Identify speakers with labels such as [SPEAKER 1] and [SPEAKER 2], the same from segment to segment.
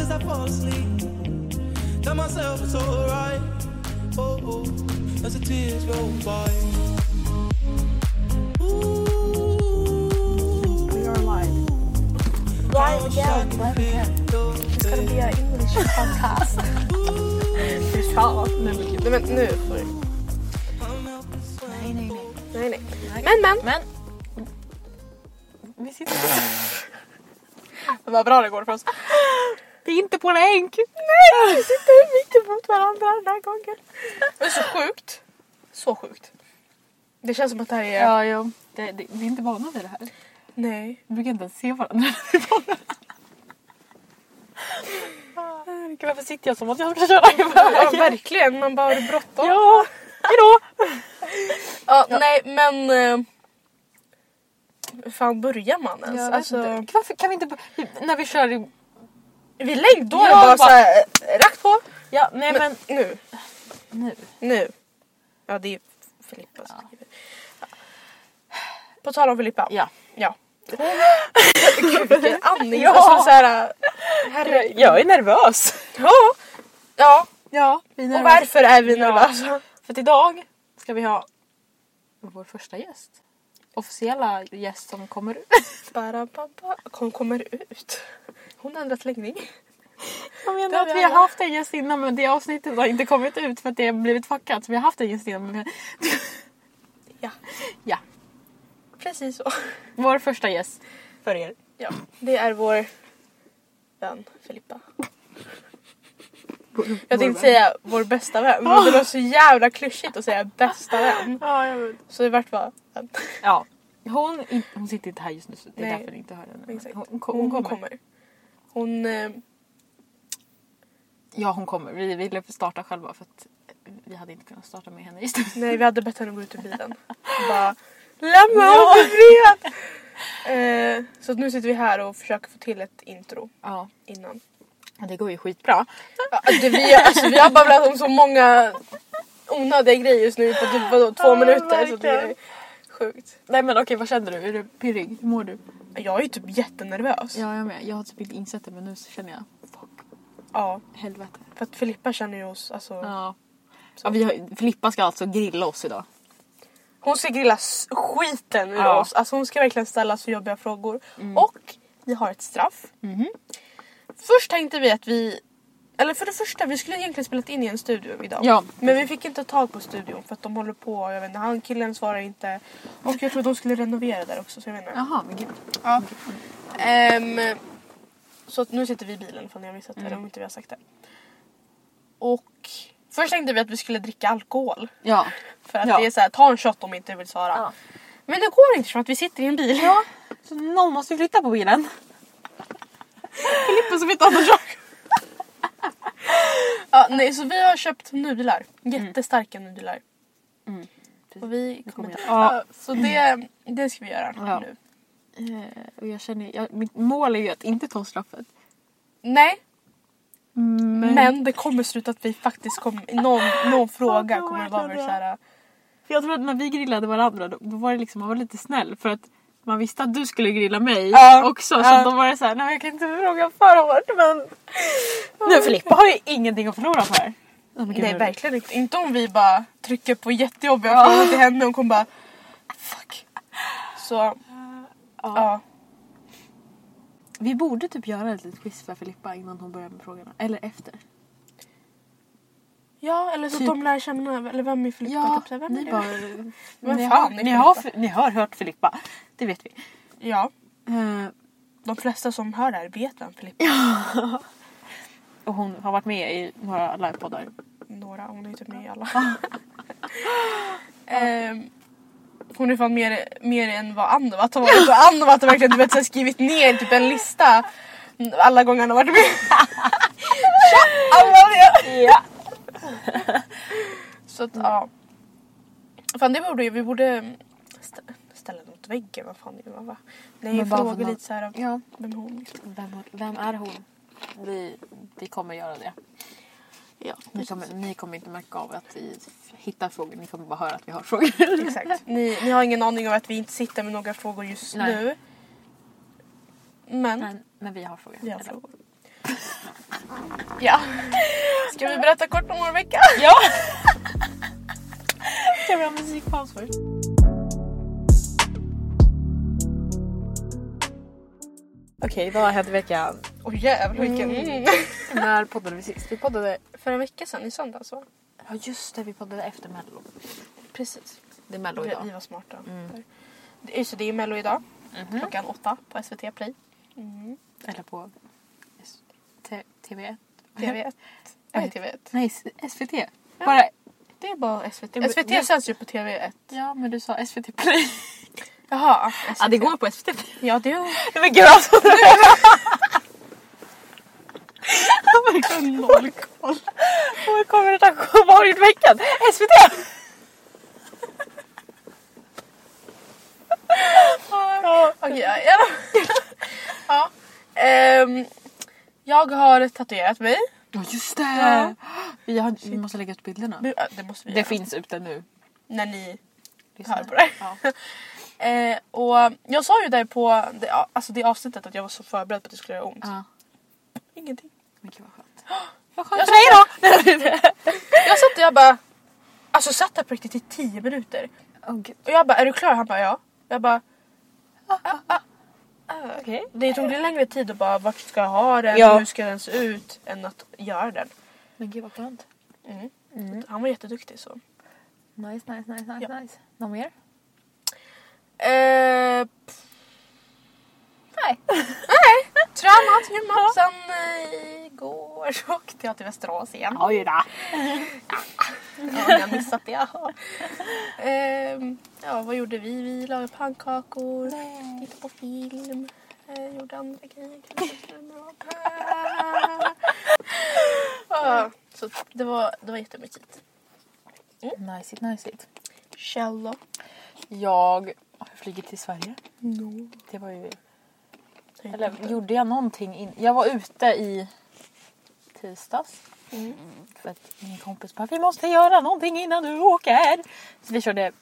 [SPEAKER 1] as I fall asleep. Tell myself it's alright. Oh, oh, as the tears roll by. Ooh,
[SPEAKER 2] We are live.
[SPEAKER 3] Live again, live again.
[SPEAKER 1] your
[SPEAKER 3] It's gonna be an English podcast. Fy fan, nu
[SPEAKER 2] Nej
[SPEAKER 3] blir det kul.
[SPEAKER 2] men nu får du.
[SPEAKER 3] Nej, nej, nej.
[SPEAKER 2] Nej nej. Men men.
[SPEAKER 3] Men... Vi sitter... Vad bra det går för oss. Vi är inte på länk! Nej! Vi sitter mitt emot varandra den här gången.
[SPEAKER 2] Det är så sjukt. Så sjukt. Det känns som att det här är...
[SPEAKER 3] Ja, ja. Det, det, vi är inte vana vid det här.
[SPEAKER 2] Nej.
[SPEAKER 3] Vi brukar inte ens se varandra. Herregud, Ah, varför sitter jag som att jag ska köra
[SPEAKER 2] Ja,
[SPEAKER 3] iväg?
[SPEAKER 2] verkligen. Man bara har du bråttom.
[SPEAKER 3] Ja, hejdå!
[SPEAKER 2] Ja, Nej men. eh, Hur fan börjar man ens?
[SPEAKER 3] Jag vet
[SPEAKER 2] alltså,
[SPEAKER 3] inte. Varför kan vi inte... bör- När vi kör i...
[SPEAKER 2] Vi lägger då
[SPEAKER 3] Ja,
[SPEAKER 2] är det bara
[SPEAKER 3] bara-
[SPEAKER 2] såhär rakt på.
[SPEAKER 3] Ja, nej men...
[SPEAKER 2] Men, nu.
[SPEAKER 3] Nu.
[SPEAKER 2] Nu. Ja det är Filippa som
[SPEAKER 3] Ja.
[SPEAKER 2] skriver. Ja. På tal om Filippa.
[SPEAKER 3] Ja.
[SPEAKER 2] Ja. Gud vilken andning.
[SPEAKER 3] Ja.
[SPEAKER 2] Alltså såhär. Herre.
[SPEAKER 3] Jag är nervös.
[SPEAKER 2] Ja. Ja.
[SPEAKER 3] Ja, vi är
[SPEAKER 2] Och varför är vi Alltså, nervösa?
[SPEAKER 3] För att idag ska vi ha vår första gäst. Officiella gäst som kommer ut.
[SPEAKER 2] Barababa. Hon kommer ut. Hon har ändrat läggning.
[SPEAKER 3] Jag
[SPEAKER 2] Det
[SPEAKER 3] menar
[SPEAKER 2] har
[SPEAKER 3] att
[SPEAKER 2] vi
[SPEAKER 3] vi har
[SPEAKER 2] alla.
[SPEAKER 3] haft en gäst innan men det avsnittet har inte kommit ut för att det har blivit fuckat. Så vi har haft en gäst innan men
[SPEAKER 2] Ja,
[SPEAKER 3] ja.
[SPEAKER 2] precis så.
[SPEAKER 3] Vår första gäst. För er.
[SPEAKER 2] Ja, det är vår vän Filippa. Jag tänkte säga vår bästa vän men det låter så jävla klyschigt att säga bästa vän.
[SPEAKER 3] Ja, jag vet.
[SPEAKER 2] Så det vart bara vän.
[SPEAKER 3] Ja. Hon, in- hon sitter inte här just nu så det är
[SPEAKER 2] Nej.
[SPEAKER 3] därför ni inte hör henne. Men
[SPEAKER 2] Exakt.
[SPEAKER 3] Hon, hon,
[SPEAKER 2] Hon,
[SPEAKER 3] kommer.
[SPEAKER 2] kommer. Hon... eh,
[SPEAKER 3] Ja hon kommer. Vi ville starta själva för att vi hade inte kunnat starta med henne just nu.
[SPEAKER 2] Nej vi hade bett henne gå ut ur bilen. Och bara lämna oss i fred! Eh, Så att nu sitter vi här och försöker få till ett intro
[SPEAKER 3] Ja.
[SPEAKER 2] innan.
[SPEAKER 3] Och det går ju skitbra.
[SPEAKER 2] Ja, det, vi, alltså, vi har babblat om så många onödiga grejer just nu på typ vadå, två
[SPEAKER 3] Ja,
[SPEAKER 2] minuter. Så det är
[SPEAKER 3] verkligen.
[SPEAKER 2] sjukt.
[SPEAKER 3] Nej men okej vad känner du? Är du pirrig? Hur mår du?
[SPEAKER 2] Jag är ju typ jättenervös.
[SPEAKER 3] Ja jag med. Jag har typ inte insett det men nu så känner jag fuck
[SPEAKER 2] Ja,
[SPEAKER 3] helvete.
[SPEAKER 2] för att Filippa känner ju oss. Alltså,
[SPEAKER 3] Ja. ja vi har, Filippa ska alltså grilla oss idag.
[SPEAKER 2] Hon ska grilla s- skiten ur
[SPEAKER 3] Ja. Mm.
[SPEAKER 2] oss. Alltså, hon ska verkligen ställa så jobbiga frågor. Och vi har ett straff.
[SPEAKER 3] Mhm.
[SPEAKER 2] Först tänkte vi att vi... Eller för det första, vi skulle egentligen spelat in i en studio idag.
[SPEAKER 3] Ja.
[SPEAKER 2] Men vi fick inte tag på studion för att de håller på. Jag vet inte, han killen svarar inte. Och jag tror de skulle renovera där också så jag vet inte.
[SPEAKER 3] Jaha men gud.
[SPEAKER 2] Ja. Ehm, så att nu sitter vi i bilen för ni har
[SPEAKER 3] Mm.
[SPEAKER 2] missat det, eller om inte vi har sagt det. Och först tänkte vi att vi skulle dricka alkohol.
[SPEAKER 3] Ja.
[SPEAKER 2] För att
[SPEAKER 3] Ja.
[SPEAKER 2] det är såhär, ta en shot om inte du vill svara.
[SPEAKER 3] Ja.
[SPEAKER 2] Men det går inte för att vi sitter i en bil.
[SPEAKER 3] ja. Så någon måste flytta på bilen. Filippa som inte har någon sak.
[SPEAKER 2] Ja, nej, så vi har köpt nudlar. Jättestarka nudlar.
[SPEAKER 3] Mm, precis.
[SPEAKER 2] Och vi kommer
[SPEAKER 3] kommer
[SPEAKER 2] till...
[SPEAKER 3] jag-
[SPEAKER 2] Ja, så det, det ska vi göra
[SPEAKER 3] Ja.
[SPEAKER 2] nu.
[SPEAKER 3] Eh, Och jag känner, jag, mitt mål är ju att inte ta straffet.
[SPEAKER 2] Nej,
[SPEAKER 3] Men,
[SPEAKER 2] men, det kommer sluta att vi faktiskt kommer... Någon, någon fråga
[SPEAKER 3] Ja, det var
[SPEAKER 2] kommer att vara
[SPEAKER 3] verkligen
[SPEAKER 2] såhär...
[SPEAKER 3] För jag tror att när vi grillade varandra då, då var det liksom, man var lite snäll för att man visste att du skulle grilla mig
[SPEAKER 2] Ja.
[SPEAKER 3] också. Så
[SPEAKER 2] Ja.
[SPEAKER 3] då var det såhär, nej men jag kan inte fråga för hårt men... Nu Filippa har ju ingenting att förlora på det här.
[SPEAKER 2] Nej verkligen inte. Inte om vi bara trycker på jättejobbiga frågor till henne och hon kommer bara fuck. Så ja. ja.
[SPEAKER 3] Vi borde typ göra ett litet quiz för Filippa innan hon börjar med frågorna. Eller efter.
[SPEAKER 2] eller så
[SPEAKER 3] Typ-
[SPEAKER 2] att de lär känna eller vem är Filippa? typ så här, vem är
[SPEAKER 3] ni
[SPEAKER 2] du?
[SPEAKER 3] bara...
[SPEAKER 2] Vem
[SPEAKER 3] ni,
[SPEAKER 2] fan
[SPEAKER 3] har,
[SPEAKER 2] är
[SPEAKER 3] ni, har,
[SPEAKER 2] Filippa?
[SPEAKER 3] ni har hört Filippa, det vet vi.
[SPEAKER 2] Ja,
[SPEAKER 3] Eh,
[SPEAKER 2] de flesta som hör det här vet vem Filippa är.
[SPEAKER 3] och hon har varit med i några livepoddar.
[SPEAKER 2] Några, hon är ju typ med i alla. Ehm, hon är fan mer, mer än vad Anvat har varit. Och Anvat har verkligen du vet, så här, skrivit ner typ en lista alla gånger han har varit med. Tja! Anvat, ja.
[SPEAKER 3] Ja.
[SPEAKER 2] Så att ja. Fan det borde ju- vi borde stä- ställa den mot väggen. Vad fan är det va? Nej
[SPEAKER 3] Men bara
[SPEAKER 2] fråga
[SPEAKER 3] för någon-
[SPEAKER 2] lite såhär
[SPEAKER 3] ja.
[SPEAKER 2] vem är hon liksom.
[SPEAKER 3] Vem, vem är hon? Vi, vi kommer göra det.
[SPEAKER 2] Ja.
[SPEAKER 3] Ni kommer, ni kommer inte märka av att vi hittar frågor, ni kommer bara höra att vi har frågor.
[SPEAKER 2] Exakt. Ni, ni har ingen aning om att vi inte sitter med några frågor just
[SPEAKER 3] Nej.
[SPEAKER 2] nu. Men
[SPEAKER 3] Men, men vi har frågor.
[SPEAKER 2] vi har
[SPEAKER 3] Eller-
[SPEAKER 2] frågor. Ja. Ska vi berätta kort om vår vecka?
[SPEAKER 3] Ja! Ska vi ha musikpaus först? Okej, vad har hänt i veckan?
[SPEAKER 2] Åh jävlar vilken...
[SPEAKER 3] Mm.
[SPEAKER 2] Eh,
[SPEAKER 3] När poddade vi sist? Vi poddade...
[SPEAKER 2] För en vecka sedan i söndags va?
[SPEAKER 3] Ja just det, vi poddade efter mello.
[SPEAKER 2] Precis.
[SPEAKER 3] Det är mello
[SPEAKER 2] Vi, vi
[SPEAKER 3] idag.
[SPEAKER 2] var smarta.
[SPEAKER 3] Mm.
[SPEAKER 2] Där. Det är- Så det är mello idag
[SPEAKER 3] Mhm.
[SPEAKER 2] klockan åtta på SVT Play. Mm.
[SPEAKER 3] Eller på S- T- TV1.
[SPEAKER 2] TV1. Nej TV1.
[SPEAKER 3] Nej, S- SVT. Bara...
[SPEAKER 2] Mm. Det är bara SVT.
[SPEAKER 3] men-
[SPEAKER 2] SVT
[SPEAKER 3] vi-
[SPEAKER 2] sänds ju på TV1.
[SPEAKER 3] Ja men du sa SVT Play.
[SPEAKER 2] Jaha.
[SPEAKER 3] Ja det går på SVT Play.
[SPEAKER 2] Ja det gör
[SPEAKER 3] Men gud alltså! Oh
[SPEAKER 2] verkligen noll koll.
[SPEAKER 3] Vår konversation var i veckan. SVT!
[SPEAKER 2] Okej, ja. ja. ja. Ehm, jag har tatuerat mig.
[SPEAKER 3] Ja just det! Vi, har, vi måste lägga ut bilderna.
[SPEAKER 2] Nu- ja, Det måste vi
[SPEAKER 3] Det
[SPEAKER 2] göra.
[SPEAKER 3] finns ute nu.
[SPEAKER 2] När ni
[SPEAKER 3] Lyssna.
[SPEAKER 2] Hör på det.
[SPEAKER 3] Ja.
[SPEAKER 2] Eh, och jag sa ju där på det, alltså det avsnittet att jag var så förberedd på att det skulle göra ont.
[SPEAKER 3] ja.
[SPEAKER 2] Ingenting.
[SPEAKER 3] Men gud vad skönt. Vad skönt
[SPEAKER 2] Jag
[SPEAKER 3] för dig då!
[SPEAKER 2] Jag satt och jag bara... Alltså satt där på riktigt i tio minuter.
[SPEAKER 3] Åh gud.
[SPEAKER 2] Och jag bara, är du klar? Han bara, ja. Jag bara,
[SPEAKER 3] Okej.
[SPEAKER 2] det tog lite längre tid och bara, vart ska jag ha den?
[SPEAKER 3] Ja.
[SPEAKER 2] Hur ska den se ut? Än att göra den.
[SPEAKER 3] Men gud vad skönt.
[SPEAKER 2] Mm. Han var jätteduktig så.
[SPEAKER 3] Nice, nice, nice, nice,
[SPEAKER 2] Ja.
[SPEAKER 3] nice. Någon mer?
[SPEAKER 2] Eh,
[SPEAKER 3] Nej.
[SPEAKER 2] tränat hemma. Sen eh, igår så åkte jag till Västerås igen.
[SPEAKER 3] Oj då.
[SPEAKER 2] Ja, jag har missat det. Ja. Ehm, ja, vad gjorde vi? Vi lagade pannkakor,
[SPEAKER 3] Mm.
[SPEAKER 2] tittade på film, eh, gjorde andra grejer. kanske. ja, så det var, det var jättemysigt.
[SPEAKER 3] Nice, it, nice. It.
[SPEAKER 2] Kjell då?
[SPEAKER 3] Jag har flugit till Sverige.
[SPEAKER 2] No.
[SPEAKER 3] Det var ju...
[SPEAKER 2] Eller,
[SPEAKER 3] Eller gjorde jag någonting in... Jag var ute i tisdags.
[SPEAKER 2] Mm.
[SPEAKER 3] För att min kompis bara vi måste göra någonting innan du åker. Så vi körde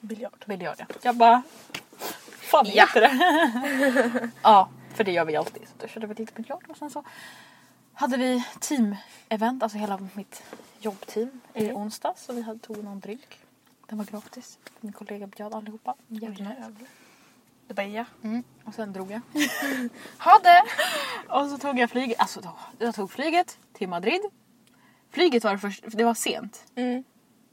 [SPEAKER 2] biljard.
[SPEAKER 3] biljard. ja. Jag bara... Fan
[SPEAKER 2] Ja.
[SPEAKER 3] heter det? ja, för det gör vi alltid. Så då körde vi lite biljard och sen så hade vi team-event, alltså hela mitt jobbteam i
[SPEAKER 2] Mm.
[SPEAKER 3] onsdags. Så vi hade, tog någon drink. Den var gratis. Min kollega bjöd allihopa. Jättenice.
[SPEAKER 2] Det bara ja.
[SPEAKER 3] Mm. Och sen drog jag.
[SPEAKER 2] Ha det!
[SPEAKER 3] Och så tog jag flyg, alltså då, jag tog flyget till Madrid. Flyget var först, för det var sent.
[SPEAKER 2] Mm.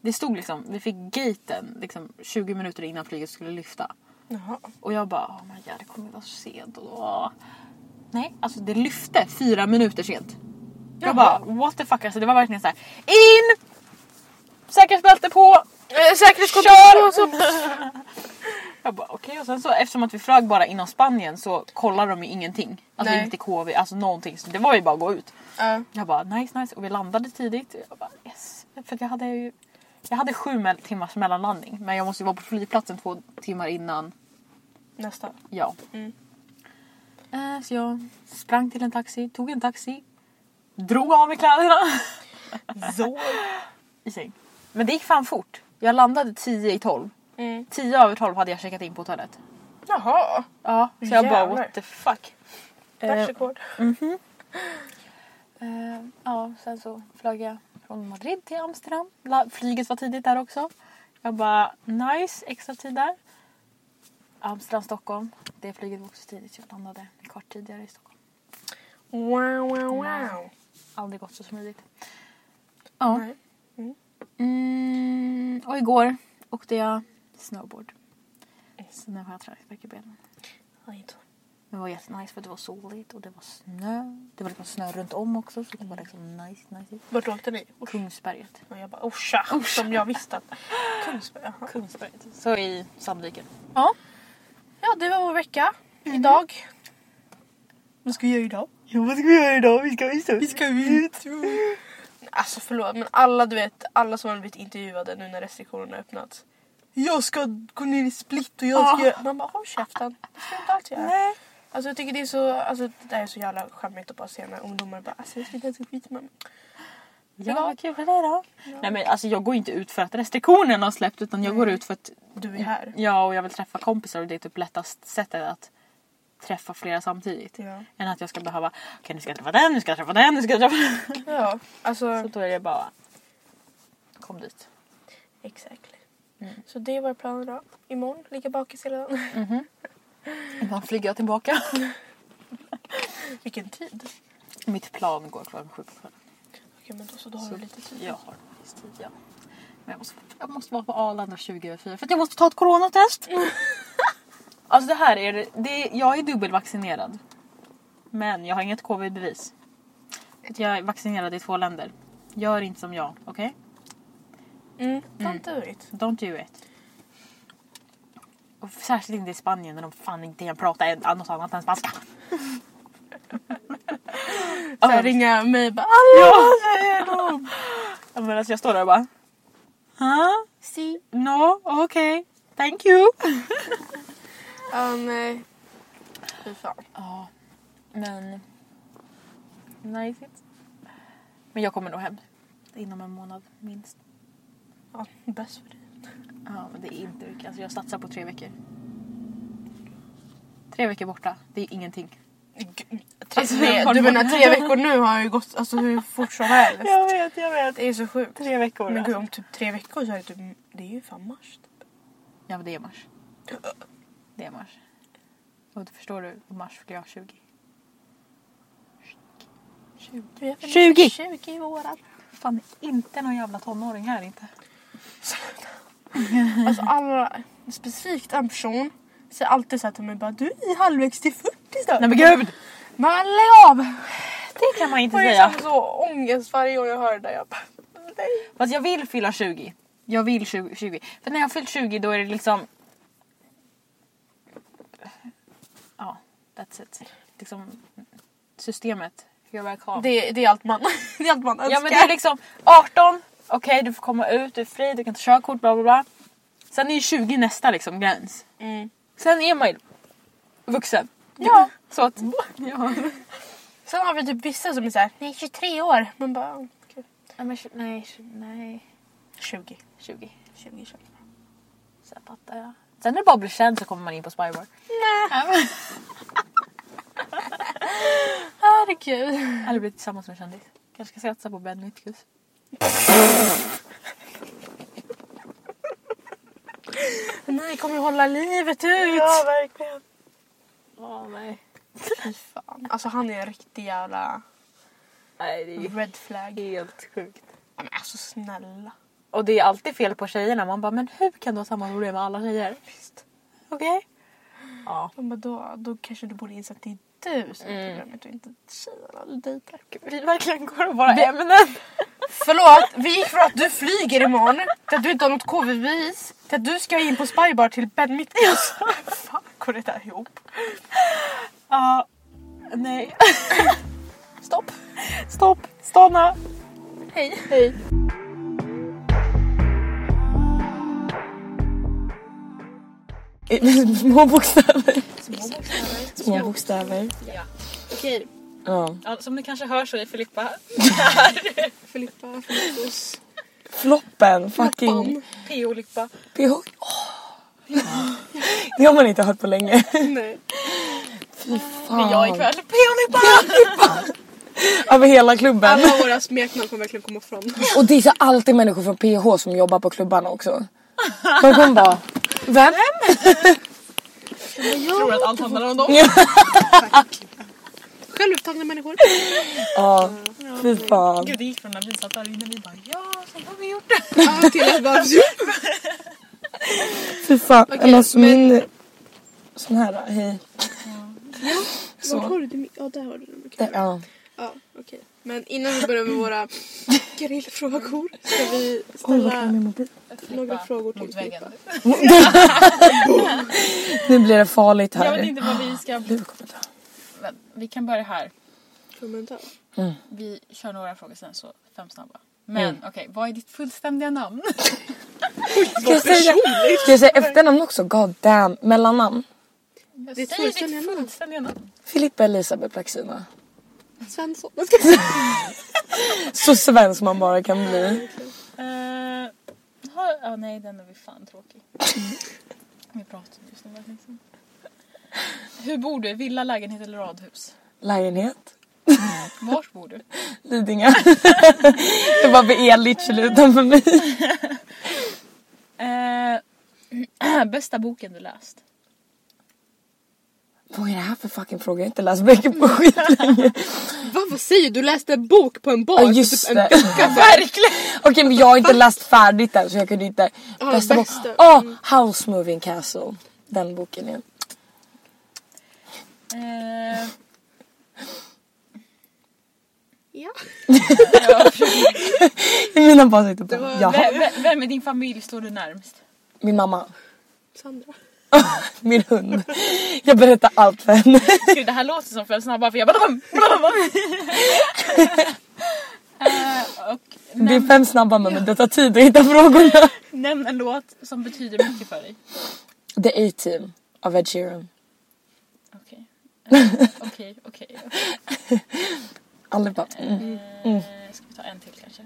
[SPEAKER 3] Det stod liksom, vi fick gaten liksom 20 minuter innan flyget skulle lyfta.
[SPEAKER 2] Jaha.
[SPEAKER 3] Och jag bara, oh my god det kommer vara så sent. Och då... Nej, alltså det lyfte fyra minuter sent. Jag bara,
[SPEAKER 2] Jaha.
[SPEAKER 3] what the fuck alltså det var verkligen så här. in! Säkerhetsbälte på!
[SPEAKER 2] Eh,
[SPEAKER 3] Kör!
[SPEAKER 2] Säkerhetskontroll! så-
[SPEAKER 3] Jag bara okej och sen så eftersom att vi flög bara inom Spanien så kollar de ju ingenting. Alltså
[SPEAKER 2] Nej.
[SPEAKER 3] inte KV, alltså någonting. Så det var ju bara att gå ut.
[SPEAKER 2] Ja.
[SPEAKER 3] Jag bara nice nice och vi landade tidigt. Jag bara yes. För att jag hade ju jag hade sju mell- timmars mellanlandning men jag måste ju vara på flygplatsen två timmar innan.
[SPEAKER 2] Nästa.
[SPEAKER 3] Ja.
[SPEAKER 2] Mm.
[SPEAKER 3] Eh, så jag sprang till en taxi, tog en taxi, drog av mig kläderna
[SPEAKER 2] Så.
[SPEAKER 3] i säng. Men det gick fan fort. Jag landade 10 i 12.
[SPEAKER 2] Mm.
[SPEAKER 3] 10 över 12 hade jag checkat in på hotellet.
[SPEAKER 2] Jaha.
[SPEAKER 3] Ja, så jag bara
[SPEAKER 2] Jävlar.
[SPEAKER 3] what the fuck. Eh,
[SPEAKER 2] Världsrekord.
[SPEAKER 3] Eh, ja, sen så flög jag från Madrid till Amsterdam. La- Flyget var tidigt där också. Jag bara nice, extra tid där. Amsterdam, Stockholm. Det flyget var också tidigt så jag landade en kvart tidigare i Stockholm.
[SPEAKER 2] Wow, wow, wow.
[SPEAKER 3] Aldrig gått så smidigt. Ja.
[SPEAKER 2] Nej.
[SPEAKER 3] Mm, och igår åkte jag snowboard. Så nu har jag träningsvärk i benen.
[SPEAKER 2] Ja, inte så.
[SPEAKER 3] Men det var jättenice för det var soligt och det var snö. Det var liksom snö runt om också så det var liksom nice, nice.
[SPEAKER 2] Vart åkte ni? Och
[SPEAKER 3] Kungsberget.
[SPEAKER 2] jag bara Orsa, som jag visste att Kungsberg. jaha.
[SPEAKER 3] Kungsberget. Så i Sandviken.
[SPEAKER 2] Ja. ja, det var vår vecka idag. Vad ska vi göra idag?
[SPEAKER 3] Ja, vad ska vi göra idag? Vi ska visa
[SPEAKER 2] Vi ska ut. Alltså förlåt, men alla du vet, alla som har blivit intervjuade nu när restriktionerna har öppnats. Jag ska gå ner i split och jag
[SPEAKER 3] ska
[SPEAKER 2] göra... Man bara håll käften. Det ska du inte alls göra.
[SPEAKER 3] Nej.
[SPEAKER 2] Alltså jag tycker det är så, alltså det där är så jävla skämmigt att bara se när ungdomar bara alltså jag ska dansa skitmamma.
[SPEAKER 3] Ja, vad kul det är då. Nej men alltså jag går inte ut för att restriktionerna har släppt utan jag går ut för att
[SPEAKER 2] Du är här.
[SPEAKER 3] ja och jag vill träffa kompisar och det är typ lättast sättet att träffa flera samtidigt.
[SPEAKER 2] Ja.
[SPEAKER 3] Än att jag ska behöva, okej nu ska jag träffa den, nu ska jag träffa den, nu ska jag träffa den.
[SPEAKER 2] Ja, alltså...
[SPEAKER 3] Så då är det bara, kom dit.
[SPEAKER 2] Exakt. Mm. Så det var planen då. Imorgon, ligga bakis hela dagen.
[SPEAKER 3] Ibland flyger jag tillbaka.
[SPEAKER 2] Vilken tid.
[SPEAKER 3] Mitt plan går klockan sju på kvällen.
[SPEAKER 2] Okej men då så, då har
[SPEAKER 3] Så
[SPEAKER 2] du lite tid.
[SPEAKER 3] Jag har en viss tid ja. Men jag måste, jag måste vara på Arlanda 20 över fyra för att jag måste ta ett coronatest. alltså det här är det, det är, jag är dubbelvaccinerad. Men jag har inget covid-bevis. För att Jag är vaccinerad i två länder. Gör inte som jag, okej?
[SPEAKER 2] Mm. Don't do it.
[SPEAKER 3] Don't do it. Och särskilt inte i Spanien när de fan inte kan prata en- något annat än spanska.
[SPEAKER 2] Så här, ringa mig och bara alla säger de.
[SPEAKER 3] Ja, men alltså jag står där och bara... Huh? Si. No, okej. Thank you.
[SPEAKER 2] Ja nej. Fy fan.
[SPEAKER 3] Ja, men... Nej, riktigt. Men jag kommer nog hem. Inom en månad minst.
[SPEAKER 2] Ja, bäst för dig.
[SPEAKER 3] Ja, men det är inte mycket. Alltså jag satsar på tre veckor. Tre veckor borta, det är ingenting.
[SPEAKER 2] Tre,
[SPEAKER 3] Alltså,
[SPEAKER 2] tre,
[SPEAKER 3] har
[SPEAKER 2] du
[SPEAKER 3] du-
[SPEAKER 2] menar tre veckor nu har ju gått alltså, hur fort som helst.
[SPEAKER 3] vet, jag vet.
[SPEAKER 2] Det är så sjukt.
[SPEAKER 3] Tre veckor.
[SPEAKER 2] Men gud om typ tre veckor så är det typ, det är ju fan mars. Typ.
[SPEAKER 3] Ja, men det är mars. Det är mars. Och du förstår du, i mars fyller jag 20. 20.
[SPEAKER 2] Du, jag fyller
[SPEAKER 3] 20.
[SPEAKER 2] 20 i våran.
[SPEAKER 3] Fan, inte någon jävla tonåring här inte.
[SPEAKER 2] Alltså alla, specifikt en person säger alltid så här till mig bara du är halvvägs till 40 snart.
[SPEAKER 3] Nej men gud!
[SPEAKER 2] Man lägg av!
[SPEAKER 3] Det kan man inte
[SPEAKER 2] Jag får ju
[SPEAKER 3] säga.
[SPEAKER 2] liksom så ångest varje gång jag hör det där. Jag bara, nej.
[SPEAKER 3] Fast jag vill fylla 20. Jag vill 20. 20. För när jag har fyllt 20 då är det liksom... Ja, that's it. Liksom systemet. Hur jag kan.
[SPEAKER 2] Det, det är allt man, det är allt man önskar.
[SPEAKER 3] Ja men det är liksom 18, okej du får komma ut, du är fri, du kan ta körkort, bla bla bla. Sen är ju 20 nästa liksom gräns.
[SPEAKER 2] Mm.
[SPEAKER 3] Sen är man ju vuxen.
[SPEAKER 2] Ja.
[SPEAKER 3] Så att... Ja.
[SPEAKER 2] Sen har vi typ vissa som är såhär, nej 23 år. Man bara, "Ja, okej."
[SPEAKER 3] Nej, men, tj- nej, tj- nej.
[SPEAKER 2] 20.
[SPEAKER 3] 20.
[SPEAKER 2] 20 känner jag.
[SPEAKER 3] Sen fattar jag. Sen när det bara blir känd så kommer man in på Spybar. Nej.
[SPEAKER 2] Herregud.
[SPEAKER 3] Eller blivit tillsammans med en kändis. Kanske ska satsa på typ. Ben Lytkus.
[SPEAKER 2] Ni kommer hålla livet ut.
[SPEAKER 3] verkligen. Åh nej.
[SPEAKER 2] Fy fan. Alltså han är en riktig jävla
[SPEAKER 3] Nej det är ju
[SPEAKER 2] red flag. Ja,
[SPEAKER 3] helt sjukt.
[SPEAKER 2] Men alltså snälla.
[SPEAKER 3] Och det är alltid fel på tjejerna. Man bara men hur kan du ha samma problem med alla tjejer?
[SPEAKER 2] Visst.
[SPEAKER 3] Okej? Ja.
[SPEAKER 2] Man bara, då, då kanske du borde inse att det är du som är
[SPEAKER 3] Mm.
[SPEAKER 2] problemet och inte tjejerna du dejtar.
[SPEAKER 3] Vi verkligen går och bara ämnen.
[SPEAKER 2] Förlåt, vi gick från att du flyger imorgon till att du inte har något covid-bevis till att du ska in på spybar till Ben Mittens. fan går det där ihop?
[SPEAKER 3] Ja. Nej.
[SPEAKER 2] Stopp.
[SPEAKER 3] Stopp. Stanna.
[SPEAKER 2] Hej.
[SPEAKER 3] Hej.
[SPEAKER 4] Små bokstäver.
[SPEAKER 3] Små bokstäver.
[SPEAKER 4] Små bokstäver.
[SPEAKER 3] Ja. Okej.
[SPEAKER 4] Ja.
[SPEAKER 3] Ja, som ni kanske hör så är Filippa
[SPEAKER 2] Filippa, Filippus.
[SPEAKER 4] Floppen. Fucking...
[SPEAKER 3] PO-Lippa.
[SPEAKER 4] PH. Åh. Det har man inte hört på länge.
[SPEAKER 2] Nej.
[SPEAKER 3] Det är jag ikväll. PO-Lippa!
[SPEAKER 4] Över hela klubben.
[SPEAKER 2] Alla våra smeknamn kommer verkligen komma fram.
[SPEAKER 4] Och det är så alltid människor från PH som jobbar på klubbarna också. De kommer bara... Vem?
[SPEAKER 3] Jag tror att allt handlar om dem.
[SPEAKER 2] Självupptagna människor.
[SPEAKER 4] Ja. Fy fan.
[SPEAKER 3] Gud det gick från när vi satt där inne vi bara ja så har vi gjort det.
[SPEAKER 2] Ja, till att bara...
[SPEAKER 4] Fy fan.
[SPEAKER 2] Okej,
[SPEAKER 4] Men alltså
[SPEAKER 2] men-
[SPEAKER 4] min... Sån här, hej.
[SPEAKER 2] Var har du det? Ja, där har du den.
[SPEAKER 4] Det- Ja.
[SPEAKER 2] Ja, okej. Men innan vi börjar med våra grillfrågor ska vi
[SPEAKER 4] Oj, vart är
[SPEAKER 2] ställa
[SPEAKER 4] min mobil?
[SPEAKER 2] några frågor till
[SPEAKER 3] Mot väggen.
[SPEAKER 2] Filippa.
[SPEAKER 4] Nu blir det farligt
[SPEAKER 3] Jag vet
[SPEAKER 4] här.
[SPEAKER 3] inte vad vi ska...
[SPEAKER 4] Du kommer dö.
[SPEAKER 3] Vi kan börja här.
[SPEAKER 2] Kommentar.
[SPEAKER 3] Vi kör några frågor sen så fem snabba. Men okej, vad är ditt fullständiga namn?
[SPEAKER 4] Ska jag säga, ska jag säga efternamn också? God damn. Mellannamn?
[SPEAKER 3] Jag
[SPEAKER 2] Ditt
[SPEAKER 3] säger
[SPEAKER 2] fullständiga namn.
[SPEAKER 3] fullständiga namn.
[SPEAKER 4] Filippa Elisabeth Plaxina.
[SPEAKER 2] Svensson. Jag ska säga.
[SPEAKER 4] Så svensk man bara kan bli.
[SPEAKER 3] Eh, har, ja, nej, den är vi fan tråkig. vi pratar just nu verkligen. Hur bor du? Villa, lägenhet eller radhus?
[SPEAKER 4] Lägenhet.
[SPEAKER 3] Vars bor du?
[SPEAKER 4] Lidingö. det var vid Elitchel utanför mig.
[SPEAKER 3] Eh, bästa boken du läst?
[SPEAKER 4] Vad är det här för fucking fråga? Jag har inte läst böcker på skitlänge.
[SPEAKER 2] Va, vad säger du? Du läste en bok på en bar?
[SPEAKER 4] Ja
[SPEAKER 2] för
[SPEAKER 4] just
[SPEAKER 2] typ
[SPEAKER 4] det.
[SPEAKER 2] En...
[SPEAKER 4] Verkligen! Okej men jag har inte läst färdigt än så jag kunde inte.
[SPEAKER 2] Ja,
[SPEAKER 4] Bästa bok.
[SPEAKER 2] bästa.
[SPEAKER 4] Ah, House Moving Castle. Den boken är.
[SPEAKER 3] Eh,
[SPEAKER 2] Ja.
[SPEAKER 4] Mina bara sitter på.
[SPEAKER 2] var
[SPEAKER 4] Ja.
[SPEAKER 3] vem, vem- vem i din familj står du närmst?
[SPEAKER 4] Min mamma.
[SPEAKER 2] Sandra.
[SPEAKER 4] Min hund. Jag berättar allt för henne.
[SPEAKER 3] Gud, det här låter som för snabba för jag bara... Eh, och
[SPEAKER 4] Det är fem snabba men det tar tid att hitta frågorna.
[SPEAKER 3] nämn en låt som betyder mycket för dig.
[SPEAKER 4] The A-Team av Ed Sheeran.
[SPEAKER 3] Okej. Eh, Okej, okej.
[SPEAKER 4] Allihopa. Mm.
[SPEAKER 3] Eh, Ska vi ta en till kanske?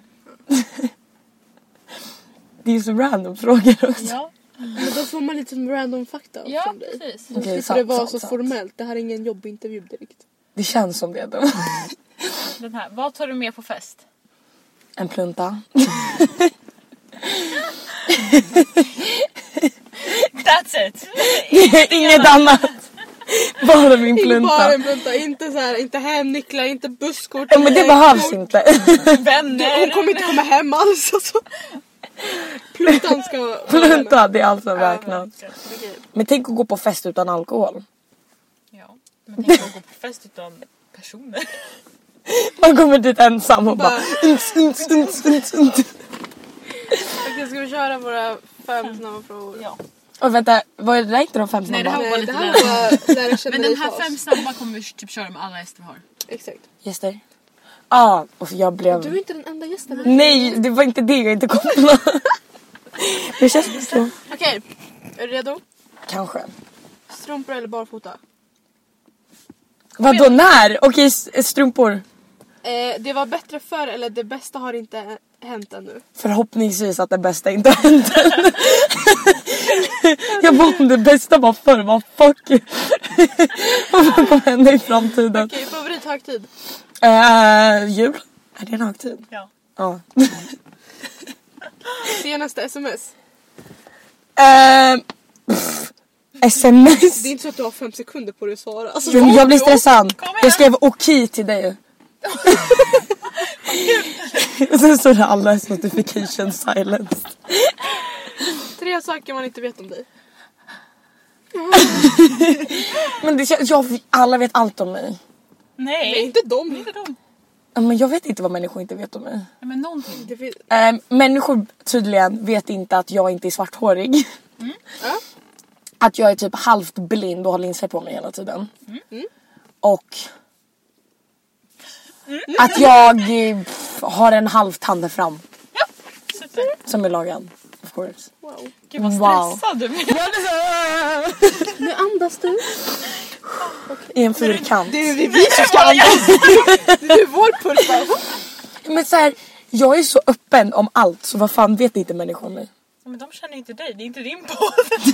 [SPEAKER 4] Det är så random frågor också.
[SPEAKER 3] Ja,
[SPEAKER 2] Men då får man lite som random fakta
[SPEAKER 3] ja
[SPEAKER 2] från dig.
[SPEAKER 3] precis.
[SPEAKER 2] Då
[SPEAKER 4] Okej,
[SPEAKER 2] slipper
[SPEAKER 4] sant,
[SPEAKER 2] det vara
[SPEAKER 4] sant,
[SPEAKER 2] så
[SPEAKER 4] sant.
[SPEAKER 2] formellt. Det här är ingen jobbintervju direkt.
[SPEAKER 4] Det känns som det då.
[SPEAKER 3] Den här. Vad tar du med på fest?
[SPEAKER 4] En plunta.
[SPEAKER 3] That's it!
[SPEAKER 4] Inget annat. Bara min
[SPEAKER 2] Bara
[SPEAKER 4] plunta.
[SPEAKER 2] en plunta. Inte, så här, inte hemnycklar, inte busskort.
[SPEAKER 4] Ja, men det
[SPEAKER 2] inte
[SPEAKER 4] behövs
[SPEAKER 2] kort.
[SPEAKER 4] inte.
[SPEAKER 2] Hon
[SPEAKER 3] Vänner!
[SPEAKER 2] kommer inte komma hem alls alltså. Pluntan ska...
[SPEAKER 4] Plunta, det är allt som räknas.
[SPEAKER 2] Okej.
[SPEAKER 4] Men tänk att gå på fest utan alkohol.
[SPEAKER 3] Ja, men tänk att gå på fest utan personer.
[SPEAKER 4] Man kommer dit ensam och bara...
[SPEAKER 2] Bara-
[SPEAKER 4] Uns, uns, uns, uns, uns.
[SPEAKER 2] Okej, ska vi köra våra fem snabba frågor?
[SPEAKER 3] Ja.
[SPEAKER 4] Och vänta, var det där inte de fem
[SPEAKER 3] Nej, det
[SPEAKER 4] snabba?
[SPEAKER 3] här var bara
[SPEAKER 2] Nej, det
[SPEAKER 3] lite
[SPEAKER 2] här
[SPEAKER 3] lära.
[SPEAKER 2] var lära känna
[SPEAKER 3] Men den
[SPEAKER 2] dig
[SPEAKER 3] här
[SPEAKER 2] fas.
[SPEAKER 3] fem snabba kommer vi typ köra med alla gäster vi har.
[SPEAKER 2] Exakt.
[SPEAKER 4] Gäster? Ja, och jag blev...
[SPEAKER 2] Du är inte den enda gästen. men-
[SPEAKER 4] Nej, det var inte det jag inte kopplade. det känns så.
[SPEAKER 2] Okej, är du redo?
[SPEAKER 4] Kanske.
[SPEAKER 2] Strumpor eller barfota?
[SPEAKER 4] Vadå när? Okej, s- strumpor.
[SPEAKER 2] Eh, det var bättre förr eller det bästa har inte hänt ännu.
[SPEAKER 4] Förhoppningsvis att det bästa inte har hänt än. Jag bara om det bästa var förr, vad fuck. Vad kommer hända i framtiden?
[SPEAKER 2] Okej, favorithögtid?
[SPEAKER 4] Eh, jul? Är det en högtid?
[SPEAKER 3] Ja.
[SPEAKER 4] Ja.
[SPEAKER 2] Senaste sms?
[SPEAKER 4] Eh, pff, sms.
[SPEAKER 2] Det är inte så att du har fem sekunder på dig att svara. Alltså,
[SPEAKER 4] Jo, men jag blir
[SPEAKER 2] jo.
[SPEAKER 4] stressad.
[SPEAKER 3] kom igen.
[SPEAKER 4] Jag skrev okej till dig. Och Sen står det allas notification silenced.
[SPEAKER 2] Tre saker man inte vet om dig.
[SPEAKER 4] Men det, känns- jag, alla vet allt om mig.
[SPEAKER 3] Nej,
[SPEAKER 2] Nej, inte dem.
[SPEAKER 3] inte dem.
[SPEAKER 4] Ja, Men jag vet inte vad människor inte vet om mig.
[SPEAKER 3] Nej, men någonting.
[SPEAKER 2] Det finns...
[SPEAKER 4] Eh, människor tydligen vet inte att jag inte är svarthårig.
[SPEAKER 2] Mm, Ja.
[SPEAKER 4] Att jag är typ halvt blind och har linser på mig hela tiden.
[SPEAKER 2] Mm,
[SPEAKER 4] Och
[SPEAKER 2] Mm.
[SPEAKER 4] att jag eh, pff, har en halv tand där fram
[SPEAKER 3] Super.
[SPEAKER 4] som är lagad. Of course.
[SPEAKER 2] Wow.
[SPEAKER 3] Gud vad
[SPEAKER 4] Wow.
[SPEAKER 3] stressad du blir.
[SPEAKER 2] Nu andas du.
[SPEAKER 4] I en fyrkant.
[SPEAKER 2] Det är vi, vi som ska andas. Det är vår pulsa.
[SPEAKER 4] Men så här, jag är så öppen om allt så vad fan vet inte människor om mig?
[SPEAKER 3] Men de känner ju inte dig, det är inte din podd.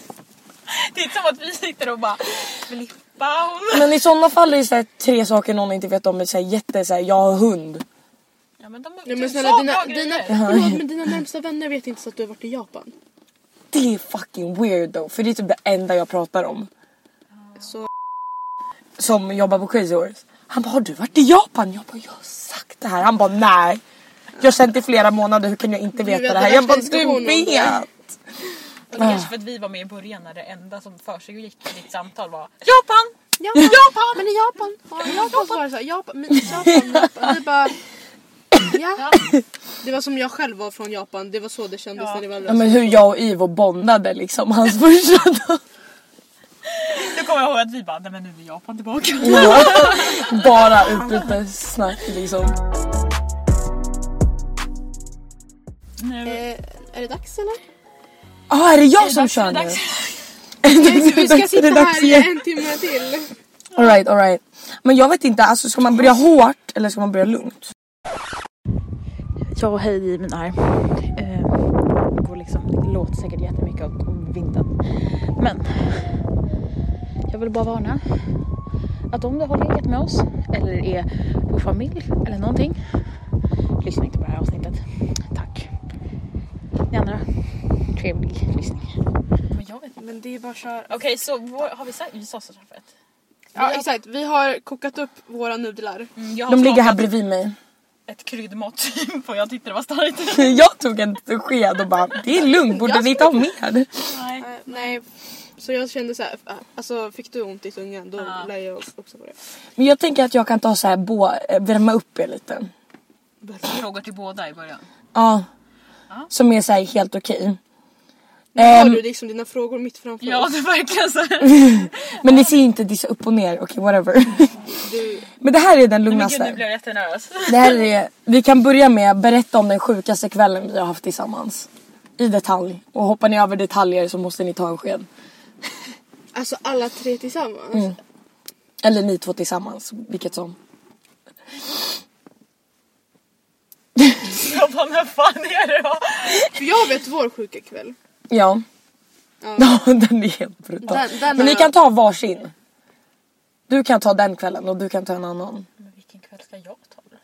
[SPEAKER 3] Det är inte som att vi sitter och bara Filippa hon...
[SPEAKER 4] Men i sådana fall är det så här, tre saker någon inte vet om mig. Så här, jätte, så här, jag har hund.
[SPEAKER 3] Ja men de
[SPEAKER 2] Ja,
[SPEAKER 3] du
[SPEAKER 2] men snälla,
[SPEAKER 3] sa
[SPEAKER 2] dina,
[SPEAKER 3] bra
[SPEAKER 2] dina,
[SPEAKER 3] grejer.
[SPEAKER 2] förlåt, men dina närmsta vänner vet inte så att du har varit i Japan.
[SPEAKER 4] Det är fucking weird though. För det är typ det enda jag pratar om.
[SPEAKER 2] Så
[SPEAKER 4] Som jobbar på Crazy Horse. Han bara har du varit i Japan? Jag bara jag har sagt det här. Han bara nej. Jag har känt i flera månader hur kan jag inte veta
[SPEAKER 2] vet
[SPEAKER 4] det här?
[SPEAKER 2] den
[SPEAKER 4] Jag bara
[SPEAKER 2] värsta
[SPEAKER 4] du
[SPEAKER 2] diskussionen om det."
[SPEAKER 4] vet.
[SPEAKER 3] Och det kanske för att vi var med i början när det enda som försiggick i ditt samtal var Japan!
[SPEAKER 2] Japan!
[SPEAKER 3] Japan!
[SPEAKER 2] Men i Japan! Ja, i Japan så var det såhär, Japan, men Japan, Japan. Det bara... Ja. Det var som jag själv var från Japan, det var så det kändes
[SPEAKER 3] Ja.
[SPEAKER 2] när det var
[SPEAKER 4] Ja, men hur jag och Ivo bondade liksom hans första dag.
[SPEAKER 3] Nu kommer jag ihåg att vi bara nej men nu är Japan tillbaka.
[SPEAKER 4] Ja. Bara utbytessnack liksom.
[SPEAKER 3] Nu
[SPEAKER 2] eh, Är det dags eller?
[SPEAKER 4] Ah, är det jag
[SPEAKER 3] det
[SPEAKER 4] som
[SPEAKER 3] dags?
[SPEAKER 4] kör
[SPEAKER 3] Är det
[SPEAKER 4] nu?
[SPEAKER 3] dags?
[SPEAKER 2] Vi ska sitta här i
[SPEAKER 4] igen.
[SPEAKER 2] en timme till.
[SPEAKER 4] Alright, alright. Men jag vet inte, alltså ska man börja hårt eller ska man börja lugnt?
[SPEAKER 5] Ja, hej i mina här. Eh, går liksom, det låter säkert jättemycket om vinden. Men Jag vill bara varna att om du har legat med oss eller är vår familj eller någonting. Lyssna inte på det här avsnittet. Tack. Ni andra, trevlig lyssning. Men jag vet
[SPEAKER 2] Men det är bara kör.
[SPEAKER 5] Okej, så vår, har vi sagt? Vi sa så förut.
[SPEAKER 2] Ja exakt, vi har kokat upp våra nudlar.
[SPEAKER 5] Mm, jag har
[SPEAKER 4] De ligger här
[SPEAKER 5] smakat
[SPEAKER 4] bredvid mig.
[SPEAKER 5] ett kryddmått på jag tyckte det var starkt.
[SPEAKER 4] Jag tog en sked och bara det är lugnt, borde ni inte ha mer?
[SPEAKER 5] Nej.
[SPEAKER 2] Eh, Nej. Så jag kände så här, eh, alltså fick du ont i tungan då
[SPEAKER 5] Ja.
[SPEAKER 2] lär jag också på det.
[SPEAKER 4] Men jag tänker att jag kan ta så här bå, eh, värma upp er lite.
[SPEAKER 5] Frågor till båda i början.
[SPEAKER 4] Ja. Som är så här helt okej.
[SPEAKER 2] Har
[SPEAKER 4] Ehm,
[SPEAKER 2] du liksom dina frågor mitt framför
[SPEAKER 5] Ja,
[SPEAKER 2] oss?
[SPEAKER 5] det är verkligen så. här.
[SPEAKER 4] men ni ser ju inte, det är så upp och ner. Okej whatever.
[SPEAKER 2] Du,
[SPEAKER 4] Men det här är den
[SPEAKER 5] Men gud, nu
[SPEAKER 4] lugnaste.
[SPEAKER 5] blev jag jättenervös.
[SPEAKER 4] Det här är, vi kan börja med berätta om den sjukaste kvällen vi har haft tillsammans. I detalj. Och hoppar ni över detaljer så måste ni ta en sked.
[SPEAKER 2] alltså alla tre tillsammans.
[SPEAKER 4] Eller ni två tillsammans, vilket som.
[SPEAKER 5] Jag bara, men fan är det då?
[SPEAKER 2] För jag vet vår sjuka kväll.
[SPEAKER 4] Ja.
[SPEAKER 2] Ja.
[SPEAKER 4] Ja, den är helt brutal.
[SPEAKER 2] Den- den
[SPEAKER 4] Men ni
[SPEAKER 2] har-
[SPEAKER 4] kan ta varsin. Du kan ta den kvällen och du kan ta en annan.
[SPEAKER 5] Men vilken kväll ska jag ta då?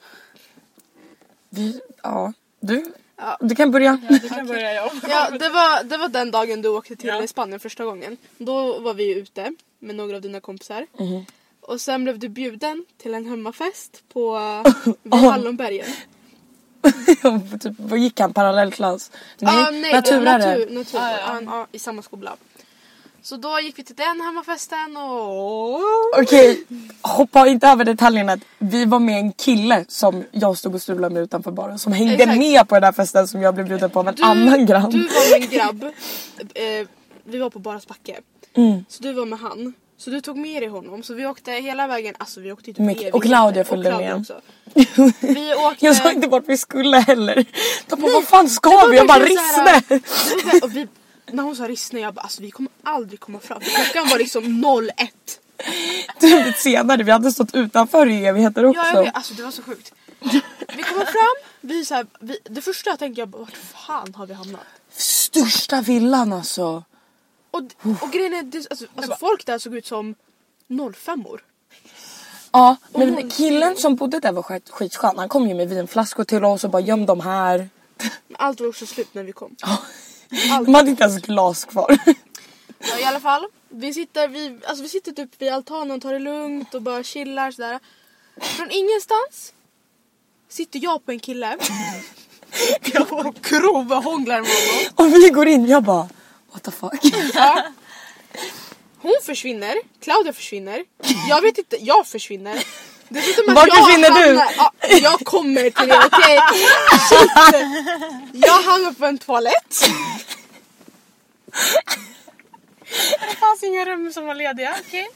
[SPEAKER 4] Vi, ja, du,
[SPEAKER 2] Ja.
[SPEAKER 4] du kan börja.
[SPEAKER 5] Du kan börja jag.
[SPEAKER 2] Ja, det var, det var den dagen du åkte till
[SPEAKER 5] Ja.
[SPEAKER 2] Spanien första gången. Då var vi ju ute med några av dina kompisar. Och sen blev du bjuden till en hemmafest på vid Hallonbergen.
[SPEAKER 4] typ, vad gick han? Parallellklass?
[SPEAKER 2] Ah, nej,
[SPEAKER 4] naturare.
[SPEAKER 2] Natur, natur,
[SPEAKER 5] Ah, ja.
[SPEAKER 2] ja, ja, I samma skola. Så då gick vi till den hemmafesten och...
[SPEAKER 4] Okej, hoppa inte över detaljerna. Vi var med en kille som jag stod och strulade med utanför baren som hängde
[SPEAKER 2] Exakt.
[SPEAKER 4] med på den där festen som jag blev bjuden på av en annan grann.
[SPEAKER 2] Du var med en grabb. Eh, vi var på Baras backe.
[SPEAKER 4] Mm.
[SPEAKER 2] Så du var med han. Så du tog med dig honom. Så vi åkte hela vägen. Alltså vi åkte ju typ
[SPEAKER 4] Mycket.
[SPEAKER 2] evigheter.
[SPEAKER 4] Och Claudia följde
[SPEAKER 2] Och Claudia
[SPEAKER 4] med.
[SPEAKER 2] också. Vi åkte...
[SPEAKER 4] Jag sa inte vart vi skulle heller. De bara, vad fan
[SPEAKER 2] Det
[SPEAKER 4] ska
[SPEAKER 2] var
[SPEAKER 4] vi? Jag bara,
[SPEAKER 2] verkligen så här-
[SPEAKER 4] Rissne!
[SPEAKER 2] Det var så här, Och vi, när hon sa Rissne jag bara alltså vi kommer aldrig komma fram. Klockan var liksom 01.
[SPEAKER 4] Typ senare, vi hade stått utanför i evigheter också.
[SPEAKER 2] Ja, jag vet, alltså det var så sjukt. Vi kommer fram, vi så här, vi, det första jag tänker jag bara vart fan har vi hamnat?
[SPEAKER 4] Största villan alltså.
[SPEAKER 2] Och, och grejen är det, alltså, alltså folk där såg ut som 05or.
[SPEAKER 4] Ja,
[SPEAKER 2] Och
[SPEAKER 4] men
[SPEAKER 2] hon-
[SPEAKER 4] killen som bodde där var skit, skitskön. Han kom ju med vinflaskor till oss och bara göm dem här.
[SPEAKER 2] Men Allt var också slut när vi kom.
[SPEAKER 4] De hade inte ens glas kvar.
[SPEAKER 2] Ja, I alla fall, vi sitter, vi, alltså, vi sitter typ vid altanen och tar det lugnt och bara chillar sådär. Från ingenstans sitter jag på en kille. och grovhånglar med honom.
[SPEAKER 4] Och vi går in, jag bara what the fuck.
[SPEAKER 2] Hon försvinner, Claudia försvinner, jag vet inte, jag försvinner. Dessutom att
[SPEAKER 4] Vart
[SPEAKER 2] jag
[SPEAKER 4] försvinner du?
[SPEAKER 2] hamnar- Ja, jag kommer till det, okej? Shit. Jag hamnar på en toalett.
[SPEAKER 6] Det fanns inga rum som var lediga. Okej.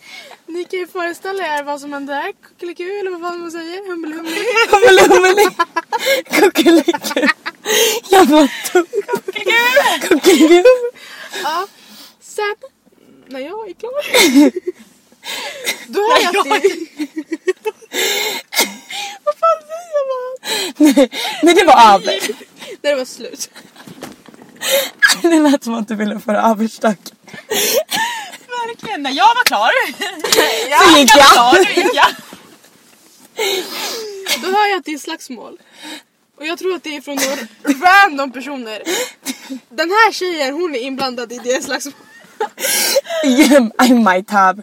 [SPEAKER 2] Ni kan ju föreställa er vad som hände. Kuckeliku eller vad fan man säger. Humble humble.
[SPEAKER 4] Hummeli hummeli. Kuckeliku. Jag bara tog. Kuckeliku.
[SPEAKER 2] Ja. Sen, när jag är klar. Då har jag till...
[SPEAKER 4] Nej, Nej det var över.
[SPEAKER 2] När det var slut.
[SPEAKER 4] Det lät som att du ville föra överstack.
[SPEAKER 5] Verkligen, när jag var klar.
[SPEAKER 4] Så gick jag.
[SPEAKER 5] Ja, nu gick jag.
[SPEAKER 2] Då hör jag att det är slagsmål. Och jag tror att det är från några random personer. Den här tjejen hon är inblandad i det slagsmålet.
[SPEAKER 4] Jim, I might have.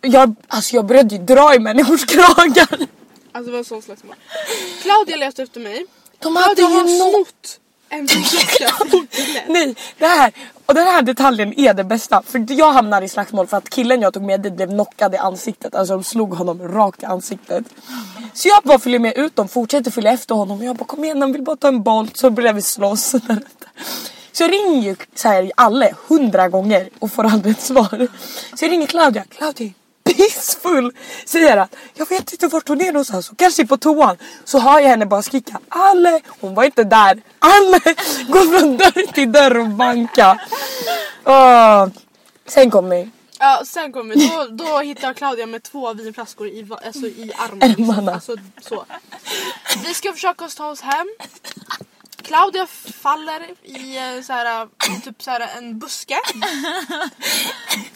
[SPEAKER 4] Jag, alltså jag började ju dra i människors kragar.
[SPEAKER 2] Alltså det var en sån slagsmål. Claudia letade efter mig.
[SPEAKER 4] De hade
[SPEAKER 2] Claudia har
[SPEAKER 4] ju något.
[SPEAKER 2] snott en flaska från killen.
[SPEAKER 4] Nej, det här, och den här detaljen är det bästa. För jag hamnade i slagsmål för att killen jag tog med dit blev knockad i ansiktet. Alltså de slog honom rakt i ansiktet. Så jag bara följer med ut dem, fortsätter följa efter honom. Och jag bara kom igen, han vill bara ta en boll. Så börjar vi slåss. därefter. Så jag ringer ju så här, alla hundra gånger och får aldrig ett svar. Så jag ringer Claudia. Claudia pissfull säger att jag vet inte vart hon är någonstans, hon kanske är på toan. Så hör jag henne bara skrika Alle! Hon var inte där. Alle! Gå från dörr till dörr och banka. Åh. Sen kom vi.
[SPEAKER 2] Ja, sen kommer då, då hittar jag Claudia med två vinflaskor i, va- alltså, i armarna.
[SPEAKER 4] Ärmarna.
[SPEAKER 2] Alltså, så. Vi ska försöka oss ta oss hem. Claudia eh, faller i eh, så här, typ så här, en buske.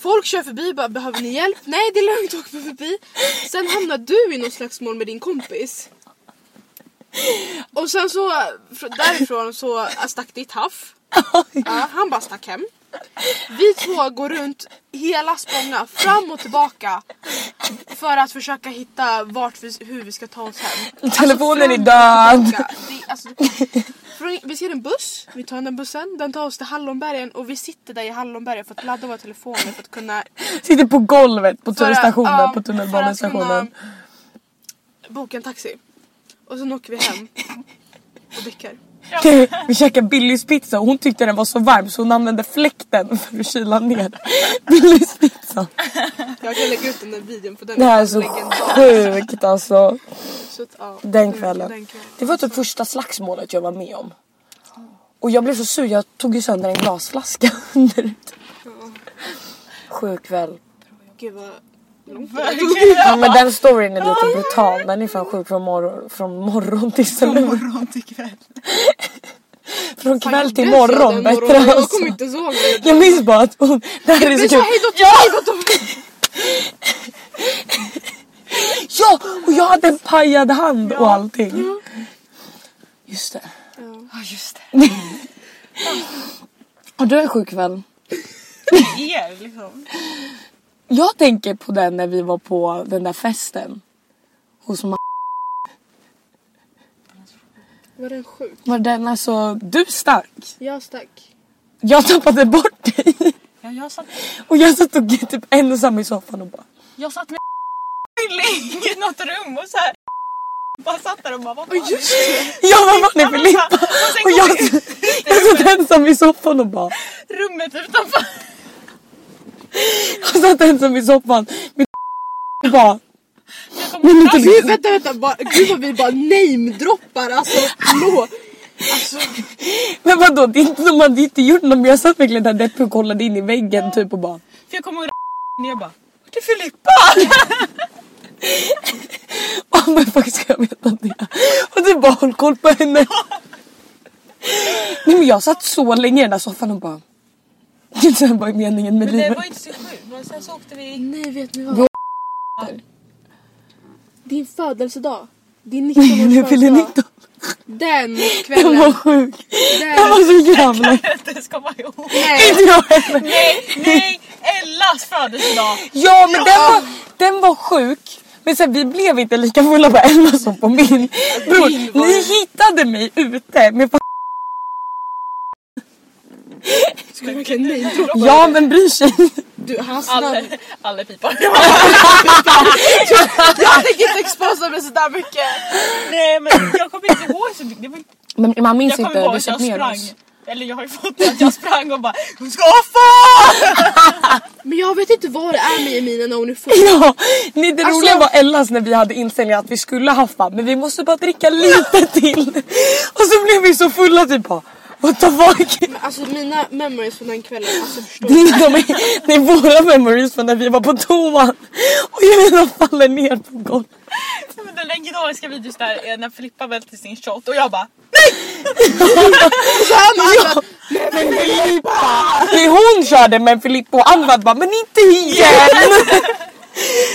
[SPEAKER 2] Folk kör förbi bara behöver ni hjälp? Nej det är lugnt åk förbi. Sen hamnar du i något slagsmål med din kompis. Och sen så fr- därifrån så eh, stack ditt haff. Ja, han bara stack hem. Vi två går runt hela Spånga fram och tillbaka för att försöka hitta vart vi, hur vi ska ta oss hem.
[SPEAKER 4] Telefonen är
[SPEAKER 2] fram och
[SPEAKER 4] död.
[SPEAKER 2] tillbaka. Det, alltså, från, vi ser en buss, vi tar den bussen, den tar oss till Hallonbergen och vi sitter där i Hallonbergen för att ladda våra telefoner för att kunna...
[SPEAKER 4] Sitter på golvet på
[SPEAKER 2] för att-
[SPEAKER 4] tunnelstationen,
[SPEAKER 2] ja,
[SPEAKER 4] på
[SPEAKER 2] för
[SPEAKER 4] tunnelbanestationen.
[SPEAKER 2] att kunna Boka en taxi. Och sen åker vi hem och dricker.
[SPEAKER 4] Vi käkade Billys pizza och hon tyckte den var så varm så hon använde fläkten för att kyla ner Billys pizza.
[SPEAKER 2] Jag kan lägga ut den där videon på den.
[SPEAKER 4] Det här är så sjukt alltså.
[SPEAKER 2] Så att, ja,
[SPEAKER 4] Den kvällen.
[SPEAKER 2] Mm, den kvällen.
[SPEAKER 4] Det var typ första slagsmålet jag var med om. Och jag blev så sur, jag tog ju sönder en glasflaska under ute. Sjuk kväll.
[SPEAKER 2] Gud vad...
[SPEAKER 4] Ja, men den storyn är lite brutal. Den är fan sjuk från morgon, från morgon till slut.
[SPEAKER 6] Morgon till kväll.
[SPEAKER 4] Från kväll till
[SPEAKER 2] Jag gjorde så
[SPEAKER 4] morgon
[SPEAKER 2] den
[SPEAKER 4] bättre
[SPEAKER 2] morgonen, Jag
[SPEAKER 4] alltså.
[SPEAKER 2] kommer inte ihåg det.
[SPEAKER 4] Jag minns bara att hon... Det här är
[SPEAKER 2] Vi
[SPEAKER 4] så
[SPEAKER 2] sa
[SPEAKER 4] kul.
[SPEAKER 2] hejdå till hejdå till...
[SPEAKER 4] Ja! Och jag hade en pajad hand och allting. Just det.
[SPEAKER 6] Ja just det.
[SPEAKER 4] Har du en sjuk kväll?
[SPEAKER 6] Er liksom.
[SPEAKER 4] Jag tänker på den när vi var på den där festen. Hos ma-
[SPEAKER 2] Var den sjuk?
[SPEAKER 4] Var den alltså... Du stack.
[SPEAKER 2] Jag stack.
[SPEAKER 4] Jag tappade bort dig.
[SPEAKER 5] Ja, jag, satt,
[SPEAKER 4] Och jag satt och typ ensam i soffan och bara...
[SPEAKER 5] jag satt med
[SPEAKER 6] I något rum och så här. Bara satt där och bara vad fan är det?
[SPEAKER 4] Jag bara, var är Filippa? Och jag, jag satt ensam i soffan och bara...
[SPEAKER 6] rummet utanför?
[SPEAKER 4] Jag satt ensam i soffan. Min bara... Min liten
[SPEAKER 2] Gud, Alltså, vänta vänta, bara, gud vad vi bara namedroppar alltså. Förlåt. Alltså.
[SPEAKER 4] Men vadå, det är inte, de hade inte gjort något men jag satt verkligen där deppig och kollade in i väggen typ och bara
[SPEAKER 6] För jag kommer ihåg när jag bara
[SPEAKER 4] Det är Filippa! Åh men faktiskt ska jag veta det? Och du bara håll koll på henne. Nej men jag satt så länge i den där soffan och bara Det är inte så här, vad är meningen med
[SPEAKER 6] Men det
[SPEAKER 4] livet?
[SPEAKER 6] var inte så sjukt men sen så åkte vi
[SPEAKER 2] Nej vet ni vad? Din födelsedag. Din 19
[SPEAKER 4] Nu
[SPEAKER 2] års
[SPEAKER 4] fyller 19.
[SPEAKER 2] Den
[SPEAKER 4] Den var
[SPEAKER 2] kvällen.
[SPEAKER 4] sjuk. Den
[SPEAKER 2] Den.
[SPEAKER 4] var så gammal.
[SPEAKER 6] det ska man ihåg.
[SPEAKER 2] Nej.
[SPEAKER 4] Inte jag heller.
[SPEAKER 6] Nej, nej! Ellas födelsedag!
[SPEAKER 4] Ja men Den, var, den var sjuk. Men sen, vi blev inte lika fulla på Ella som på min. Bror, ni hittade mig ute med fa-
[SPEAKER 2] Ska vi verkligen namedroppa?
[SPEAKER 4] Ja men bryr sig.
[SPEAKER 2] Du hans
[SPEAKER 6] Alla,
[SPEAKER 2] namn.
[SPEAKER 6] alla pipar.
[SPEAKER 2] Jag tänker inte exposa mig sådär mycket.
[SPEAKER 6] Nej men jag kommer inte ihåg så mycket. Det var,
[SPEAKER 4] Men man minns
[SPEAKER 6] jag kommer
[SPEAKER 4] inte,
[SPEAKER 6] ihåg
[SPEAKER 4] du
[SPEAKER 6] att jag
[SPEAKER 4] satt ner
[SPEAKER 6] sprang.
[SPEAKER 4] oss.
[SPEAKER 6] Eller jag har ju fått att jag sprang och bara Hon ska få!
[SPEAKER 2] Men jag vet inte vad det är med Emina när hon är full.
[SPEAKER 4] Ja, nej, det
[SPEAKER 2] Alltså-
[SPEAKER 4] roliga var Ellas när vi hade inställningen att vi skulle haffa men vi måste bara dricka lite till. Och så blev vi så fulla typ bara what the fuck.
[SPEAKER 2] Alltså mina memories från den kvällen, alltså förstår
[SPEAKER 4] Det
[SPEAKER 2] du?
[SPEAKER 4] är, de, det är våra memories från när vi var på toan och Jelena faller ner på golvet.
[SPEAKER 6] Men Den legendariska videos där är när Filippa välter sin shot och jag bara
[SPEAKER 4] Men Filippa! Det är hon körde men Filippa och Anvad bara men inte igen!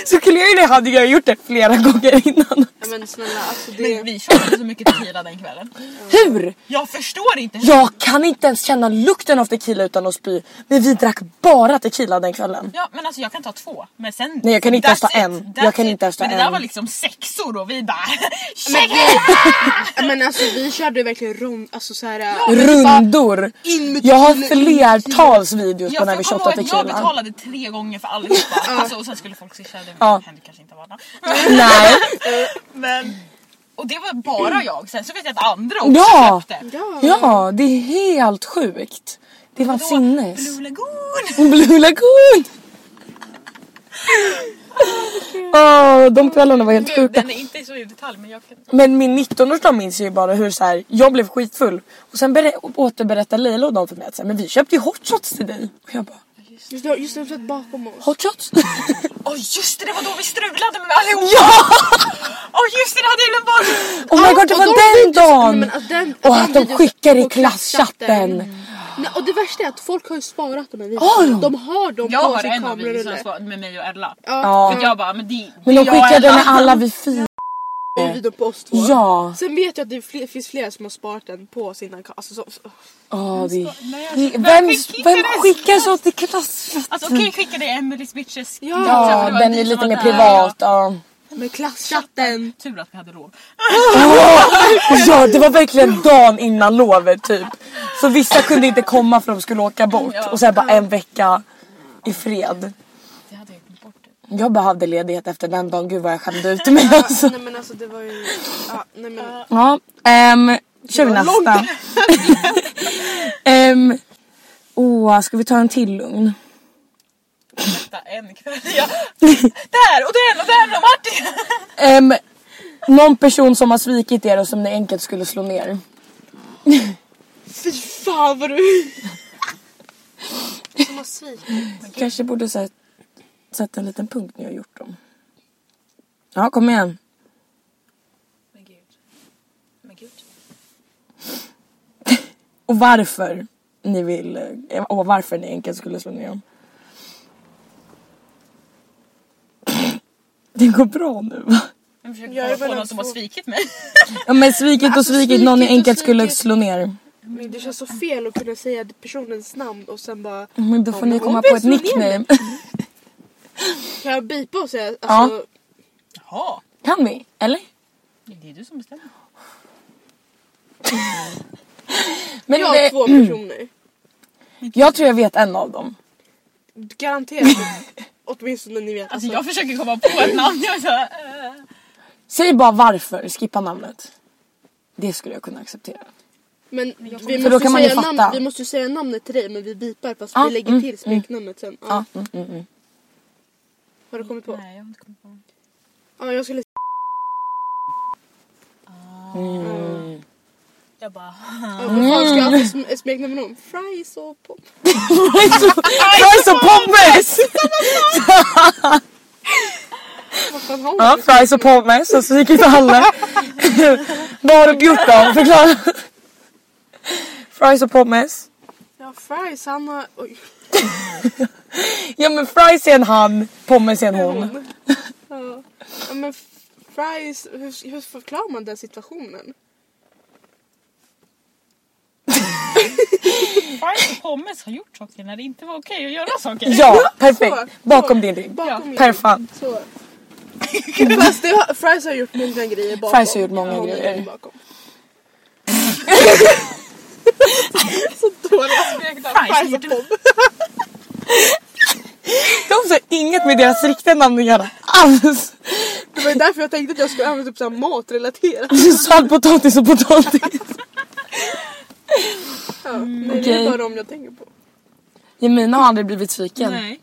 [SPEAKER 4] Så Clearly hade jag gjort det flera gånger innan.
[SPEAKER 2] Ja, men snälla alltså
[SPEAKER 6] Men
[SPEAKER 2] det...
[SPEAKER 6] vi körde så mycket tequila den kvällen.
[SPEAKER 4] Hur?
[SPEAKER 6] Jag förstår inte hur.
[SPEAKER 4] Jag kan inte ens känna lukten av tequila utan att spy. Men vi drack bara tequila den kvällen.
[SPEAKER 6] Ja men alltså jag kan ta två men sen...
[SPEAKER 4] Nej, jag kan inte ens ta
[SPEAKER 6] that's it,
[SPEAKER 4] en.
[SPEAKER 6] that's
[SPEAKER 4] Jag kan
[SPEAKER 6] it.
[SPEAKER 4] inte ens ta
[SPEAKER 6] Men det där
[SPEAKER 4] en.
[SPEAKER 6] var liksom sexor och vi bara...
[SPEAKER 2] Men,
[SPEAKER 6] Check!
[SPEAKER 2] vi, Ja, men alltså vi körde verkligen rond, alltså såhär...
[SPEAKER 4] Rundor.
[SPEAKER 2] in med
[SPEAKER 4] Jag har
[SPEAKER 2] tequila-
[SPEAKER 4] flertals videos på
[SPEAKER 6] Jag,
[SPEAKER 4] när vi
[SPEAKER 6] jag kommer
[SPEAKER 4] shottade
[SPEAKER 6] ihåg att jag
[SPEAKER 4] tequila.
[SPEAKER 6] betalade tre gånger för allihopa. alltså, och sen skulle folk swisha. Det
[SPEAKER 4] Ja.
[SPEAKER 6] hände kanske inte vardag.
[SPEAKER 4] Nej.
[SPEAKER 6] Men, och det var bara jag. Sen så vet jag att andra också
[SPEAKER 4] Mm. Ja.
[SPEAKER 6] köpte.
[SPEAKER 2] Ja.
[SPEAKER 4] Ja, det är helt sjukt. Det var
[SPEAKER 6] Då,
[SPEAKER 4] sinnes.
[SPEAKER 6] Blue Lagoon!
[SPEAKER 4] Blue Lagoon! Åh, de kvällarna var helt
[SPEAKER 6] Gud,
[SPEAKER 4] sjuka.
[SPEAKER 6] den är inte så i detalj men jag kan...
[SPEAKER 4] Men min 19-årsdag minns jag ju bara hur så här, jag blev skitfull. Och sen berä- återberättar Leila och dem för mig att så här, men vi köpte ju hot shots till dig. Och jag bara,
[SPEAKER 2] Just det, just det, de satt bakom oss.
[SPEAKER 4] hot shots?
[SPEAKER 6] Åh just det, det var då vi strulade med allihopa!
[SPEAKER 4] ja!
[SPEAKER 6] Åh just det, det hade jag glömt bort!
[SPEAKER 4] Oh my god det
[SPEAKER 2] och de
[SPEAKER 4] var
[SPEAKER 2] videos-
[SPEAKER 4] den
[SPEAKER 2] Nej,
[SPEAKER 4] dagen!
[SPEAKER 2] men alltså, den-
[SPEAKER 4] Och
[SPEAKER 2] de
[SPEAKER 4] att de
[SPEAKER 2] videos
[SPEAKER 4] skickar i
[SPEAKER 2] på klasschatten.
[SPEAKER 4] klasschatten.
[SPEAKER 2] Nej, och det värsta är att folk har ju sparat de här
[SPEAKER 4] Har
[SPEAKER 2] videorna.
[SPEAKER 4] de?
[SPEAKER 2] De har dem
[SPEAKER 3] Jag
[SPEAKER 2] på
[SPEAKER 3] har
[SPEAKER 2] sin
[SPEAKER 3] en av
[SPEAKER 2] kamerarulle.
[SPEAKER 3] videorna som var med mig och Ella.
[SPEAKER 4] Ja.
[SPEAKER 2] Ja.
[SPEAKER 3] Jag bara, men det,
[SPEAKER 4] Men
[SPEAKER 3] det
[SPEAKER 4] de
[SPEAKER 3] är jag och
[SPEAKER 4] skickade
[SPEAKER 3] Ella.
[SPEAKER 4] med alla vi fyra.
[SPEAKER 2] Det är ju videon på oss två.
[SPEAKER 4] Ja.
[SPEAKER 2] Sen vet jag att det fl- finns flera som har sparat den på sina kameror. Alltså, så- så-
[SPEAKER 4] Oh, det,
[SPEAKER 3] Nej,
[SPEAKER 4] det,
[SPEAKER 3] alltså,
[SPEAKER 4] vem,
[SPEAKER 3] skickade
[SPEAKER 4] vem
[SPEAKER 3] det?
[SPEAKER 4] skickar så till klasschatten?
[SPEAKER 3] Alltså okej skicka dig Emelies bitches.
[SPEAKER 2] Ja.
[SPEAKER 4] Ja, den är lite mer privat. Ja.
[SPEAKER 2] med klasschatten.
[SPEAKER 3] Tur att vi hade lov.
[SPEAKER 4] ja, det var verkligen dagen innan lovet typ. Så vissa kunde inte komma för de skulle åka bort och sen bara en vecka i fred.
[SPEAKER 3] Det hade jag glömt bort.
[SPEAKER 4] Jag behövde ledighet efter den dagen. Gud vad jag skämde ut mig alltså.
[SPEAKER 2] Nej men alltså det var ju... Ja, nej, men...
[SPEAKER 4] Ja, ehm, kör vi nästa. um, oh, ska vi ta en till lugn?
[SPEAKER 3] Vänta en kväll. Ja. där och den och den och Martin.
[SPEAKER 4] Ehm, någon person som har svikit er och som ni enkelt skulle slå ner.
[SPEAKER 2] Fy fan vad du... Som har svikit.
[SPEAKER 4] Kanske borde sä- sätta en liten punkt när jag gjort dem. Ja, kom igen.
[SPEAKER 3] Men gud. Men gud.
[SPEAKER 4] Och varför ni vill, eh, och varför ni enkelt skulle slå ner dem. Det går bra nu va?
[SPEAKER 3] Jag försöker
[SPEAKER 2] Jag är
[SPEAKER 3] komma på
[SPEAKER 2] väl
[SPEAKER 3] någon
[SPEAKER 2] en
[SPEAKER 3] som har
[SPEAKER 2] två.
[SPEAKER 3] svikit mig.
[SPEAKER 4] Ja men svikit och svikit, någon ni
[SPEAKER 2] svikit Alltså, och
[SPEAKER 4] enkelt skulle
[SPEAKER 2] svikit.
[SPEAKER 4] slå ner. Mm,
[SPEAKER 2] Men det känns så fel att kunna säga personens namn och sen bara...
[SPEAKER 4] Men då får ni
[SPEAKER 2] men
[SPEAKER 4] komma
[SPEAKER 2] hon
[SPEAKER 4] på
[SPEAKER 2] vill
[SPEAKER 4] ett
[SPEAKER 2] slå ner
[SPEAKER 4] nickname.
[SPEAKER 2] Kan jag bipa och säga alltså...
[SPEAKER 3] Jaha.
[SPEAKER 4] Kan vi? Eller?
[SPEAKER 3] Det är du som bestämmer.
[SPEAKER 4] Men
[SPEAKER 2] Jag
[SPEAKER 4] det,
[SPEAKER 2] har två personer.
[SPEAKER 4] jag tror jag vet en av dem.
[SPEAKER 2] Garanterat. Åtminstone ni vet.
[SPEAKER 3] Alltså jag försöker komma på ett namn. Jag är så här, eh.
[SPEAKER 4] Säg bara varför, skippa namnet. Det skulle jag kunna acceptera.
[SPEAKER 2] Men vi
[SPEAKER 4] För då
[SPEAKER 2] måste,
[SPEAKER 4] kan man ju
[SPEAKER 2] säga namn,
[SPEAKER 4] fatta.
[SPEAKER 2] vi måste ju säga namnet till dig men vi bipar fast
[SPEAKER 4] Ja,
[SPEAKER 2] vi lägger
[SPEAKER 4] mm,
[SPEAKER 2] till smeknamnet sen. Ja.
[SPEAKER 4] Ja, mm, mm, mm.
[SPEAKER 2] Har du kommit på?
[SPEAKER 3] Nej jag har inte kommit på någon.
[SPEAKER 2] Ja, jag skulle...
[SPEAKER 3] Ah.
[SPEAKER 4] Mm.
[SPEAKER 3] Jag bara.
[SPEAKER 2] Ja, vad fan ska jag ha för sm- smeknamn med dem? Fries och pop.
[SPEAKER 4] Fries och pommes!
[SPEAKER 2] Vad fan har hon?
[SPEAKER 4] Ja, fries och pommes och svikit alla. Vad har du gjort då? Förklara. Fries och pommes.
[SPEAKER 2] Ja, fries han har... Oj.
[SPEAKER 4] Ja men fries är en han, pommes är en hon.
[SPEAKER 2] Hon. Ja. ja men f- fries, hur, hur förklarar man den situationen?
[SPEAKER 3] Fries och pommes har gjort saker när det inte var okej att göra saker.
[SPEAKER 4] Ja, perfekt. Bakom din rygg.
[SPEAKER 2] Bakom min-
[SPEAKER 4] Perfan.
[SPEAKER 2] Så. Fast det har, fries har gjort många grejer bakom.
[SPEAKER 4] Fries har gjort många grejer.
[SPEAKER 2] bakom.
[SPEAKER 3] Fries har gjort
[SPEAKER 4] Det har också inget med deras riktiga namn att göra alls.
[SPEAKER 2] Det var ju därför jag tänkte att jag skulle använda typ så här matrelaterat.
[SPEAKER 4] Saltpotatis och potatis.
[SPEAKER 2] Ja, men det
[SPEAKER 4] okej.
[SPEAKER 2] är bara de jag tänker på.
[SPEAKER 4] Jemina har aldrig blivit sviken.
[SPEAKER 3] Nej.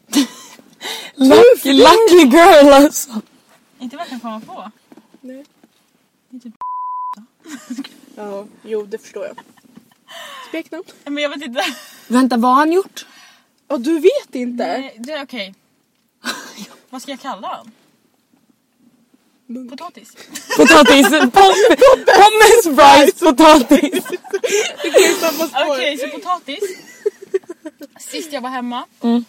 [SPEAKER 4] Lucky, lucky girl alltså.
[SPEAKER 3] Inte vad jag kan komma på.
[SPEAKER 2] Nej.
[SPEAKER 3] Det är typ-
[SPEAKER 2] Ja, jo det förstår jag. Smeknamn?
[SPEAKER 3] Men jag vet inte.
[SPEAKER 4] Vänta, vad har han gjort?
[SPEAKER 2] Ja du vet inte?
[SPEAKER 3] Nej, det är okej. Vad ska jag kalla han?
[SPEAKER 2] Munk.
[SPEAKER 3] Potatis?
[SPEAKER 4] Potatis, pom- pommes, fries, potatis.
[SPEAKER 3] Okej, så potatis. Sist jag var hemma,
[SPEAKER 2] Mm.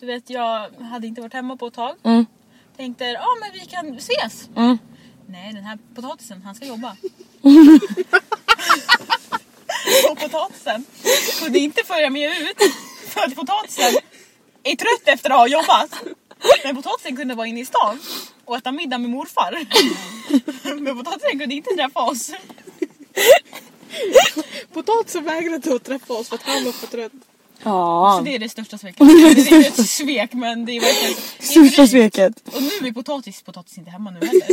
[SPEAKER 3] du vet jag hade inte varit hemma på ett tag.
[SPEAKER 4] Mm.
[SPEAKER 3] Tänkte, ja ah, men vi kan ses.
[SPEAKER 4] Mm.
[SPEAKER 3] Nej, den här potatisen, han ska jobba. och potatisen kunde inte följa med ut för att potatisen är trött efter att ha jobbat. Men potatisen kunde vara inne i stan och äta middag med morfar. Men potatisen kunde inte träffa oss.
[SPEAKER 2] Potatisen vägrade att träffa oss för att han var för trött.
[SPEAKER 3] Så
[SPEAKER 4] Ja,
[SPEAKER 3] det är det största sveket. Det är inte ett svek men det är verkligen... det är
[SPEAKER 4] största
[SPEAKER 3] drygt.
[SPEAKER 4] sveket.
[SPEAKER 3] Och nu är potatis, potatis inte hemma nu heller.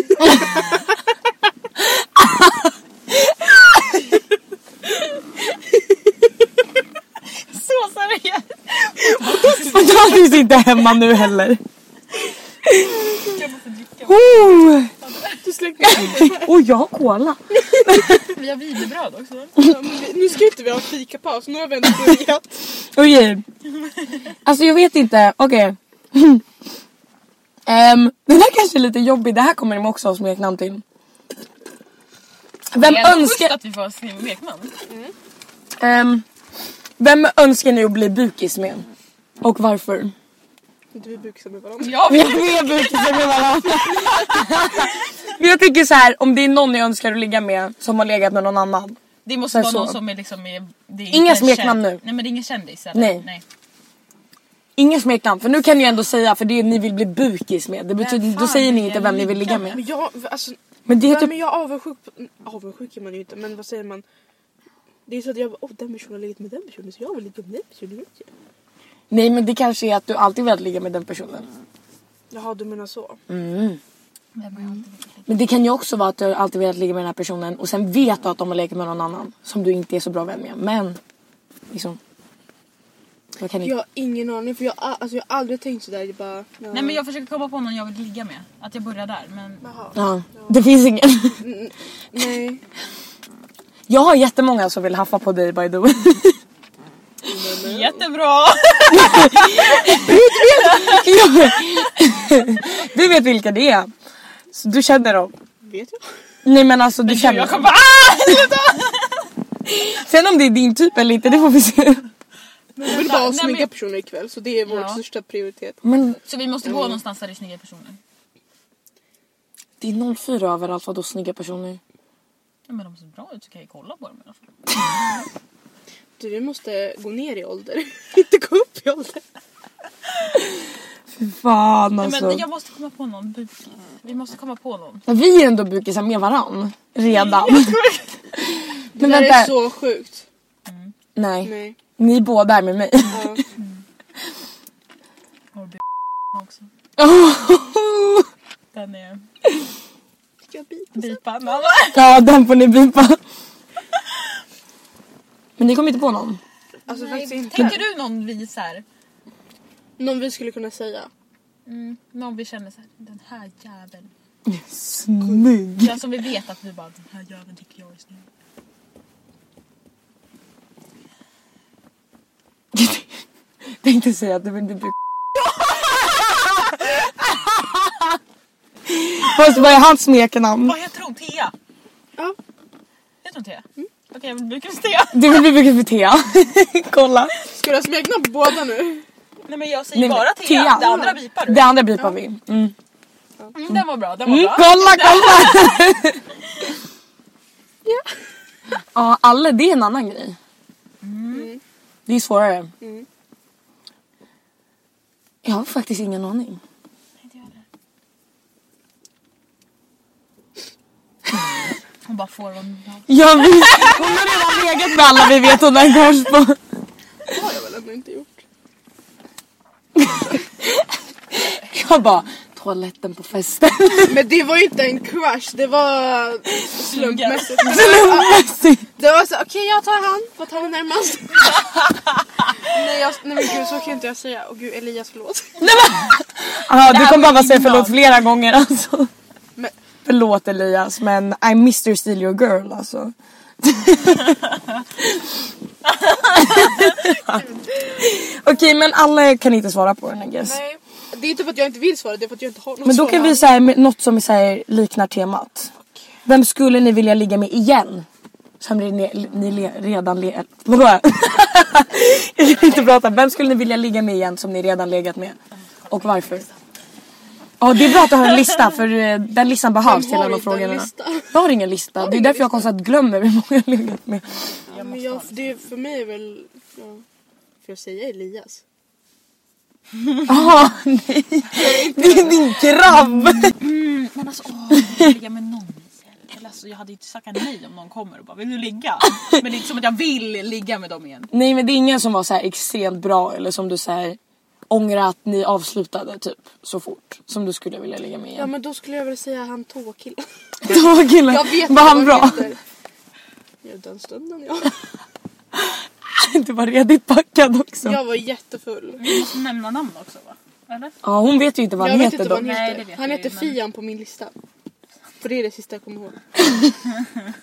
[SPEAKER 3] Så seriöst!
[SPEAKER 4] Potatis är inte hemma nu heller.
[SPEAKER 3] Jag måste dricka.
[SPEAKER 4] Oh,
[SPEAKER 2] Du släckte ut mig.
[SPEAKER 4] oh jag har cola.
[SPEAKER 3] Vi har wienerbröd också.
[SPEAKER 2] Ja, men vi- Nu ska inte vi ha fikapaus, nu har vi ändå börjat.
[SPEAKER 4] Okej. Alltså jag vet inte, okej. Ehm, den här kanske är lite jobbig, det här kommer ni också ha smeknamn till. Vem
[SPEAKER 3] det är ändå
[SPEAKER 4] önskar...
[SPEAKER 3] schysst att vi får skriva smeknamn.
[SPEAKER 4] Ehm, Vem önskar ni att bli bukis med? Och varför?
[SPEAKER 2] Inte vi bukisar med varandra.
[SPEAKER 4] Vi är bukisar med varandra. Men jag tycker så här, om det är någon ni önskar att ligga med som har legat med någon annan.
[SPEAKER 3] Det måste
[SPEAKER 4] Sen
[SPEAKER 3] vara någon
[SPEAKER 4] så.
[SPEAKER 3] som är liksom... Är, det är
[SPEAKER 4] Inga
[SPEAKER 3] inte
[SPEAKER 4] smeknamn
[SPEAKER 3] känd-
[SPEAKER 4] nu.
[SPEAKER 3] Nej men det är ingen kändis eller?
[SPEAKER 4] Nej.
[SPEAKER 3] Nej.
[SPEAKER 4] Inga smeknamn, för nu kan ni ändå säga för det är ni vill bli bukis med. Det betyder, då säger ni inte vem ni vill ligga med.
[SPEAKER 2] Men jag, alltså,
[SPEAKER 4] Men det är
[SPEAKER 2] nej,
[SPEAKER 4] typ
[SPEAKER 2] men jag är avundsjuk på... Avundsjuk är man ju inte men vad säger man? Det är ju så att jag bara, åh den personen har legat med den personen så jag vill ligga med den personen.
[SPEAKER 4] Nej men det kanske är att du alltid velat ligga med den personen.
[SPEAKER 2] Jaha du menar så.
[SPEAKER 3] Vem har jag alltid
[SPEAKER 4] Men det kan ju också vara att du alltid velat ligga med den här personen och sen vet du att de har legat med någon annan som du inte är så bra vän med. Men liksom. Jag kan inte.
[SPEAKER 2] Jag har ingen aning för jag, har- alltså, jag har aldrig tänkt sådär. Jag bara, nej.
[SPEAKER 3] Nej men jag försöker komma på någon jag vill ligga med. Att jag börjar där men...
[SPEAKER 2] Jaha.
[SPEAKER 4] Ja, det finns ingen.
[SPEAKER 2] Nej.
[SPEAKER 4] Jag har jättemånga som vill haffa på dig by the way.
[SPEAKER 3] Jättebra!
[SPEAKER 4] Du vet vilka det är. Så du känner dem.
[SPEAKER 2] Vet jag?
[SPEAKER 4] Nej men alltså du känner
[SPEAKER 3] Jag kommer
[SPEAKER 4] dem.
[SPEAKER 3] bara ah!
[SPEAKER 4] Sen om det är din typ eller inte det får vi se.
[SPEAKER 2] Jag vill bara ha
[SPEAKER 3] Nej, men-
[SPEAKER 2] snygga personer ikväll så det är vår
[SPEAKER 3] Ja.
[SPEAKER 2] största prioritet.
[SPEAKER 4] Men
[SPEAKER 3] Så vi måste gå någonstans där det är snygga personer.
[SPEAKER 4] det är 04 överallt vadå snygga personer.
[SPEAKER 3] Ja, men de ser bra ut så kan jag ju kolla på dem i alla fall.
[SPEAKER 2] Du, vi måste gå ner i ålder. Inte gå upp i ålder.
[SPEAKER 4] Fan
[SPEAKER 3] Nej,
[SPEAKER 4] alltså.
[SPEAKER 3] men jag måste komma på någon bukis. Vi måste komma på någon.
[SPEAKER 4] Men Vi är ändå bukisar med varann. Redan.
[SPEAKER 2] Det
[SPEAKER 4] Men
[SPEAKER 2] där
[SPEAKER 4] vänta.
[SPEAKER 2] är så sjukt.
[SPEAKER 4] Nej.
[SPEAKER 2] Nej.
[SPEAKER 4] Ni båda är med mig.
[SPEAKER 2] Ja.
[SPEAKER 3] Och b- också. Den är
[SPEAKER 2] Jag biter.
[SPEAKER 3] bipan.
[SPEAKER 4] Ja den får ni bipa. Men ni kommer inte på någon?
[SPEAKER 2] Alltså faktiskt inte.
[SPEAKER 3] Tänker du någon vi så här,
[SPEAKER 2] Någon vi skulle kunna säga.
[SPEAKER 3] mm, någon vi känner så här, den här jäveln.
[SPEAKER 4] Snygg.
[SPEAKER 3] Ja, som vi vet att vi bara, den här jäveln tycker jag är snygg.
[SPEAKER 4] Tänkte säga att du vill bli Fast vad är hans smeknamn?
[SPEAKER 3] Vad heter hon? Thea?
[SPEAKER 2] Ja.
[SPEAKER 3] Heter hon Thea?
[SPEAKER 4] Mm.
[SPEAKER 3] Okej, jag vill bli kompis med Thea.
[SPEAKER 4] Du vill bli buket för Thea. Kolla.
[SPEAKER 2] Ska du ha smeknamn på båda nu?
[SPEAKER 3] Nej men jag säger
[SPEAKER 4] Nej, men
[SPEAKER 3] bara Thea. Det andra bipar du.
[SPEAKER 4] Det andra bipar vi. Mm.
[SPEAKER 3] Mm, den var bra, den var
[SPEAKER 4] Mm,
[SPEAKER 3] bra.
[SPEAKER 4] kolla kolla! ja alla det är en annan grej.
[SPEAKER 3] Mm.
[SPEAKER 4] Det är svårare.
[SPEAKER 2] Mm.
[SPEAKER 4] Jag har faktiskt ingen aning.
[SPEAKER 3] Hon bara får vad hon vill ha.
[SPEAKER 4] Jag vet, hon har redan legat med alla vi vet hon har crush på.
[SPEAKER 2] Det har jag väl ändå inte gjort.
[SPEAKER 4] Jag bara, toaletten på festen.
[SPEAKER 2] Men det var ju inte en crush. Det var slumpmässigt.
[SPEAKER 4] Slumpmässigt.
[SPEAKER 2] Det var så okej jag tar han för att han är närmast. nej, jag, nej men gud så kan inte jag säga. Åh gud Elias förlåt.
[SPEAKER 4] Ja, du
[SPEAKER 3] här
[SPEAKER 4] kommer
[SPEAKER 3] var
[SPEAKER 4] behöva säga
[SPEAKER 3] innan.
[SPEAKER 4] förlåt flera gånger alltså.
[SPEAKER 2] Men-
[SPEAKER 4] Förlåt Elias men I'm Mr Steal Your Girl alltså. Okej men alla kan inte svara på den I guess.
[SPEAKER 2] Nej. Det är inte för att jag inte vill svara det är för att jag inte har något
[SPEAKER 4] Men då
[SPEAKER 2] svar.
[SPEAKER 4] kan vi säga med- något som är så här, liknar temat. Vem skulle ni vilja ligga med igen? Som ni, ni le, redan le, vadå? Jag kan inte prata. Vem skulle ni vilja ligga med igen som ni redan legat med? Och varför? Ja det är bra att du har en lista för eh, den listan behövs till
[SPEAKER 2] har
[SPEAKER 4] alla de
[SPEAKER 2] inte en
[SPEAKER 4] frågorna.
[SPEAKER 2] lista.
[SPEAKER 4] Jag har ingen lista. Det är därför jag konstant glömmer hur många jag legat med.
[SPEAKER 2] Ja, men jag, det, för mig är väl... Ja, får jag säga Elias?
[SPEAKER 4] Jaha nej. Det är din grabb.
[SPEAKER 3] Men alltså åh, jag vill ligga med någon Michelle. Eller alltså, jag hade ju inte tackat nej om någon kommer och bara vill du ligga? Men det är inte som att jag vill ligga med dem igen.
[SPEAKER 4] Nej men det är ingen som var så här extremt bra eller som du så här ångrar att ni avslutade typ så fort som du skulle vilja ligga med
[SPEAKER 2] Ja
[SPEAKER 4] igen.
[SPEAKER 2] men då skulle jag väl säga han tåkillen.
[SPEAKER 4] Ja, men, killen,
[SPEAKER 2] Jag vet
[SPEAKER 4] var han
[SPEAKER 2] vad
[SPEAKER 4] bra?
[SPEAKER 2] heter. Ja den stunden ja.
[SPEAKER 4] du var redigt packad också. Ja.
[SPEAKER 2] Jag var jättefull.
[SPEAKER 3] Vi måste nämna namn också va? Eller?
[SPEAKER 4] hon vet ju inte vad
[SPEAKER 2] jag
[SPEAKER 4] han
[SPEAKER 2] vet
[SPEAKER 4] heter
[SPEAKER 2] inte
[SPEAKER 4] då.
[SPEAKER 2] vad han
[SPEAKER 3] Nej,
[SPEAKER 2] heter.
[SPEAKER 3] det vet
[SPEAKER 2] han
[SPEAKER 3] jag
[SPEAKER 2] heter
[SPEAKER 3] ju, men-
[SPEAKER 2] Fian på min lista. För det är det sista jag kommer ihåg.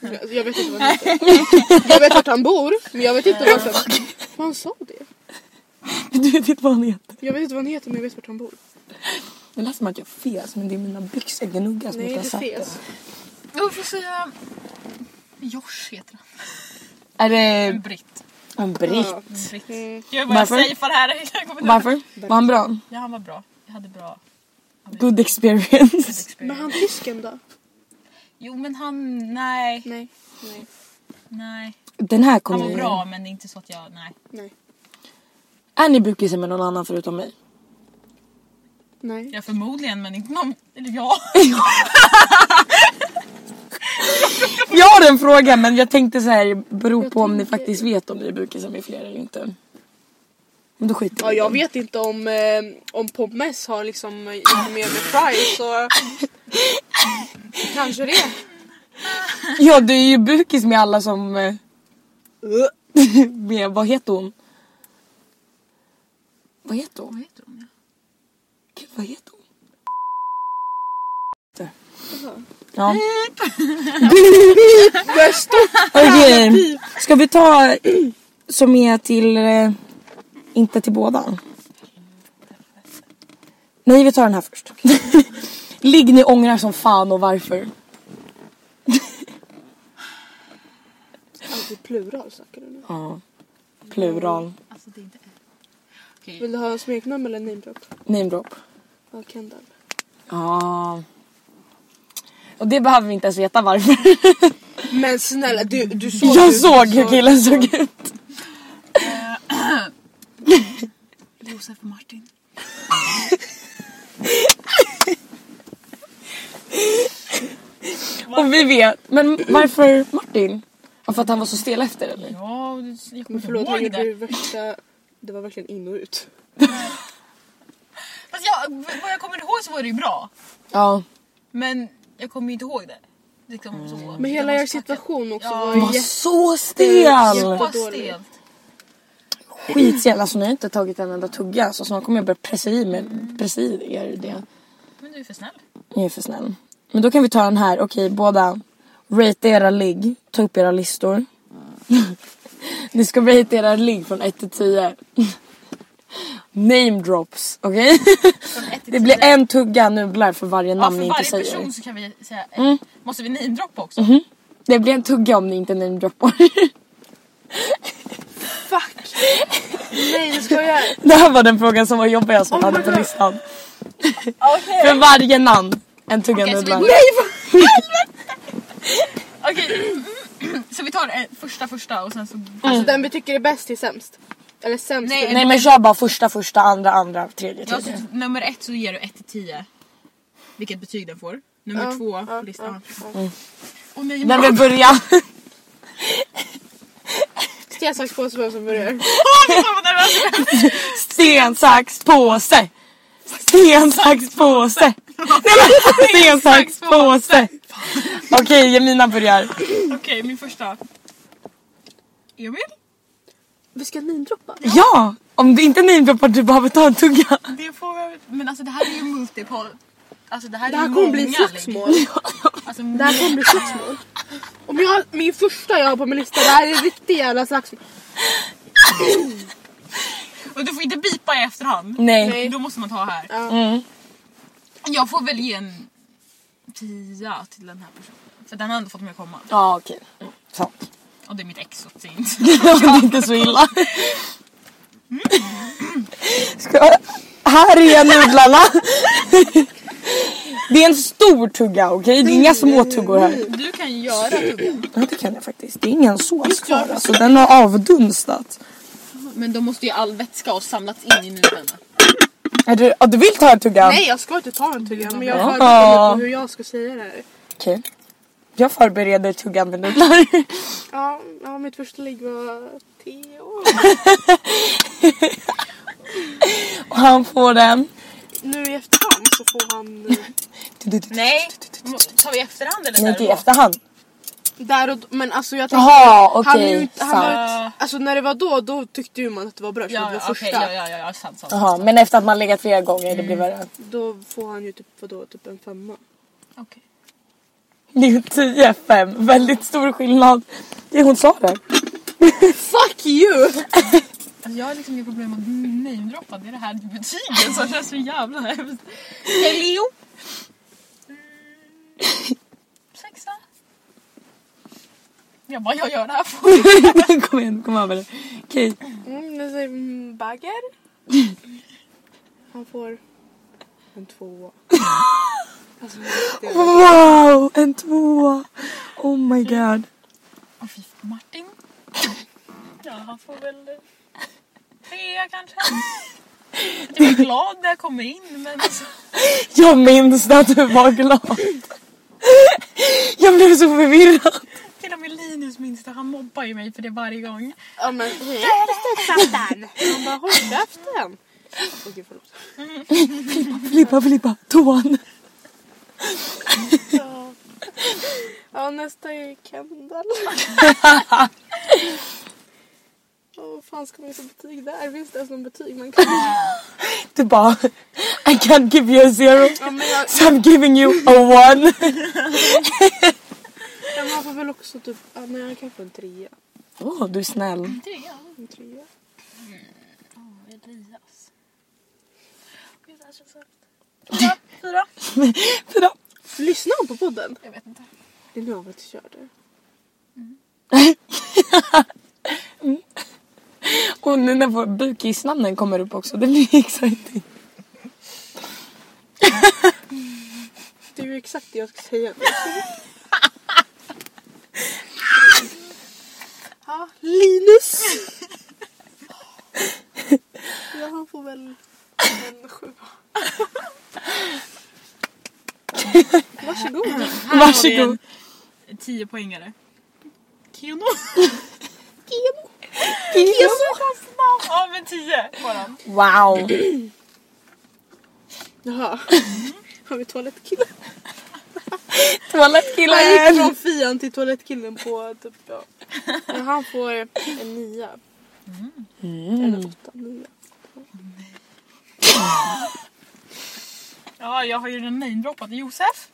[SPEAKER 2] Jag- Jag vet inte vad han heter. Jag vet vart han bor men jag vet inte vart han... Vad han sa det?
[SPEAKER 4] Du vet inte vad han heter.
[SPEAKER 2] Jag vet inte vad han heter men jag vet vart han bor.
[SPEAKER 4] Det lät som att jag fes men det är mina byxor gnuggas mot
[SPEAKER 2] Nej det
[SPEAKER 4] kassetten.
[SPEAKER 2] ses.
[SPEAKER 3] Jag får säga... Josh heter han.
[SPEAKER 4] Är det
[SPEAKER 3] Britt.
[SPEAKER 4] En britt.
[SPEAKER 3] Gud vad jag
[SPEAKER 4] Varför?
[SPEAKER 3] säger för det här. Jag kommer inte-
[SPEAKER 4] Varför? Var han bra?
[SPEAKER 3] Ja han var bra. Jag hade bra
[SPEAKER 4] Good experience.
[SPEAKER 2] Men
[SPEAKER 5] experience.
[SPEAKER 2] han tysken då?
[SPEAKER 3] Jo men han, nej,
[SPEAKER 2] Nej.
[SPEAKER 3] nej.
[SPEAKER 4] Den här
[SPEAKER 3] Han
[SPEAKER 4] kommer
[SPEAKER 3] var
[SPEAKER 4] jag
[SPEAKER 3] bra men det är inte så att jag, nej.
[SPEAKER 2] Nej.
[SPEAKER 4] Är ni bukisar med någon annan förutom mig?
[SPEAKER 2] Nej.
[SPEAKER 3] Jag förmodligen men inte någon, eller jag.
[SPEAKER 4] Jag har en fråga men jag tänkte så här beror på om ni faktiskt vet om ni är bukisar med fler eller inte. Men då skiter
[SPEAKER 2] Ja,
[SPEAKER 4] vi i
[SPEAKER 2] jag
[SPEAKER 4] det.
[SPEAKER 2] vet inte om, eh, om Pommes har liksom gjort mer med fries så... Kanske det.
[SPEAKER 4] Ja du är ju bukis med alla som... eh, med, vad heter hon? Vad heter hon?
[SPEAKER 3] heter hon?
[SPEAKER 4] Gud vad heter hon? Där. Ja. Okej, ska vi ta som är till, eh, inte till båda? Nej vi tar den här först. Ligg ni ångrar som fan och varför?
[SPEAKER 2] Alltså, plural snackar du nu.
[SPEAKER 4] Ja, plural.
[SPEAKER 3] Alltså det är inte
[SPEAKER 2] Vill du ha smeknamn eller name drop?
[SPEAKER 4] Name drop.
[SPEAKER 2] Ja, Kendall.
[SPEAKER 4] Ja. Och det behöver vi inte ens veta varför.
[SPEAKER 2] Men snälla du, du såg
[SPEAKER 4] Jag såg hur killen såg ut. Eh,
[SPEAKER 3] Josef och Martin.
[SPEAKER 4] Och vi vet. Men varför Martin? Ja, För att han var så stel efter eller?
[SPEAKER 3] Ja, det- jag
[SPEAKER 2] Men
[SPEAKER 3] kommer
[SPEAKER 2] förlåt,
[SPEAKER 3] inte
[SPEAKER 2] han
[SPEAKER 3] ihåg
[SPEAKER 2] gjorde
[SPEAKER 3] det.
[SPEAKER 2] ju värsta... Det var verkligen in och ut.
[SPEAKER 3] Fast jag, vad jag kommer ihåg så var det ju bra.
[SPEAKER 4] Ja.
[SPEAKER 3] Men jag kommer ju inte ihåg det. Liksom, så.
[SPEAKER 2] Men hela er situation också
[SPEAKER 3] Ja.
[SPEAKER 2] var
[SPEAKER 4] Han
[SPEAKER 2] ju
[SPEAKER 4] var
[SPEAKER 2] jätte...
[SPEAKER 4] så stel!
[SPEAKER 3] Så
[SPEAKER 2] dåligt.
[SPEAKER 3] stelt.
[SPEAKER 4] Skitstel. Alltså ni har inte tagit en enda tugga så snart kommer jag börja pressa i, mig, pressa i er det.
[SPEAKER 3] Men du är för snäll.
[SPEAKER 4] Ni är för snäll. Men då kan vi ta den här. Okej båda. Rate era ligg. Ta upp era listor. ni ska rate era ligg från 1 till 10. Name drops. Okej?
[SPEAKER 3] ett till
[SPEAKER 4] det blir
[SPEAKER 3] tio.
[SPEAKER 4] en tugga nudlar för varje
[SPEAKER 3] Ja,
[SPEAKER 4] namn
[SPEAKER 3] för
[SPEAKER 4] ni inte
[SPEAKER 3] varje
[SPEAKER 4] säger.
[SPEAKER 3] person så kan vi säga, eh, måste vi namedroppa också?
[SPEAKER 4] Det blir en tugga om ni inte namedroppar.
[SPEAKER 2] Fuck! Nej, jag skojar.
[SPEAKER 4] Det här var den frågan som var jobbigast
[SPEAKER 3] Oh
[SPEAKER 4] som jag hade på listan. För varje namn. En tugga
[SPEAKER 3] Okej, så vi
[SPEAKER 4] nudlar.
[SPEAKER 3] börjar- Okej, så vi tar eh, första första och sen så...
[SPEAKER 2] Alltså den vi tycker är bäst till sämst. Eller sämst
[SPEAKER 3] Nej,
[SPEAKER 2] till...
[SPEAKER 4] Nej men kör bara första, första, andra, andra, tredje,
[SPEAKER 3] Ja, så,
[SPEAKER 4] tredje.
[SPEAKER 3] nummer ett så ger du 1 till 10. Vilket betyg den får. Nummer
[SPEAKER 2] Ja,
[SPEAKER 3] två
[SPEAKER 2] ja,
[SPEAKER 3] på listan.
[SPEAKER 2] ja,
[SPEAKER 3] Och mig
[SPEAKER 4] Vem vill börja?
[SPEAKER 2] Sten, sax, påse, vem som börjar?
[SPEAKER 4] Sten, sax, påse! Sten, sax, påse! Nej, men, Sten, sax, påse! Okej, Jemina börjar.
[SPEAKER 3] Okej, min första. Emil?
[SPEAKER 2] Vi ska namedroppa.
[SPEAKER 4] Ja! Om du inte namedroppar du behöver ta en tugga.
[SPEAKER 3] Det får jag... Men alltså det här är ju multipol. Alltså det här,
[SPEAKER 2] Det
[SPEAKER 3] är
[SPEAKER 2] här
[SPEAKER 3] ju
[SPEAKER 2] kommer bli
[SPEAKER 3] många liksom.
[SPEAKER 2] slagsmål.
[SPEAKER 3] ligg. Alltså,
[SPEAKER 2] Det här kommer bli slagsmål. Om jag, min första jag har på min lista, det här är riktigt jävla slagsmål.
[SPEAKER 3] Och du får inte bipa i efterhand.
[SPEAKER 4] Nej.
[SPEAKER 3] Då måste man ta här.
[SPEAKER 2] Ja.
[SPEAKER 4] Mm.
[SPEAKER 3] Jag får väl ge en tia till den här personen. För den har ändå fått mig att komma.
[SPEAKER 4] Ja okej. Mm, Sant.
[SPEAKER 3] Och det är mitt ex så det är inte.
[SPEAKER 4] Det är inte så illa. Ska, här är nudlarna. Det är en stor tugga okej? Det är inga små tuggor här.
[SPEAKER 3] Du kan ju göra tuggan.
[SPEAKER 4] Ja det kan jag faktiskt. Det är ingen sås kvar alltså. Den har avdunstat.
[SPEAKER 3] Men då måste ju all vätska ha samlats in i nudlarna.
[SPEAKER 4] Är du, ja, du vill ta en tugga?
[SPEAKER 2] Nej jag ska inte ta en tugga men jag
[SPEAKER 4] Ja.
[SPEAKER 2] förbereder mig på hur jag ska säga det här.
[SPEAKER 4] Okej. Jag förbereder tuggan med nudlar.
[SPEAKER 2] Ja, ja mitt första ligg var tio år.
[SPEAKER 4] Och han får den.
[SPEAKER 2] Nu i efterhand så får han eh,
[SPEAKER 3] Nej! Tar vi i efterhand eller?
[SPEAKER 4] Nej,
[SPEAKER 3] där
[SPEAKER 4] inte i
[SPEAKER 3] och då?
[SPEAKER 4] efterhand.
[SPEAKER 2] där och då- men alltså jag tänkte
[SPEAKER 4] Jaha
[SPEAKER 2] han, är ju
[SPEAKER 4] okej.
[SPEAKER 2] inte- han var,
[SPEAKER 4] sant.
[SPEAKER 2] ju- Alltså när det var då, då tyckte ju man att det var bra eftersom
[SPEAKER 3] Ja,
[SPEAKER 2] det
[SPEAKER 3] ja,
[SPEAKER 2] var
[SPEAKER 3] okej,
[SPEAKER 2] första.
[SPEAKER 3] ja, ja, ja, ja, sant, sant.
[SPEAKER 4] Jaha men efter att man legat flera gånger det blir värre.
[SPEAKER 2] Då får han ju typ, vadå, typ en femma.
[SPEAKER 3] Okej.
[SPEAKER 4] Det är ju 10-5, väldigt stor skillnad. Det är hon sa det.
[SPEAKER 2] Fuck you!
[SPEAKER 3] Alltså, jag har liksom inga problem med att namedroppa. Det är det här betygen som känns så jävla hemskt. Helio! Mm, Sexa. Jag bara, jag gör det här för
[SPEAKER 4] kom igen, kom över det. Okej.
[SPEAKER 2] Mm, det säger mm, bagger. Han får en tvåa. Alltså, det är-
[SPEAKER 4] Wow! En tvåa! Oh my god.
[SPEAKER 3] Martin. Ja, han får väl eh, trea kanske. Jag är glad när jag kommer in men alltså,
[SPEAKER 4] Jag minns att du var glad. Jag blev så förvirrad.
[SPEAKER 3] till och med Linus minns det. Han mobbar ju mig för det varje gång.
[SPEAKER 2] Ja men hej eftersättaren! Han bara håll käften! Åh gud förlåt.
[SPEAKER 4] Flippa, flippa, tån.
[SPEAKER 2] Ja nästa är Kendall. Åh vad fan ska man ge för betyg där? Finns det ens någon betyg man kan
[SPEAKER 4] Du bara, I can't give you a zero.
[SPEAKER 2] Ja men jag,
[SPEAKER 4] So I'm giving you a one.
[SPEAKER 2] ja, men han får väl också typ, ja men han kan få en trea.
[SPEAKER 4] Åh, du är snäll.
[SPEAKER 2] En trea.
[SPEAKER 3] Elias. Gud, det här känns så hemskt. Fyra.
[SPEAKER 4] Fyra.
[SPEAKER 2] Lyssnar han på podden?
[SPEAKER 3] Jag vet inte.
[SPEAKER 2] Det är nu han faktiskt kör det.
[SPEAKER 4] Och nu när vår bukisnamnen kommer upp också, det blir exciting.
[SPEAKER 2] Det är ju exakt det jag ska säga. ja, Linus! ja, han får väl en sjua. Varsågod.
[SPEAKER 4] Varsågod.
[SPEAKER 3] Tio poängare. Keno. Ja men tio får han.
[SPEAKER 4] Wow.
[SPEAKER 2] Jaha. Har vi toalettkillen? Han gick
[SPEAKER 4] Toalettkillen.
[SPEAKER 2] från fian till toalettkillen på typ ja. Men han får en nia.
[SPEAKER 4] Mm.
[SPEAKER 2] Eller åtta, nia.
[SPEAKER 3] Ja jag har ju redan namedroppat Josef.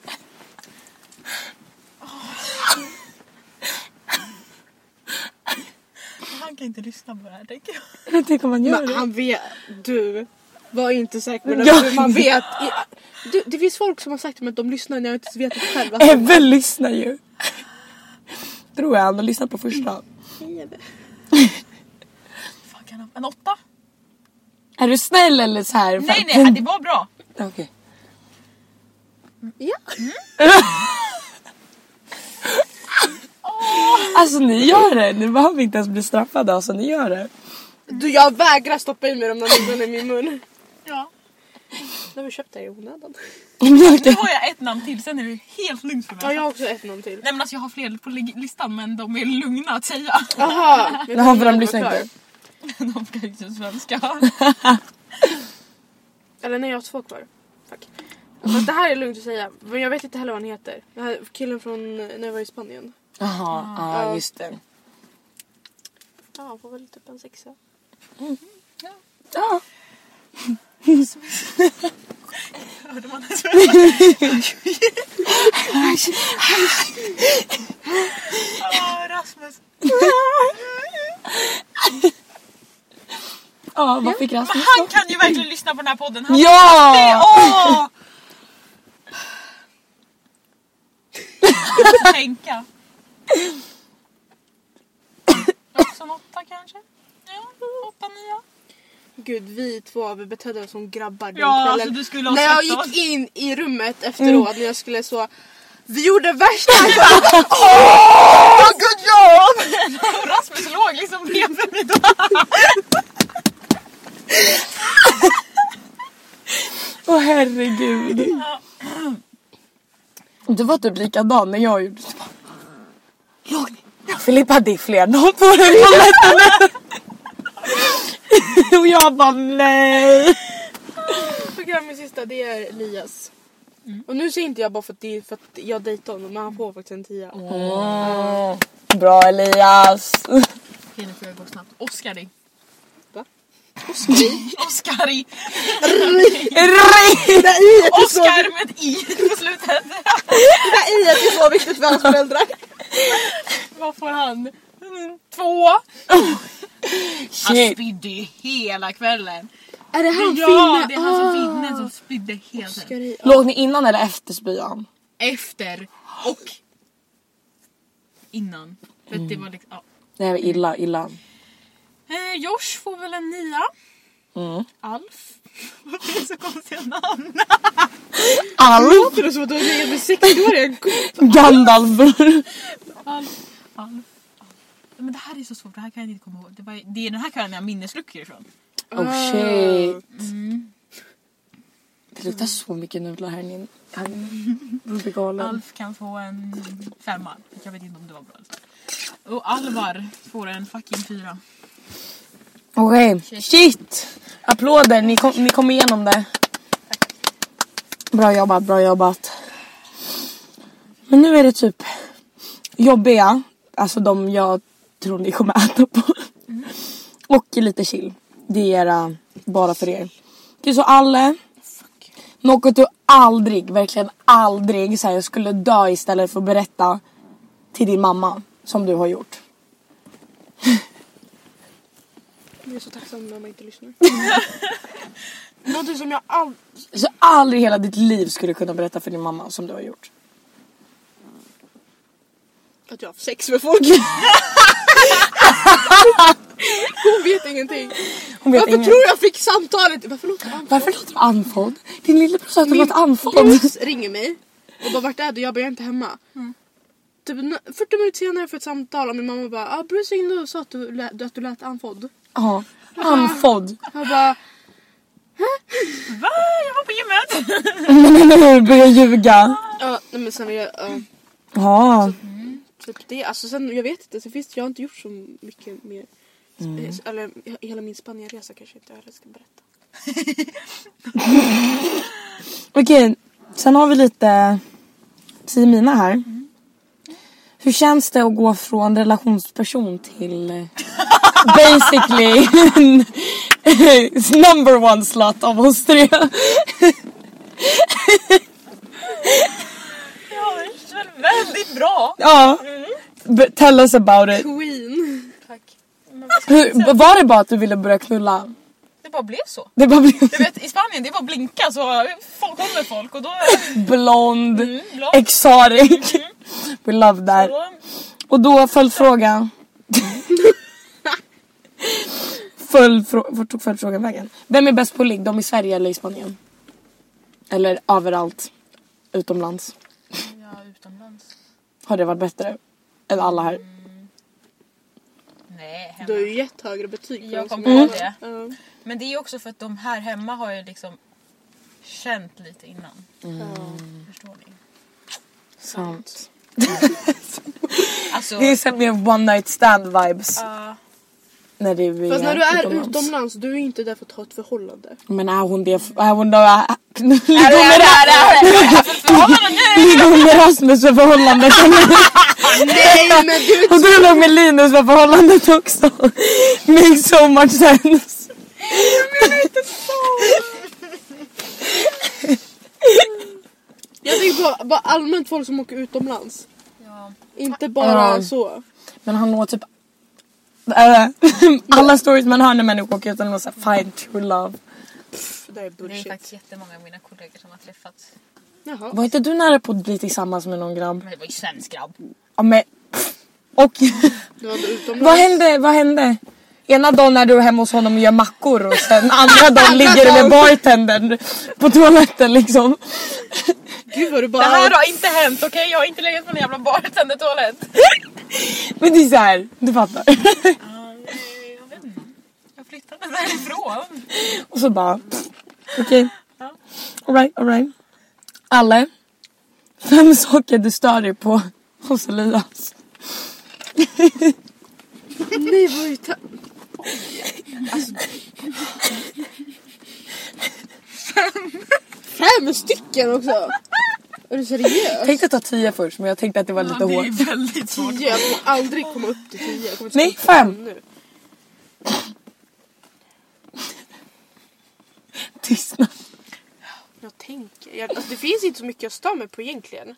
[SPEAKER 3] Han kan inte lyssna på det här tänker jag.
[SPEAKER 4] Jag tänker man gör
[SPEAKER 2] Men
[SPEAKER 4] det.
[SPEAKER 2] han vet, du var inte säker men
[SPEAKER 4] Ja.
[SPEAKER 2] man vet. i- Du, det finns folk som har sagt till mig att de lyssnar när jag inte vet det själv. Alltså,
[SPEAKER 4] Ebbe lyssnar ju. Tror jag, han har lyssnat på första.
[SPEAKER 3] Fan, kan han... En åtta?
[SPEAKER 4] Är du snäll eller så här?
[SPEAKER 3] Nej nej det var bra.
[SPEAKER 4] nej. Okej.
[SPEAKER 2] Ja.
[SPEAKER 4] Alltså ni gör det, ni behöver inte ens bli straffade. Alltså ni gör det.
[SPEAKER 2] Du, jag vägrar stoppa i mig de där nudlarna i min mun.
[SPEAKER 3] Ja.
[SPEAKER 2] Nu har vi köpt det här i onödan.
[SPEAKER 3] Nu har jag ett namn till sen är det helt lugnt för mig.
[SPEAKER 2] Ja, jag har också ett namn till.
[SPEAKER 3] Nej men alltså jag har fler på lig- listan men de är lugna att säga.
[SPEAKER 2] Jaha. jag
[SPEAKER 4] Jaha, för
[SPEAKER 2] trodde
[SPEAKER 4] de
[SPEAKER 2] jag
[SPEAKER 4] lyssnar
[SPEAKER 2] var klar.
[SPEAKER 4] inte.
[SPEAKER 3] De kan ju inte svenska.
[SPEAKER 2] Eller nej, jag har två kvar. Fuck. Fast det här är lugnt att säga. Men jag vet inte heller vad han heter. Den här killen från när jag var i Spanien.
[SPEAKER 4] Jaha, ja just det.
[SPEAKER 2] Ja, han får väl typ en sexa.
[SPEAKER 4] Ja.
[SPEAKER 3] Hörde man det? Ah, Rasmus.
[SPEAKER 4] Ja, vad fick
[SPEAKER 3] Men
[SPEAKER 4] Rasmus
[SPEAKER 3] han
[SPEAKER 4] då?
[SPEAKER 3] kan ju verkligen lyssna på den här podden. Han
[SPEAKER 4] Ja!
[SPEAKER 3] Åh! Jag måste tänka. Också en åtta kanske? Ja, åtta, nio.
[SPEAKER 2] Gud, vi två vi betedde oss som grabbar den
[SPEAKER 3] Ja,
[SPEAKER 2] kvällen.
[SPEAKER 3] alltså du skulle ha
[SPEAKER 2] När jag
[SPEAKER 3] sett oss.
[SPEAKER 2] gick in i rummet efteråt när jag skulle så... Vi gjorde värsta...
[SPEAKER 3] Och Rasmus låg liksom bredvid mig då.
[SPEAKER 4] Åh herregud. Du var typ likadan när jag gjorde så bara, "Låg ni?" Filippa Diffler, någon på den på nätterna. Och jag bara nej.
[SPEAKER 2] program min sista det är Elias.
[SPEAKER 3] Mm.
[SPEAKER 2] Och nu säger inte jag bara för att, det är för att jag dejtar honom men han får faktiskt en tia.
[SPEAKER 4] Mm. Bra Elias.
[SPEAKER 3] Okej nu får jag gå snabbt. Oskari.
[SPEAKER 2] Va?
[SPEAKER 3] Oskari.
[SPEAKER 4] Ring!
[SPEAKER 3] Oskar med ett i på slutet.
[SPEAKER 2] Nej att det är så viktigt för hans föräldrar.
[SPEAKER 3] Vad får han? Mm, Två. Han
[SPEAKER 2] Alltså,
[SPEAKER 4] Shit.
[SPEAKER 3] spydde ju hela kvällen.
[SPEAKER 2] är det han
[SPEAKER 3] Ja,
[SPEAKER 2] finne?
[SPEAKER 3] det är han som
[SPEAKER 2] Ah.
[SPEAKER 3] finne som spydde hela
[SPEAKER 2] Ska
[SPEAKER 3] tiden.
[SPEAKER 2] det-
[SPEAKER 4] Låg ni innan eller efter spyan?
[SPEAKER 3] Efter och innan. För att det var liksom, ja.
[SPEAKER 4] Nej illa, illa.
[SPEAKER 3] Eh, Eh, Josh får väl en nia.
[SPEAKER 4] Mm.
[SPEAKER 3] Alf. Varför är det så konstiga namn?
[SPEAKER 4] Alf!
[SPEAKER 2] Låter det som att du har legat med 60-åringar?
[SPEAKER 4] Gandalf!
[SPEAKER 3] Alf. Alf. Men det här är så svårt, det här kan jag inte komma ihåg. Det, var, det är den här kvällen jag har minnesluckor ifrån.
[SPEAKER 4] Oh shit. Det luktar så mycket nudlar här inne. Här inne. Man blir galen.
[SPEAKER 3] Alf kan få en femma. Jag vet inte om det var bra. Och Alvar får en fucking fyra.
[SPEAKER 4] Okej. Shit! Applåder, ni kom, ni kom igenom det. Bra jobbat, bra jobbat. Men nu är det typ jobbiga, alltså de jag tror ni kommer äta på. Och lite chill. Det är era, bara för er. Okej, så Alle. Något du aldrig, verkligen aldrig så här, jag skulle dö istället för att berätta till din mamma som du har gjort.
[SPEAKER 2] Jag är så tacksam när man inte lyssnar. Någonting som jag aldrig...
[SPEAKER 4] Så aldrig i hela ditt liv skulle kunna berätta för din mamma som du har gjort.
[SPEAKER 2] Att jag har haft sex med folk. Hon vet ingenting.
[SPEAKER 4] Hon vet
[SPEAKER 2] Varför
[SPEAKER 4] ingen-
[SPEAKER 2] tror jag fick samtalet? Varför låter han
[SPEAKER 4] Varför låter du andfådd? Din lillebror sa att du
[SPEAKER 2] Min
[SPEAKER 4] låter andfådd.
[SPEAKER 2] kompis ringer mig och bara vart är du? Jag bara jag är inte hemma.
[SPEAKER 4] Mm.
[SPEAKER 2] Typ n- 40 minuter senare får jag ett samtal och min mamma bara ah, Bruce ringde och sa att du, lät, att du lät andfådd.
[SPEAKER 4] Ja, andfådd.
[SPEAKER 2] Jag bara
[SPEAKER 3] Va? Jag var på gymmet!
[SPEAKER 4] Nej, nej, nej, börja ljuga.
[SPEAKER 2] ja nej men sen är jag ja,
[SPEAKER 4] Ja,
[SPEAKER 2] typ det. Alltså sen jag vet inte. Sen finns det, jag har inte gjort så mycket mer.
[SPEAKER 4] Mm.
[SPEAKER 2] Eh, Eller he- hela min Spanienresa kanske inte jag heller ska berätta.
[SPEAKER 4] okej. Sen har vi lite Simina här. Hur känns det att gå från relationsperson till eh, basically number one slut av oss tre?
[SPEAKER 3] Ja, det känns väldigt bra.
[SPEAKER 4] Ja. B- Tell us about it.
[SPEAKER 2] Queen.
[SPEAKER 4] Hur, var det bara att du ville börja knulla?
[SPEAKER 3] Det bara blev så.
[SPEAKER 4] Det bara blev
[SPEAKER 3] Du vet, i Spanien det var blinka så folk kommer folk och då...
[SPEAKER 4] blond. Mm,
[SPEAKER 3] Mm, bra.
[SPEAKER 4] Exotic. We love that.
[SPEAKER 3] Då-
[SPEAKER 4] Och då följdfrågan. följdfrå- Vart tog följdfrågan vägen? Vem är bäst på ligg? De i Sverige eller i Spanien? Eller överallt utomlands?
[SPEAKER 3] Ja, utomlands.
[SPEAKER 4] Har det varit bättre? Än alla här?
[SPEAKER 3] Nej,
[SPEAKER 2] Du har
[SPEAKER 3] hemma.
[SPEAKER 2] ju gett högre betyg. på
[SPEAKER 3] Jag
[SPEAKER 2] dem som
[SPEAKER 3] kommer ihåg
[SPEAKER 2] har-
[SPEAKER 3] det.
[SPEAKER 2] Ja.
[SPEAKER 3] Men det är också för att de här hemma har ju liksom känt lite innan. Förstår ni?
[SPEAKER 4] Sant.
[SPEAKER 3] Alltså,
[SPEAKER 4] Det är sen mer one night stand vibes.
[SPEAKER 3] ja,
[SPEAKER 4] När det är
[SPEAKER 2] Fast när du är
[SPEAKER 4] utomlands.
[SPEAKER 2] utomlands du är inte där för att ha ett förhållande.
[SPEAKER 4] Men är hon det? Är hon då? Är
[SPEAKER 3] är det- är det- är det- är det-
[SPEAKER 4] Ligger hon med Rasmus för förhållandet?
[SPEAKER 2] Nej men du
[SPEAKER 4] Hon drog nog med Linus för förhållandet också. Makes so much sense.
[SPEAKER 2] Jag tänker på bara allmänt folk som åker utomlands.
[SPEAKER 3] ja.
[SPEAKER 2] Inte bara
[SPEAKER 4] Ja.
[SPEAKER 2] så.
[SPEAKER 4] Men han når typ... Äh, alla stories man hör när människor åker utomlands såhär find true love.
[SPEAKER 2] Pff, det där är
[SPEAKER 3] Det är
[SPEAKER 2] bullshit.
[SPEAKER 3] faktiskt jättemånga av mina kollegor som har träffats.
[SPEAKER 2] Jaha.
[SPEAKER 4] Var inte du nära på att bli tillsammans med någon grabb?
[SPEAKER 3] Men det var ju svensk grabb.
[SPEAKER 4] Ja men... Och
[SPEAKER 2] Det var utomlands.
[SPEAKER 4] vad hände? Vad hände? Ena dagen är du hemma hos honom och gör mackor och sen andra dagen ligger du med bartendern på toaletten liksom.
[SPEAKER 2] Gud vad du bara...
[SPEAKER 3] Det här har inte hänt okej? Jag har inte legat på en jävla bartendertoalett.
[SPEAKER 4] Men det är såhär, du fattar.
[SPEAKER 3] Jag vet inte. Jag flyttade därifrån.
[SPEAKER 4] Och så bara... pff, Okej. Alright, alright. Alle. Fem saker du stör dig på hos Elias.
[SPEAKER 2] Nej vad Alltså- ju ta... Fem stycken också! Är du
[SPEAKER 4] Jag
[SPEAKER 2] seriös?
[SPEAKER 4] tänkte ta tio först men jag tänkte att det var lite hårt.
[SPEAKER 3] väldigt svårt.
[SPEAKER 2] Tio, jag kommer aldrig komma upp till tio. Jag kommer inte
[SPEAKER 4] Nej,
[SPEAKER 2] komma upp till
[SPEAKER 4] fem.
[SPEAKER 2] nu.
[SPEAKER 4] Tystnad.
[SPEAKER 2] Jag tänker. Jag, alltså, det finns inte så mycket jag stör mig på egentligen.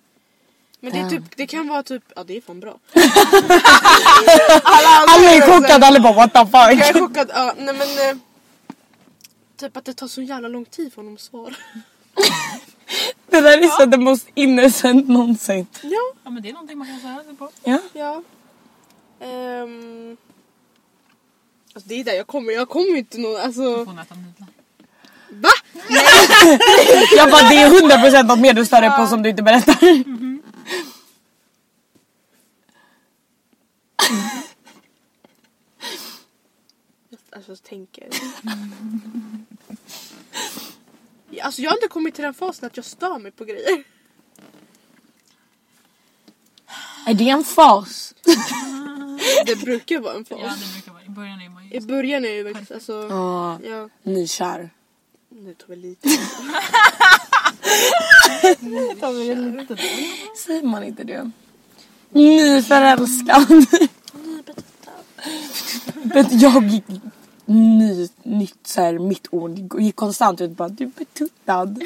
[SPEAKER 2] Men det, är typ, det kan vara typ, ja det är fan bra. Alla andra
[SPEAKER 4] Alla är
[SPEAKER 2] gör så här.
[SPEAKER 4] chockade, alla bara what the
[SPEAKER 2] Jag är
[SPEAKER 4] fuck.
[SPEAKER 2] chockad. Ja, nej men, eh, typ att det tar så jävla lång tid för honom att svara.
[SPEAKER 4] Det där är så the most innocent någonsin.
[SPEAKER 2] Ja.
[SPEAKER 3] Ja men det är någonting man kan säga sig på.
[SPEAKER 4] Ja.
[SPEAKER 2] ja. Ehm, Alltså, det är där jag kommer, jag kommer inte nå... Alltså,
[SPEAKER 3] Hon äter nudlar.
[SPEAKER 2] va?
[SPEAKER 4] Jag bara det är 100% något mer du stör dig på som du inte berättar.
[SPEAKER 2] Alltså jag tänker. Ja, Alltså jag har inte kommit till den fasen att jag stör mig på grejer.
[SPEAKER 4] Är det en fas?
[SPEAKER 2] Det brukar vara en fas.
[SPEAKER 3] Ja det brukar vara, i början är man ju...
[SPEAKER 2] I början är det ju verkligen alltså...
[SPEAKER 4] Ja,
[SPEAKER 2] Ja,
[SPEAKER 4] nykär.
[SPEAKER 2] nu tar vi lite.
[SPEAKER 4] Säger man inte det? Nyförälskad. Bet- jag gick ny, nytt så här, mitt ord gick konstant ut bara du är betuttad.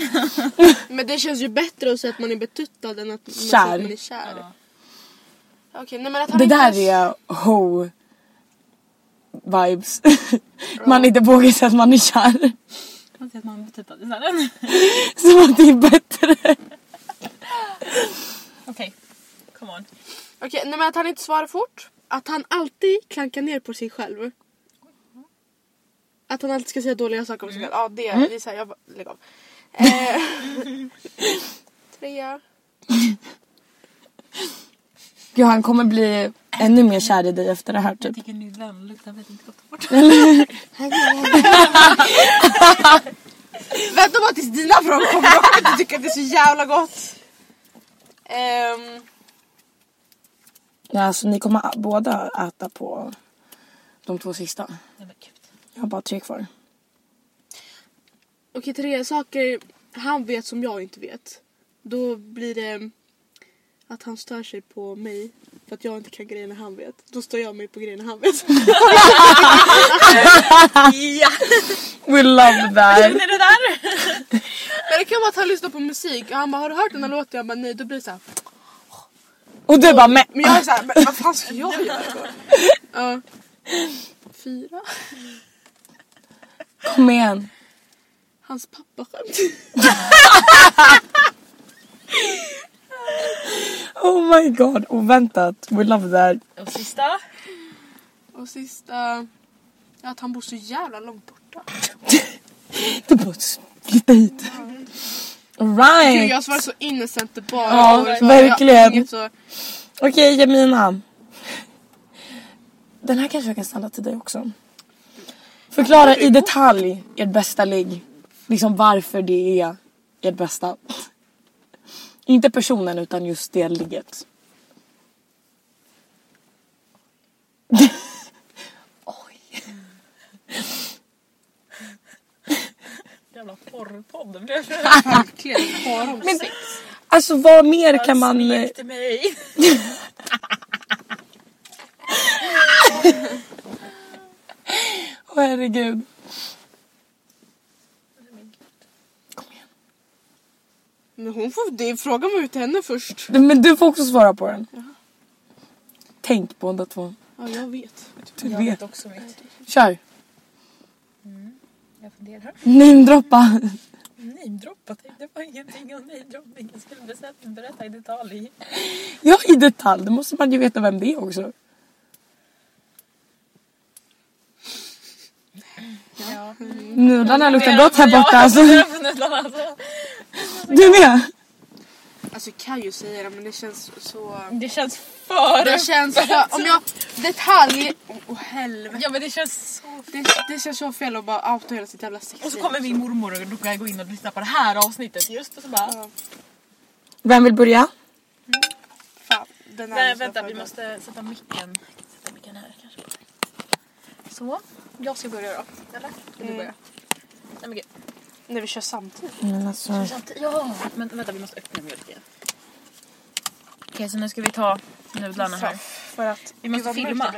[SPEAKER 2] Men det känns ju bättre att säga att man är betuttad än att man,
[SPEAKER 4] Kär.
[SPEAKER 2] säger att man är kär. Okej, nej, men att han
[SPEAKER 4] Det
[SPEAKER 2] inte
[SPEAKER 4] där är ho vibes. Man inte vågar säga att man är kär.
[SPEAKER 3] Man ser att man typ att det är såhär.
[SPEAKER 4] Som att det är bättre.
[SPEAKER 3] Okej, come on.
[SPEAKER 2] Okej, nej, men att han inte svarar fort. Att han alltid klankar ner på sig själv. Att han alltid ska säga dåliga saker om sig själv. Ja, det,
[SPEAKER 4] Mm.
[SPEAKER 2] det är så här, jag bara, lägg av. Eh, trea.
[SPEAKER 4] Gud han kommer bli ännu mer kär i dig efter det här typ.
[SPEAKER 3] Tycker nudlarna luktar väldigt gott.
[SPEAKER 7] Vänta bara tills dina frågor kommer. Jag kommer inte tycka att det är så jävla gott.
[SPEAKER 2] Ehm,
[SPEAKER 4] Nej, alltså, ni kommer a- båda äta på de två sista.
[SPEAKER 3] Nej men gud.
[SPEAKER 4] Jag har bara tre kvar.
[SPEAKER 2] Okej, tre saker han vet som jag inte vet. Då blir det att han stör sig på mig för att jag inte kan grejerna han vet. Då stör jag mig på grejerna han vet.
[SPEAKER 4] We love that.
[SPEAKER 3] Är det där?
[SPEAKER 2] Men det kan vara att han lyssnar på musik och han bara har du hört den här låten? Jag bara nej. Då blir det såhär.
[SPEAKER 4] Och du bara men.
[SPEAKER 7] Men jag är såhär, men vad fan ska jag göra?
[SPEAKER 2] Ja. Fyra.
[SPEAKER 4] Kom igen.
[SPEAKER 2] Hans pappa skämt.
[SPEAKER 4] Oh my god. Oväntat. We love that.
[SPEAKER 3] Och sista.
[SPEAKER 2] Och sista. Att han bor så jävla långt borta.
[SPEAKER 4] Du bara s- flytta hit.
[SPEAKER 2] Gud,
[SPEAKER 4] Alright.
[SPEAKER 2] jag svarar så innocent det bara
[SPEAKER 4] Ja,
[SPEAKER 2] går. Så jag har
[SPEAKER 4] verkligen.
[SPEAKER 2] inget så-
[SPEAKER 4] Okej Jamina. Den här kanske jag kan ställa till dig också. Förklara i detalj ert bästa ligg. Liksom varför det är ert bästa. Inte personen utan just det ligget.
[SPEAKER 3] Jävla porrpodd blev det.
[SPEAKER 4] Alltså vad mer kan man... eh,
[SPEAKER 3] Alltså, Till mig.
[SPEAKER 4] Åh herregud.
[SPEAKER 2] Men hon får, det, fråga mig ut till henne först.
[SPEAKER 4] Men du får också svara på den. Tänk båda två.
[SPEAKER 2] Ja, jag vet.
[SPEAKER 4] Du
[SPEAKER 3] Jag
[SPEAKER 4] vet.
[SPEAKER 3] vet också mitt.
[SPEAKER 4] Kör.
[SPEAKER 3] Jag funderar.
[SPEAKER 4] Namedroppa.
[SPEAKER 3] Namedroppa tänkte på ingenting om namedroppning. Jag skulle bestämt berätta i detalj.
[SPEAKER 4] Ja i detalj. Då måste man ju veta vem det är också.
[SPEAKER 3] Ja.
[SPEAKER 4] Nudlarna luktar gott här borta
[SPEAKER 3] Ja,
[SPEAKER 4] alltså.
[SPEAKER 3] jag funderar på nudlarna, alltså.
[SPEAKER 4] Du med?
[SPEAKER 2] Alltså jag kan ju säga det men det känns så...
[SPEAKER 3] Det känns för...
[SPEAKER 2] Det känns för... Om jag... Detalj... Åh oh, helvete.
[SPEAKER 3] Ja men det känns så...
[SPEAKER 2] Det, det känns så fel att bara outa hela sitt jävla sexliv.
[SPEAKER 3] Och så kommer min mormor och då kan jag gå in och lyssna på det här avsnittet just och så bara...
[SPEAKER 4] Vem vill börja?
[SPEAKER 2] Fan, den här
[SPEAKER 3] Nej
[SPEAKER 2] måste jag
[SPEAKER 3] vänta vi
[SPEAKER 2] fråga.
[SPEAKER 3] måste sätta micken. Sätta micken här kanske. Så. Jag ska börja då. Eller? Eh. Ska du börja? Nej men gud.
[SPEAKER 2] Nej vi kör samtidigt.
[SPEAKER 4] Men alltså.
[SPEAKER 3] Sant- Ja! Men vänta vi måste öppna mjölken. Okej så nu ska vi ta nudlarna här.
[SPEAKER 2] För att...
[SPEAKER 3] Vi måste filma.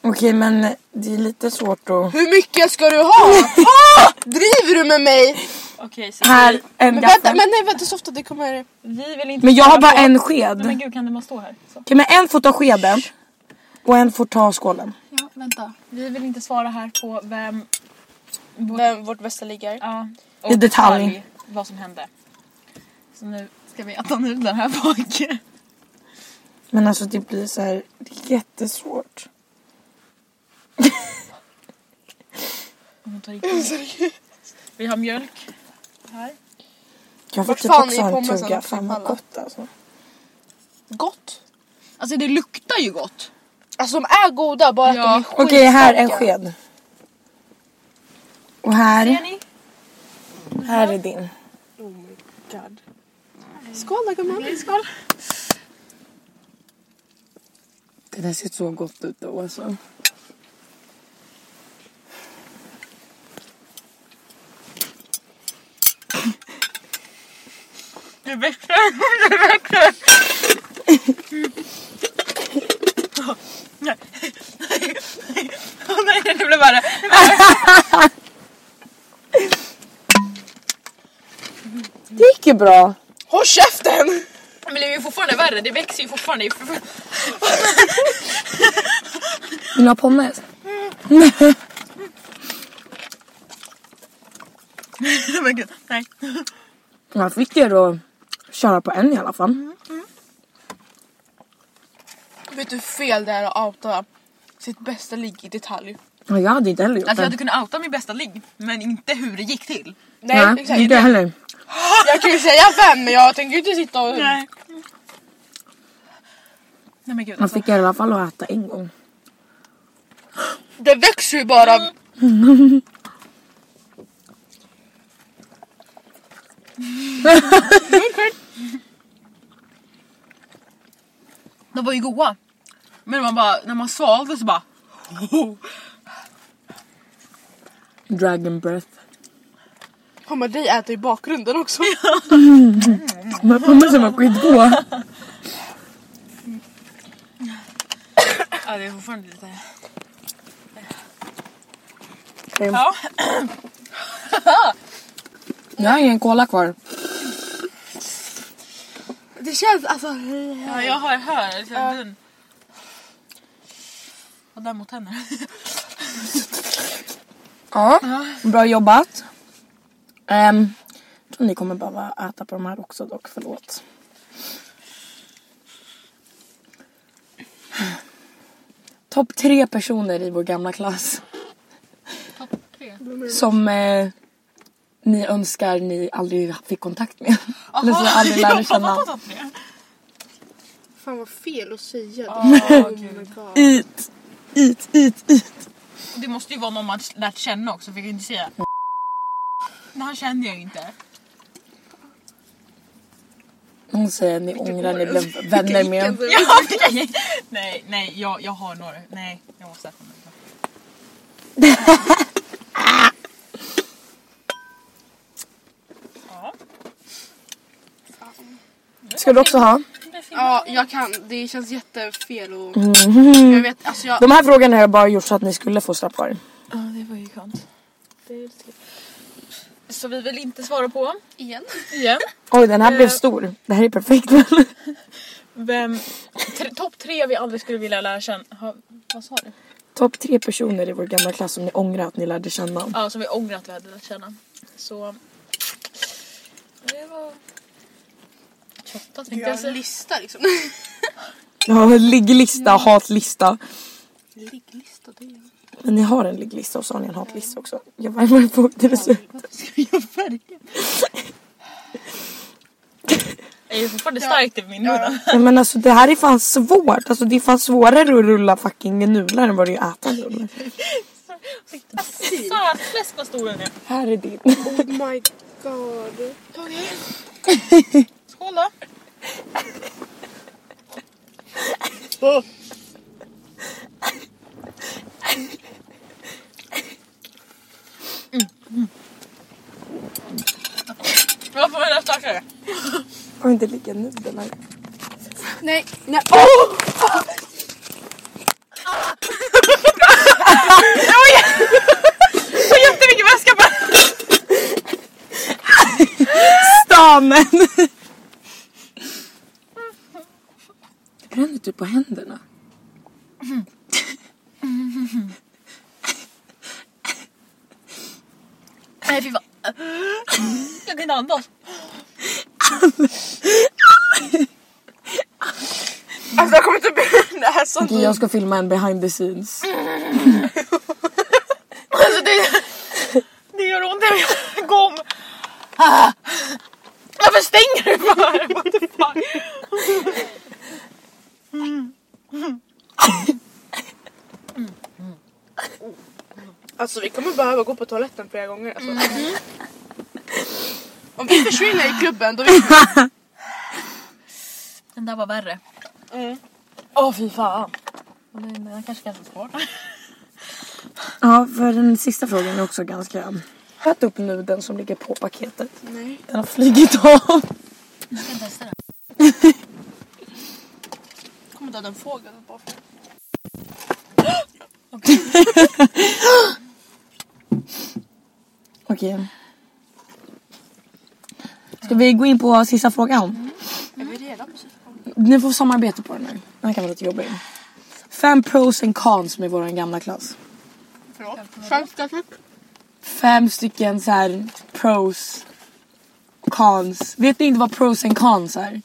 [SPEAKER 4] Okej men det är lite svårt att...
[SPEAKER 2] Hur mycket ska du ha? Ah! Driver du med mig?
[SPEAKER 3] Okej så
[SPEAKER 4] Här, en
[SPEAKER 2] Men vänta,
[SPEAKER 4] gaffel.
[SPEAKER 2] men nej vänta så ofta det kommer...
[SPEAKER 3] vi vill inte...
[SPEAKER 4] Men jag har bara en
[SPEAKER 3] Nej, men
[SPEAKER 4] sked.
[SPEAKER 3] gud kan det bara stå här? Så.
[SPEAKER 4] Okej men en får ta skeden. Och en får ta skålen.
[SPEAKER 3] Ja vänta. Vi vill inte svara här på vem...
[SPEAKER 2] Vem vårt bästa ligger?
[SPEAKER 3] Ja.
[SPEAKER 4] I detalj.
[SPEAKER 3] Vad som hände. Så nu ska vi äta nudlar här bak.
[SPEAKER 4] Men alltså det blir så här det är jättesvårt.
[SPEAKER 3] Torikis. Vi har mjölk.
[SPEAKER 4] Jag
[SPEAKER 6] Vart
[SPEAKER 4] fick typ
[SPEAKER 6] fan
[SPEAKER 4] också
[SPEAKER 6] är
[SPEAKER 4] en
[SPEAKER 6] pommesen
[SPEAKER 4] tugga.
[SPEAKER 6] också
[SPEAKER 4] Fan vad
[SPEAKER 6] ifall-
[SPEAKER 4] gott alltså.
[SPEAKER 6] Gott!
[SPEAKER 3] Alltså det luktar ju gott.
[SPEAKER 6] Alltså de är goda bara att
[SPEAKER 3] Ja.
[SPEAKER 6] de är
[SPEAKER 4] Okej,
[SPEAKER 6] skitstarka.
[SPEAKER 4] här en sked. Och här,
[SPEAKER 3] ni?
[SPEAKER 4] här är din.
[SPEAKER 2] Skål då gumman.
[SPEAKER 3] Skål.
[SPEAKER 4] Det där ser så gott ut då alltså.
[SPEAKER 3] Det växer. Det växer. Nej. Åh nej, det blev värre.
[SPEAKER 4] Det gick ju bra.
[SPEAKER 6] Håll käften!
[SPEAKER 3] Men det är ju fortfarande värre. Det växer ju fortfarande.
[SPEAKER 4] Vill du ha pommes?
[SPEAKER 3] Men gud, nej.
[SPEAKER 4] Jag fick er att köra på en i alla fall.
[SPEAKER 6] Vet du hur fel det är att outa sitt bästa ligg i detalj?
[SPEAKER 4] Ja, jag hade inte heller gjort
[SPEAKER 3] Alltså jag
[SPEAKER 4] det.
[SPEAKER 3] hade kunnat outa min bästa ligg, men inte hur det gick till.
[SPEAKER 6] Nej,
[SPEAKER 4] Nej,
[SPEAKER 6] exakt.
[SPEAKER 4] inte jag heller.
[SPEAKER 6] Jag kan ju säga vem men jag tänker ju inte sitta och...
[SPEAKER 3] Nej men gud
[SPEAKER 4] Man
[SPEAKER 3] alltså.
[SPEAKER 4] fick er i alla fall att äta en gång.
[SPEAKER 6] Det växer ju bara.
[SPEAKER 3] De var ju goa. Men man bara, när man svalde så bara...
[SPEAKER 4] Dragon breath.
[SPEAKER 6] Har man dig äta i bakgrunden också?
[SPEAKER 4] De här pommesen var skitgoda.
[SPEAKER 3] Ja det är fortfarande lite...
[SPEAKER 4] Ja.
[SPEAKER 3] Ja.
[SPEAKER 4] Jag har ingen cola kvar.
[SPEAKER 2] Det känns alltså...
[SPEAKER 3] ja jag har här. Så den... Och där mot henne.
[SPEAKER 4] Ja, bra jobbat. Um, tror ni kommer behöva äta på de här också dock, förlåt. Topp tre personer i vår gamla klass. Som eh, ni önskar ni aldrig fick kontakt med. Eller som ni aldrig lärde känna.
[SPEAKER 2] Fan vad fel att säga det. Oh, my God.
[SPEAKER 4] It, it, it, it.
[SPEAKER 3] Och det måste ju vara någon man lärt känna också för jag kan ju inte säga... Men han kände jag ju inte.
[SPEAKER 4] Hon säger ni ångrar ni blev vänner med.
[SPEAKER 2] Vilken-
[SPEAKER 3] Ja, nej, nej, nej jag, jag har några. Nej, jag måste äta mig. ja,
[SPEAKER 4] Ska du också ha?
[SPEAKER 2] Ja, jag kan. Det känns jättefel och...
[SPEAKER 3] Mm.
[SPEAKER 2] Jag vet, alltså jag...
[SPEAKER 4] De här frågorna har jag bara gjort så att ni skulle få slapp kvar.
[SPEAKER 3] det var ju skönt. Så vi vill inte svara på
[SPEAKER 2] Igen.
[SPEAKER 3] igen.
[SPEAKER 4] Oj den här blev stor. Det här är perfekt väl?
[SPEAKER 3] Vem, tre, topp tre vi aldrig skulle vilja lära känna. Ha, vad sa du?
[SPEAKER 4] Topp tre personer i vår gamla klass som ni ångrar att ni lärde känna.
[SPEAKER 3] Ja, som vi ångrar att vi hade lärt känna. Så... Det var... 28 tänkte
[SPEAKER 2] Jag
[SPEAKER 3] jag
[SPEAKER 2] har en
[SPEAKER 3] säga.
[SPEAKER 2] lista liksom.
[SPEAKER 4] Jag har en ligglista, hatlista.
[SPEAKER 2] Ligglista, det är...
[SPEAKER 4] Men ni har en ligglista och så har ni en hatlista också. Jag var med på det är så.
[SPEAKER 3] Jag är ju fortfarande starkt i min mun.
[SPEAKER 4] Nej, Men alltså det här är fan svårt. Alltså det är fan svårare att rulla fucking nudlar än vad det är att äta nudlar.
[SPEAKER 3] Satfläsk vad stor den är.
[SPEAKER 4] Här är din.
[SPEAKER 2] Oh my god.
[SPEAKER 3] Skål då. Varför var den starkare?
[SPEAKER 4] Får inte ligga nudel här.
[SPEAKER 2] Nej, nej.
[SPEAKER 3] Så jättemycket väska bara.
[SPEAKER 4] Stamen! Bränner du på händerna?
[SPEAKER 3] Nej fy fan. Jag kan inte andas.
[SPEAKER 6] Alltså jag kommer inte be näsan.
[SPEAKER 4] Okej, jag ska filma en behind the scenes.
[SPEAKER 6] Alltså, det, Ah. Varför stänger du för?
[SPEAKER 2] Alltså vi kommer behöva gå på toaletten flera gånger. Alltså.
[SPEAKER 6] Om vi försvinner i klubben då vet vi
[SPEAKER 3] Den där var värre. Mm.
[SPEAKER 4] Åh fy fan.
[SPEAKER 3] Och Den, den kanske är ganska svår.
[SPEAKER 4] Ja, för den sista frågan är också ganska... Ät upp nu den som ligger på paketet.
[SPEAKER 2] Nej.
[SPEAKER 4] Den har flugit av.
[SPEAKER 3] Jag kan testa den.
[SPEAKER 2] Kommer döda en fågel bara för
[SPEAKER 4] Okej. Ska vi gå in på sista frågan?
[SPEAKER 2] Mm. Är vi redo på sista gången?
[SPEAKER 4] Ni får samarbeta på den här. Den här kan vara lite jobbig. Fem pros and cons med vår gamla klass.
[SPEAKER 2] Förlåt. Skäms kanske?
[SPEAKER 4] Fem stycken så här pros, cons. Vet ni inte vad pros and cons är?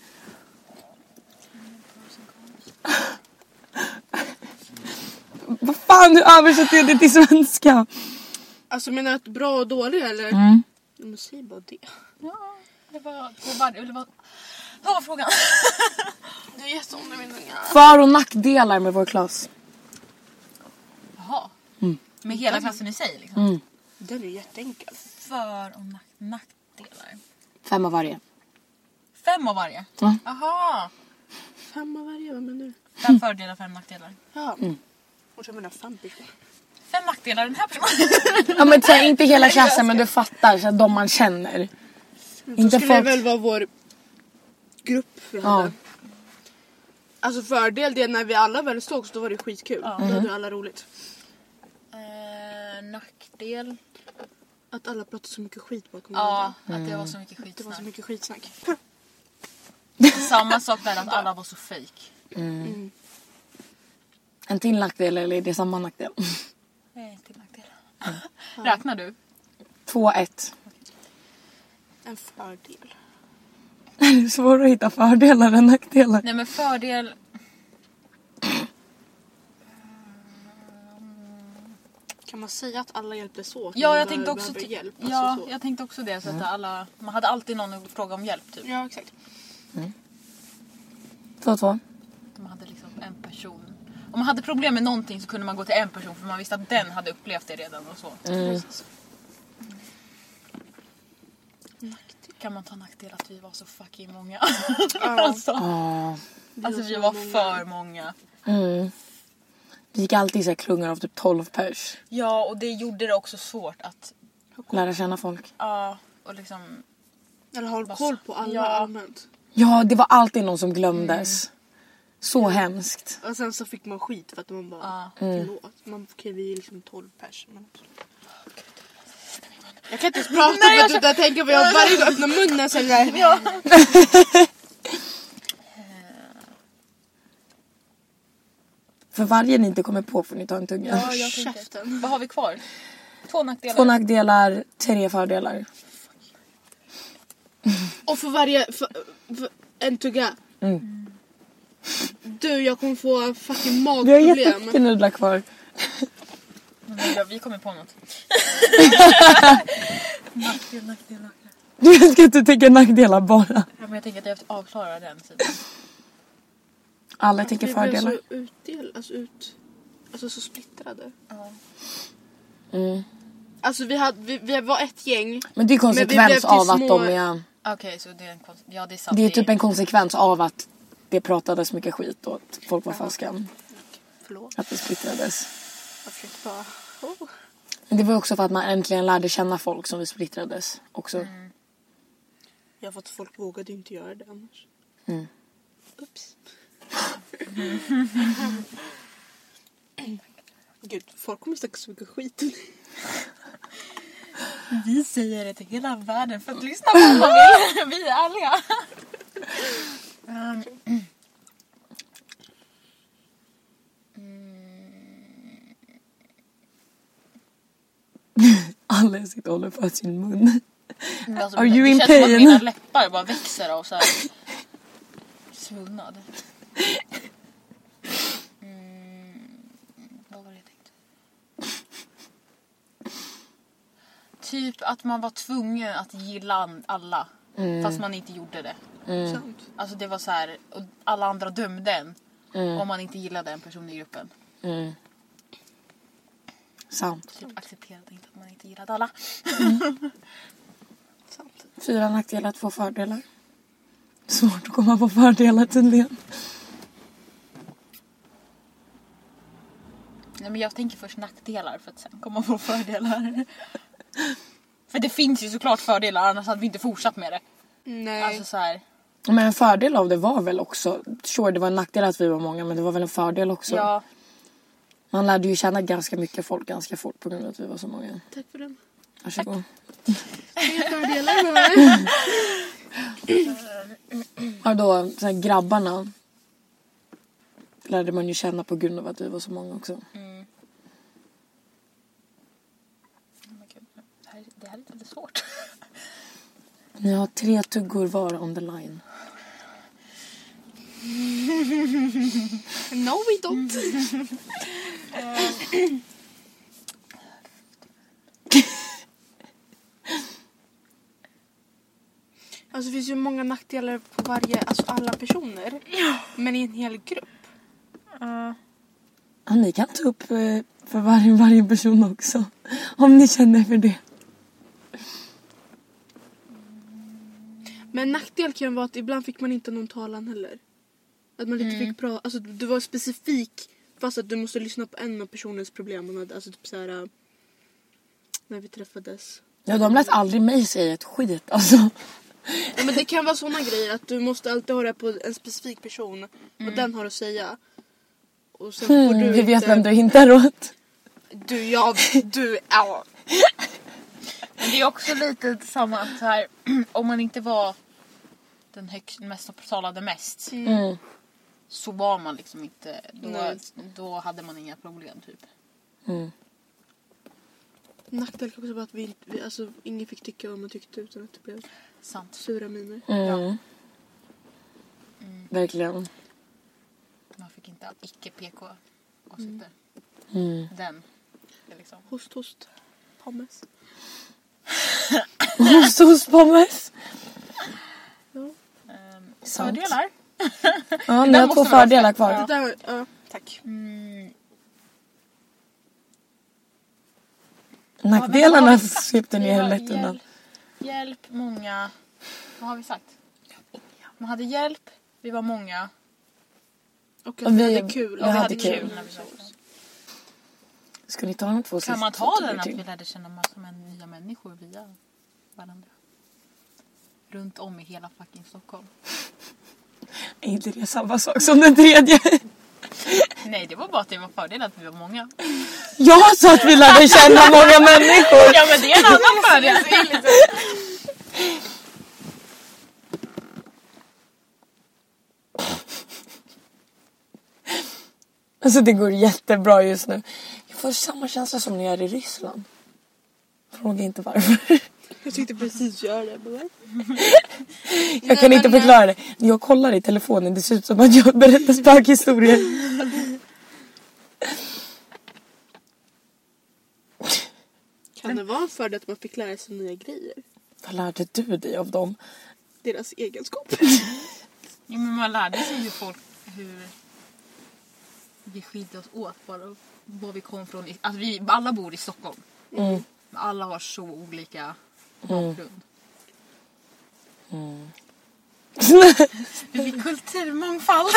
[SPEAKER 4] vad fan, hur översätter jag det till svenska?
[SPEAKER 2] Alltså menar du att bra och dåliga eller?
[SPEAKER 4] Mm.
[SPEAKER 2] Men säg bara det.
[SPEAKER 3] Det var på varje... Det var, vad var frågan?
[SPEAKER 2] Det är jätteont i min tunga.
[SPEAKER 4] För och nackdelar med vår klass.
[SPEAKER 3] Jaha. Med hela klassen i sig liksom?
[SPEAKER 2] Den är jätteenkel.
[SPEAKER 3] För och nack, nackdelar.
[SPEAKER 4] Fem av varje.
[SPEAKER 3] Fem av varje?
[SPEAKER 4] Ja.
[SPEAKER 3] Aha.
[SPEAKER 2] Fem av varje, vad menar du?
[SPEAKER 3] Fem fördelar, fem nackdelar. Mm.
[SPEAKER 2] Ja. Och så menar jag fem personer.
[SPEAKER 3] Fem nackdelar den här personen.
[SPEAKER 4] Ja men så här, inte hela klassen men du fattar så här, de man känner.
[SPEAKER 2] Då
[SPEAKER 4] Inte
[SPEAKER 2] skulle det
[SPEAKER 4] folk.
[SPEAKER 2] väl vara vår grupp vi hade.
[SPEAKER 4] Ja.
[SPEAKER 2] Alltså fördel det är när vi alla väl sågs då var det skitkul. Då
[SPEAKER 3] Mm.
[SPEAKER 2] hade alla roligt.
[SPEAKER 3] Eh, nackdel?
[SPEAKER 2] Att alla pratade så mycket skit bakom
[SPEAKER 3] Ja,
[SPEAKER 2] varandra.
[SPEAKER 3] att det var så mycket
[SPEAKER 2] Det var
[SPEAKER 3] skitsnack.
[SPEAKER 2] så mycket skitsnack.
[SPEAKER 3] Samma sak där att alla var så fake.
[SPEAKER 4] En till nackdel eller är det samma nackdel?
[SPEAKER 3] Nej, till nackdel. Räknar du?
[SPEAKER 4] 2-1.
[SPEAKER 2] En fördel.
[SPEAKER 4] Det är svårare att hitta fördelar än nackdelar.
[SPEAKER 3] Nej men fördel...
[SPEAKER 2] Kan man säga att alla hjälptes åt? när
[SPEAKER 3] Ja,
[SPEAKER 2] man
[SPEAKER 3] jag tänkte
[SPEAKER 2] behöver
[SPEAKER 3] också, ty-
[SPEAKER 2] hjälp. Alltså,
[SPEAKER 3] ja,
[SPEAKER 2] så.
[SPEAKER 3] jag tänkte också det. Så att alla, man hade alltid någon att fråga om hjälp. Typ.
[SPEAKER 2] ja exakt.
[SPEAKER 4] 2-2.
[SPEAKER 3] Man hade liksom en person. Om man hade problem med någonting så kunde man gå till en person för man visste att den hade upplevt det redan. och så.
[SPEAKER 2] Precis.
[SPEAKER 3] Kan man ta nackdel att vi var så fucking många?
[SPEAKER 2] Ja.
[SPEAKER 3] alltså,
[SPEAKER 4] Ah.
[SPEAKER 3] alltså vi var för många.
[SPEAKER 4] Mm. Det gick alltid så här klungor av typ 12 pers.
[SPEAKER 3] Ja och det gjorde det också svårt att...
[SPEAKER 4] Lära känna folk.
[SPEAKER 3] Ja, och liksom...
[SPEAKER 2] Eller håll koll på alla
[SPEAKER 3] Ja.
[SPEAKER 2] allmänt.
[SPEAKER 4] Ja, det var alltid någon som glömdes.
[SPEAKER 2] Mm.
[SPEAKER 4] Så hemskt.
[SPEAKER 2] Och sen så fick man skit för att man bara
[SPEAKER 3] Ja.
[SPEAKER 2] förlåt. Man, okej vi är liksom 12 pers. Men... Jag kan inte ens prata Nej, för att jag tänker på jag varje gång jag öppnar munnen så är det där.
[SPEAKER 4] För varje ni inte kommer på får ni ta en tugga.
[SPEAKER 3] Ja, jag tänkte-
[SPEAKER 2] Käften.
[SPEAKER 3] Vad har vi kvar? Två nackdelar.
[SPEAKER 4] Två nackdelar, tre fördelar.
[SPEAKER 2] Och för varje... För, för, en tugga. Du jag kommer få fucking
[SPEAKER 4] Mm. Vi har
[SPEAKER 2] magproblem.
[SPEAKER 4] jättemycket nudlar kvar.
[SPEAKER 3] Men ja, vi kommer på något. nackdel, nackdel, nackdel.
[SPEAKER 4] Du ska inte tänka nackdelar bara.
[SPEAKER 3] Ja, men jag tänker att jag avklarar den sidan.
[SPEAKER 4] Alla tänker
[SPEAKER 2] Vi blev
[SPEAKER 4] fördelar.
[SPEAKER 2] så utdelade, alltså ut... Alltså så splittrade.
[SPEAKER 4] Mm.
[SPEAKER 2] Alltså vi, hade, vi, vi var ett gäng.
[SPEAKER 4] Men det är konsekvens
[SPEAKER 2] till
[SPEAKER 4] av att
[SPEAKER 2] små-
[SPEAKER 4] de är...
[SPEAKER 3] Ah, Okej, så det är en konst... Ja, det är sant.
[SPEAKER 4] Det är typ en konsekvens av att det pratades mycket skit och att folk var falska.
[SPEAKER 2] Förlåt,
[SPEAKER 4] Att det splittrades.
[SPEAKER 2] jag försökte bara... Oh.
[SPEAKER 4] Men det var ju också för att man äntligen lärde känna folk som vi splittrades också.
[SPEAKER 2] Mm. Ja för att folk vågade ju inte göra det annars.
[SPEAKER 4] Mm.
[SPEAKER 2] Ups. Gud, folk kommer snacka så mycket skit.
[SPEAKER 3] Vi säger det till hela världen för att lyssna på vad vi Vi är ärliga. um. Mm.
[SPEAKER 4] Alla sitter och håller för sin mun.
[SPEAKER 3] Men Alltså,
[SPEAKER 4] Are you
[SPEAKER 3] det
[SPEAKER 4] in
[SPEAKER 3] känns som att
[SPEAKER 4] pain?
[SPEAKER 3] mina läppar bara växer av så här svullnad. Mm, vad var det jag tänkte? Typ att man var tvungen att gilla alla.
[SPEAKER 4] Mm.
[SPEAKER 3] Fast man inte gjorde det.
[SPEAKER 2] Sant.
[SPEAKER 3] Alltså det var så här, och alla andra dömde en.
[SPEAKER 2] Mm.
[SPEAKER 3] Om man inte gillade en person i gruppen.
[SPEAKER 4] Mm. Sant.
[SPEAKER 3] Typ accepterade inte att man inte gillade alla.
[SPEAKER 2] Sant.
[SPEAKER 4] Fyra nackdelar, två fördelar. Svårt att komma på fördelar tydligen.
[SPEAKER 3] Nej men jag tänker först nackdelar för att sen komma på fördelar. för det finns ju såklart fördelar annars hade vi inte fortsatt med det.
[SPEAKER 2] Nej.
[SPEAKER 3] Alltså så här,
[SPEAKER 4] Men en fördel av det var väl också, sure det var en nackdel att vi var många men det var väl en fördel också.
[SPEAKER 3] ja.
[SPEAKER 4] Man lärde ju känna ganska mycket folk ganska fort på grund av att vi var så många.
[SPEAKER 2] Tack för den.
[SPEAKER 4] Varsågod.
[SPEAKER 2] Fördelar med
[SPEAKER 4] Ja, då, så här, grabbarna lärde man ju känna på grund av att vi var så många också.
[SPEAKER 3] Oh my God. Det här, det här är lite svårt.
[SPEAKER 4] Ni har tre tuggor var on the line.
[SPEAKER 2] No we don't. Alltså det finns ju många nackdelar på varje, alltså alla personer. Men i en hel grupp.
[SPEAKER 4] Ja, ni kan ta upp eh, för varje, varje person också. Om ni känner för det.
[SPEAKER 2] Men en nackdel kan ju vara att ibland fick man inte någon talan heller. Att man inte fick prata, alltså du var specifik fast att du måste lyssna på en av personens problem man hade. Alltså typ såhär äh, när vi träffades.
[SPEAKER 4] Ja, de lät aldrig mig säga ett skit alltså.
[SPEAKER 2] Ja, men det kan vara såna grejer att du måste alltid ha det på en specifik person och den har att säga. Och sen får
[SPEAKER 4] Hmm,
[SPEAKER 2] du
[SPEAKER 4] vi vet
[SPEAKER 2] inte-
[SPEAKER 4] vem du hintar åt.
[SPEAKER 2] Du, jag, du, ja.
[SPEAKER 3] Men det är också lite samma att så här, om man inte var den högst, mest talade mest
[SPEAKER 4] Mm.
[SPEAKER 3] så var man liksom inte, då,
[SPEAKER 2] Nej.
[SPEAKER 3] då hade man inga problem typ.
[SPEAKER 2] Nackdel kan också vara att vi, inte- vi alltså, ingen fick tycka vad man tyckte utan att det blev
[SPEAKER 3] Sant.
[SPEAKER 2] sura miner.
[SPEAKER 4] Mm. Verkligen.
[SPEAKER 3] Man fick inte all icke PK åsikter.
[SPEAKER 4] Mm.
[SPEAKER 3] Den. är Liksom.
[SPEAKER 2] Host, host, pommes.
[SPEAKER 4] Sospommes.
[SPEAKER 3] Ehm,
[SPEAKER 4] Sant.
[SPEAKER 3] fördelar?
[SPEAKER 4] Ja, ni
[SPEAKER 3] där
[SPEAKER 4] har två
[SPEAKER 3] måste man
[SPEAKER 4] fördelar
[SPEAKER 3] också-
[SPEAKER 4] kvar.
[SPEAKER 2] Det där, ja.
[SPEAKER 3] Tack. Mm,
[SPEAKER 4] Nackdelarna
[SPEAKER 3] Ja, men-
[SPEAKER 4] svepte ni
[SPEAKER 3] Ja,
[SPEAKER 4] helt lätt undan.
[SPEAKER 3] hjälp, hjälp, många. Vad har vi sagt? Man hade hjälp, vi var många
[SPEAKER 2] Och
[SPEAKER 4] Och
[SPEAKER 2] att
[SPEAKER 4] vi-
[SPEAKER 2] vi hade kul.
[SPEAKER 4] vi
[SPEAKER 3] och vi
[SPEAKER 4] hade
[SPEAKER 3] hade
[SPEAKER 4] kul.
[SPEAKER 3] kul. när vi sågs.
[SPEAKER 4] Ska ni ta de två sista
[SPEAKER 3] Kan man ta den
[SPEAKER 4] till?
[SPEAKER 3] att vi lärde känna massor med nya människor via varandra? Runt om i hela fucking Stockholm.
[SPEAKER 4] Är inte det samma sak som den tredje?
[SPEAKER 3] Nej, det var bara att det var fördel att vi var många.
[SPEAKER 4] Jag sa att vi lärde känna många människor!
[SPEAKER 3] Ja, men det är en annan fördel.
[SPEAKER 4] Alltså det går jättebra just nu. Jag får samma känsla som när jag är i Ryssland. Fråga inte varför.
[SPEAKER 2] Jag tänkte precis göra det. Men...
[SPEAKER 4] Jag kan inte förklara det. När jag kollar i telefonen det ser ut som att jag berättar spökhistorier.
[SPEAKER 2] Kan det vara en fördel att man fick lära sig nya grejer?
[SPEAKER 4] Vad lärde du dig av dem?
[SPEAKER 2] Deras egenskap.
[SPEAKER 3] Jo, men man lärde sig ju folk hur vi skilde oss åt bara var vi kom från. i- Att vi alla bor i Stockholm.
[SPEAKER 4] Mm.
[SPEAKER 3] Men alla har så olika bakgrund.
[SPEAKER 4] Mm.
[SPEAKER 3] Vi fick kulturmångfald.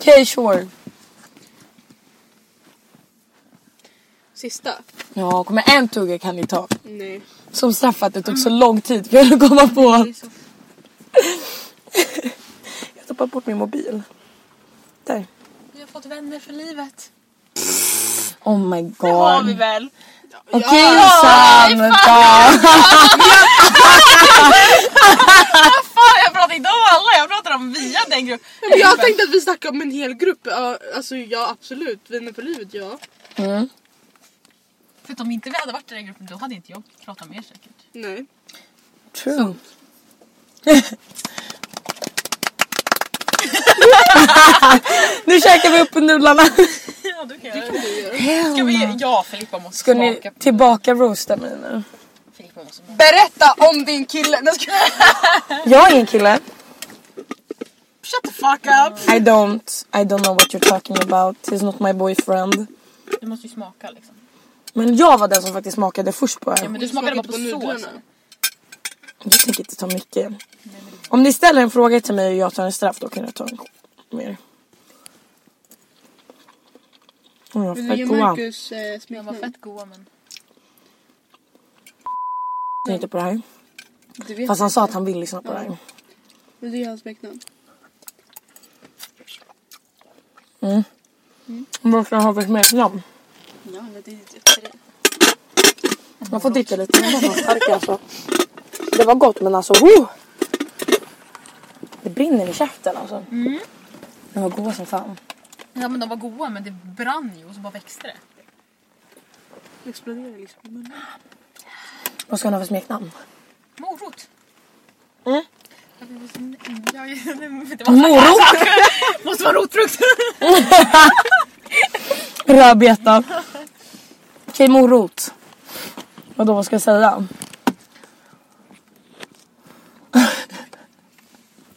[SPEAKER 4] Okej, sure.
[SPEAKER 2] Sista?
[SPEAKER 4] Ja, kommer en tugga kan ni ta.
[SPEAKER 2] Nej.
[SPEAKER 4] Som straff att det tog så lång tid för er att komma på.
[SPEAKER 3] Det är så
[SPEAKER 4] Jag tappade bort min mobil. Där.
[SPEAKER 3] Vi har fått vänner för livet.
[SPEAKER 4] Oh my
[SPEAKER 3] Det har vi
[SPEAKER 4] god.
[SPEAKER 3] väl.
[SPEAKER 4] Okej Sam.
[SPEAKER 3] Fan, jag pratar inte om alla, jag pratar om via den gruppen.
[SPEAKER 2] Men jag tänkte att vi snackade om en hel grupp. Ja, alltså ja absolut, vänner för livet ja.
[SPEAKER 4] Mm.
[SPEAKER 3] För att om inte vi hade varit i den gruppen då hade inte jag pratat med er säkert.
[SPEAKER 2] Nej.
[SPEAKER 4] True. nu käkar vi upp nudlarna.
[SPEAKER 8] Ja, du kan göra det.
[SPEAKER 4] Ska,
[SPEAKER 8] Ska vi, ja, Filippa måste
[SPEAKER 4] Ska ni
[SPEAKER 8] smaka.
[SPEAKER 4] tillbaka roasta mig nu?
[SPEAKER 3] Filippa måste
[SPEAKER 8] Berätta om din kille! Nej, ska...
[SPEAKER 4] Jag är ingen kille.
[SPEAKER 8] Shut the fuck up!
[SPEAKER 4] I don't, I don't know what you're talking about. He's not my boyfriend.
[SPEAKER 3] Du måste ju smaka liksom.
[SPEAKER 4] Men jag var den som faktiskt smakade först på det.
[SPEAKER 3] Men du smakade bara på,
[SPEAKER 2] nudlarna.
[SPEAKER 3] såsen.
[SPEAKER 4] Jag tänker inte ta mycket. Om ni ställer en fråga till mig och jag tar en straff då kan jag ta en mer. Oj, vad
[SPEAKER 2] Vill du ge
[SPEAKER 4] fett goa.
[SPEAKER 2] Marcus eh,
[SPEAKER 3] De var
[SPEAKER 2] smeknamn?
[SPEAKER 3] fett goda men.
[SPEAKER 4] Jag inte på det här.
[SPEAKER 2] Du vet
[SPEAKER 4] Fast han sa att han vill lyssna på det här.
[SPEAKER 2] Vill du ge hans smeknamn?
[SPEAKER 4] Vad ska jag ha för smeknamn?
[SPEAKER 2] Ja, men det är inte efter det.
[SPEAKER 4] Man får dricka lite. Den var fan stark alltså. Det var gott men alltså oh! Det brinner i käften alltså. Mm. Den var god som fan.
[SPEAKER 3] Ja men de var goda men det brann ju och så bara växte det.
[SPEAKER 2] Exploderar liksom. Men...
[SPEAKER 4] Vad ska han ha för smeknamn?
[SPEAKER 3] Morot.
[SPEAKER 4] Mm.
[SPEAKER 3] Ja, ja, det var-
[SPEAKER 4] Morot!
[SPEAKER 3] Måste vara rotfrukt.
[SPEAKER 4] Rödbeta. Okej morot. Vadå vad ska jag säga?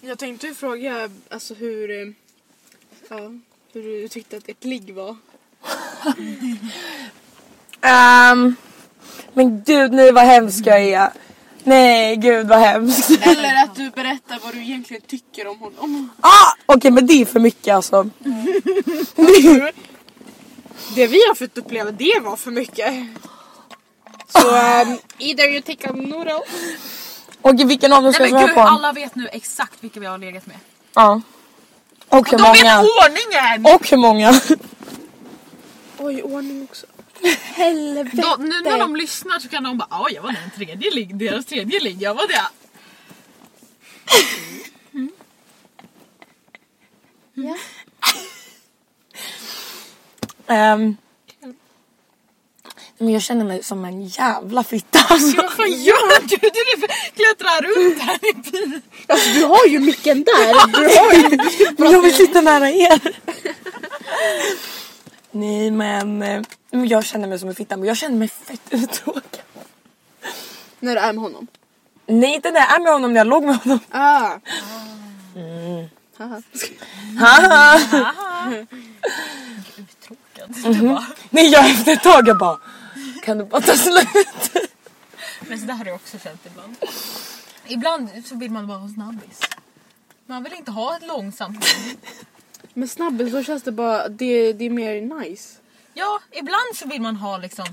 [SPEAKER 2] Jag tänkte ju fråga alltså, hur, eh, ja, hur du tyckte att ett ligg var.
[SPEAKER 4] Ehm, men gud ni vad hemsk jag är. Nej gud vad hemskt.
[SPEAKER 2] Eller att du berättar vad du egentligen tycker om honom.
[SPEAKER 4] Ah, Okej men det är för mycket alltså.
[SPEAKER 2] Det vi har fått uppleva det var för mycket. Så um, either you take a noodle.
[SPEAKER 4] Okej vilken av dem ska
[SPEAKER 3] Nej
[SPEAKER 4] jag
[SPEAKER 3] men
[SPEAKER 4] svara
[SPEAKER 3] gud
[SPEAKER 4] på?
[SPEAKER 3] alla vet nu exakt vilka vi har legat med.
[SPEAKER 4] Ja. Och hur
[SPEAKER 3] De vet
[SPEAKER 4] många.
[SPEAKER 3] ordningen!
[SPEAKER 4] Och hur många.
[SPEAKER 2] Oj, ordning också.
[SPEAKER 3] Då, nu när de lyssnar så kan de bara ja jag var den tredje ligg, deras tredje ligg, jag var det.
[SPEAKER 4] Ehm, men jag känner mig som en jävla fitta alltså.
[SPEAKER 3] Vad fan gör du? Du klättrar runt här i bilen.
[SPEAKER 2] Alltså, Du har ju micken där.
[SPEAKER 4] Men jag vill sitta nära er. Nej men. eh, men Jag känner mig som en fitta men jag känner mig fett uttråkad.
[SPEAKER 2] När du är med honom.
[SPEAKER 4] Nej inte när jag är med honom när jag låg med honom. Mm.
[SPEAKER 2] Ah. Haha.
[SPEAKER 4] Haha.
[SPEAKER 3] Uttråkad.
[SPEAKER 4] Mhm. Nej jag efter ett tag jag bara kan du bara ta slut?
[SPEAKER 3] Men så där har jag också känt ibland. Ibland så vill man vara en snabbis. Man vill inte ha ett långsamt liv.
[SPEAKER 2] Men snabben så känns det bara, det, det är mer nice.
[SPEAKER 3] Ja, ibland så vill man ha liksom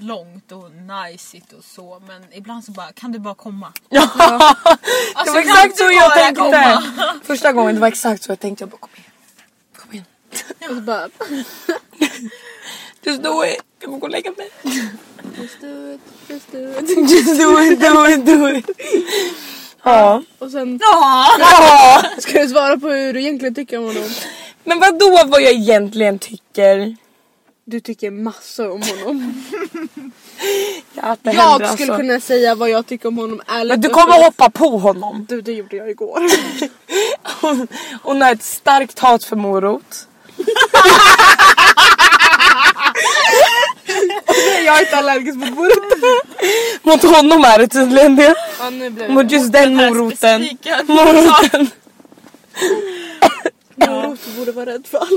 [SPEAKER 3] långt och najsigt och så men ibland så bara kan du bara komma?
[SPEAKER 4] Ja. Det
[SPEAKER 3] Alltså,
[SPEAKER 4] var
[SPEAKER 3] kan
[SPEAKER 4] exakt
[SPEAKER 3] du
[SPEAKER 4] så jag
[SPEAKER 3] bara
[SPEAKER 4] tänkte.
[SPEAKER 3] komma?
[SPEAKER 4] Första gången det var exakt så jag tänkte. Jag bara kom igen. Kom igen.
[SPEAKER 2] Och så bara,
[SPEAKER 4] Just do it. Jag får gå och lägga mig.
[SPEAKER 2] just do it, just do it.
[SPEAKER 4] Just do it, do it, do it. Ja.
[SPEAKER 2] Och sen
[SPEAKER 3] Ja!
[SPEAKER 4] ja.
[SPEAKER 2] ska du svara på hur du egentligen tycker om honom.
[SPEAKER 4] Men vad då vad jag egentligen tycker?
[SPEAKER 2] Du tycker massor om honom.
[SPEAKER 4] Ja, det händer,
[SPEAKER 2] Jag skulle
[SPEAKER 4] alltså.
[SPEAKER 2] kunna säga vad jag tycker om honom ärligt.
[SPEAKER 4] Men du
[SPEAKER 2] och
[SPEAKER 4] kommer
[SPEAKER 2] uppriktigt.
[SPEAKER 4] hoppa på honom.
[SPEAKER 2] Du, det gjorde jag igår.
[SPEAKER 4] Hon, hon har ett starkt hat för morot.
[SPEAKER 2] jag är inte allergisk mot morot.
[SPEAKER 4] Mot honom är det tydligen det.
[SPEAKER 2] Ja, nu blev det.
[SPEAKER 4] Mot just den moroten.
[SPEAKER 3] specifika.
[SPEAKER 4] Moroten.
[SPEAKER 2] Morot borde vara rädd för alla.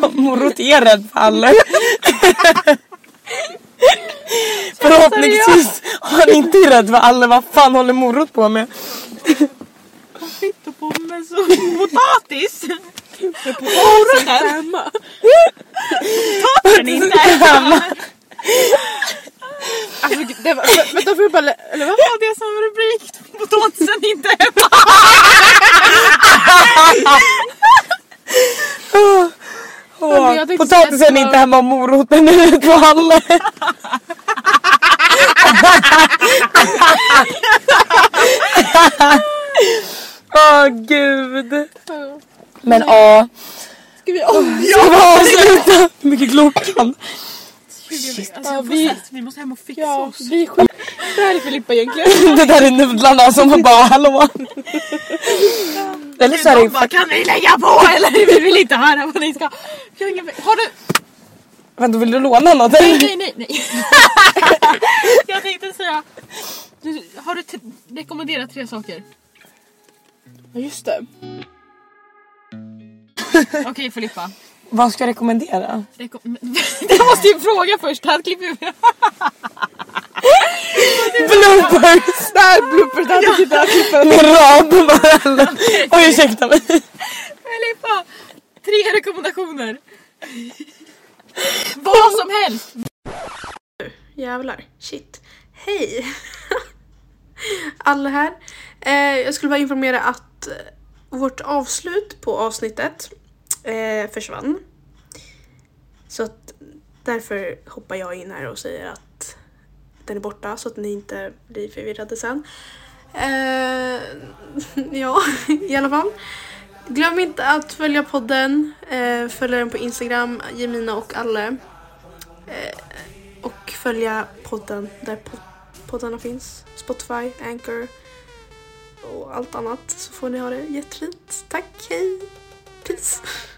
[SPEAKER 4] Ja, morot är rädd för alla. Förhoppningsvis har han inte är rädd för alla. Vad fan håller morot på med?
[SPEAKER 3] Pommes och potatis!
[SPEAKER 2] Femma.
[SPEAKER 3] Men inte
[SPEAKER 2] Alltså, det var, vä- vänta, får jag bara... lä- Eller va?
[SPEAKER 3] ha det som rubrik. Potatisen inte hemma.
[SPEAKER 2] men jag
[SPEAKER 4] Åh,
[SPEAKER 2] tänkte säga att
[SPEAKER 4] potatisen
[SPEAKER 2] det
[SPEAKER 4] är
[SPEAKER 2] var-
[SPEAKER 4] inte hemma och moroten är rädd för alla. Åh gud. Men ja.
[SPEAKER 2] Ska vi om?
[SPEAKER 4] Ska vi avsluta? Hur mycket klockan? Shit.
[SPEAKER 3] Alltså, jag får
[SPEAKER 9] vi-
[SPEAKER 3] stress, vi måste hem och fixa oss.
[SPEAKER 9] vi skit. Det här är Filippa egentligen.
[SPEAKER 4] Det där är nudlarna som var bara hallå.
[SPEAKER 9] Mm.
[SPEAKER 4] Eller så är det
[SPEAKER 3] De bara, kan ni lägga på eller? Vi vill inte höra vad ni ska... Jag har ingen... Har du...
[SPEAKER 4] Vänta vill du låna något?
[SPEAKER 3] Nej, nej, nej, nej. jag tänkte säga... Du, har du t- rekommenderat tre saker?
[SPEAKER 9] Ja just det.
[SPEAKER 3] Okej Filippa.
[SPEAKER 4] Vad ska jag rekommendera?
[SPEAKER 3] Rekom- jag måste ju fråga först, här klipper vi.
[SPEAKER 4] Bloopers!
[SPEAKER 9] Det här är bloopers, det här tycker inte jag klippen.
[SPEAKER 4] Med rad bara. Oj ursäkta mig.
[SPEAKER 3] Filippa! Tre rekommendationer. Vad som helst.
[SPEAKER 10] Jävlar. Shit. Hej! Alla här. Eh, jag skulle bara informera att eh, vårt avslut på avsnittet eh, försvann. Så att därför hoppar jag in här och säger att den är borta så att ni inte blir förvirrade sen. Eh, ja, i alla fall. Glöm inte att följa podden. Eh, följ den på Instagram, Jemina och Alle och följa podden där pod- poddarna finns. Spotify, Anchor och allt annat så får ni ha det jättefint. Tack, hej, peace!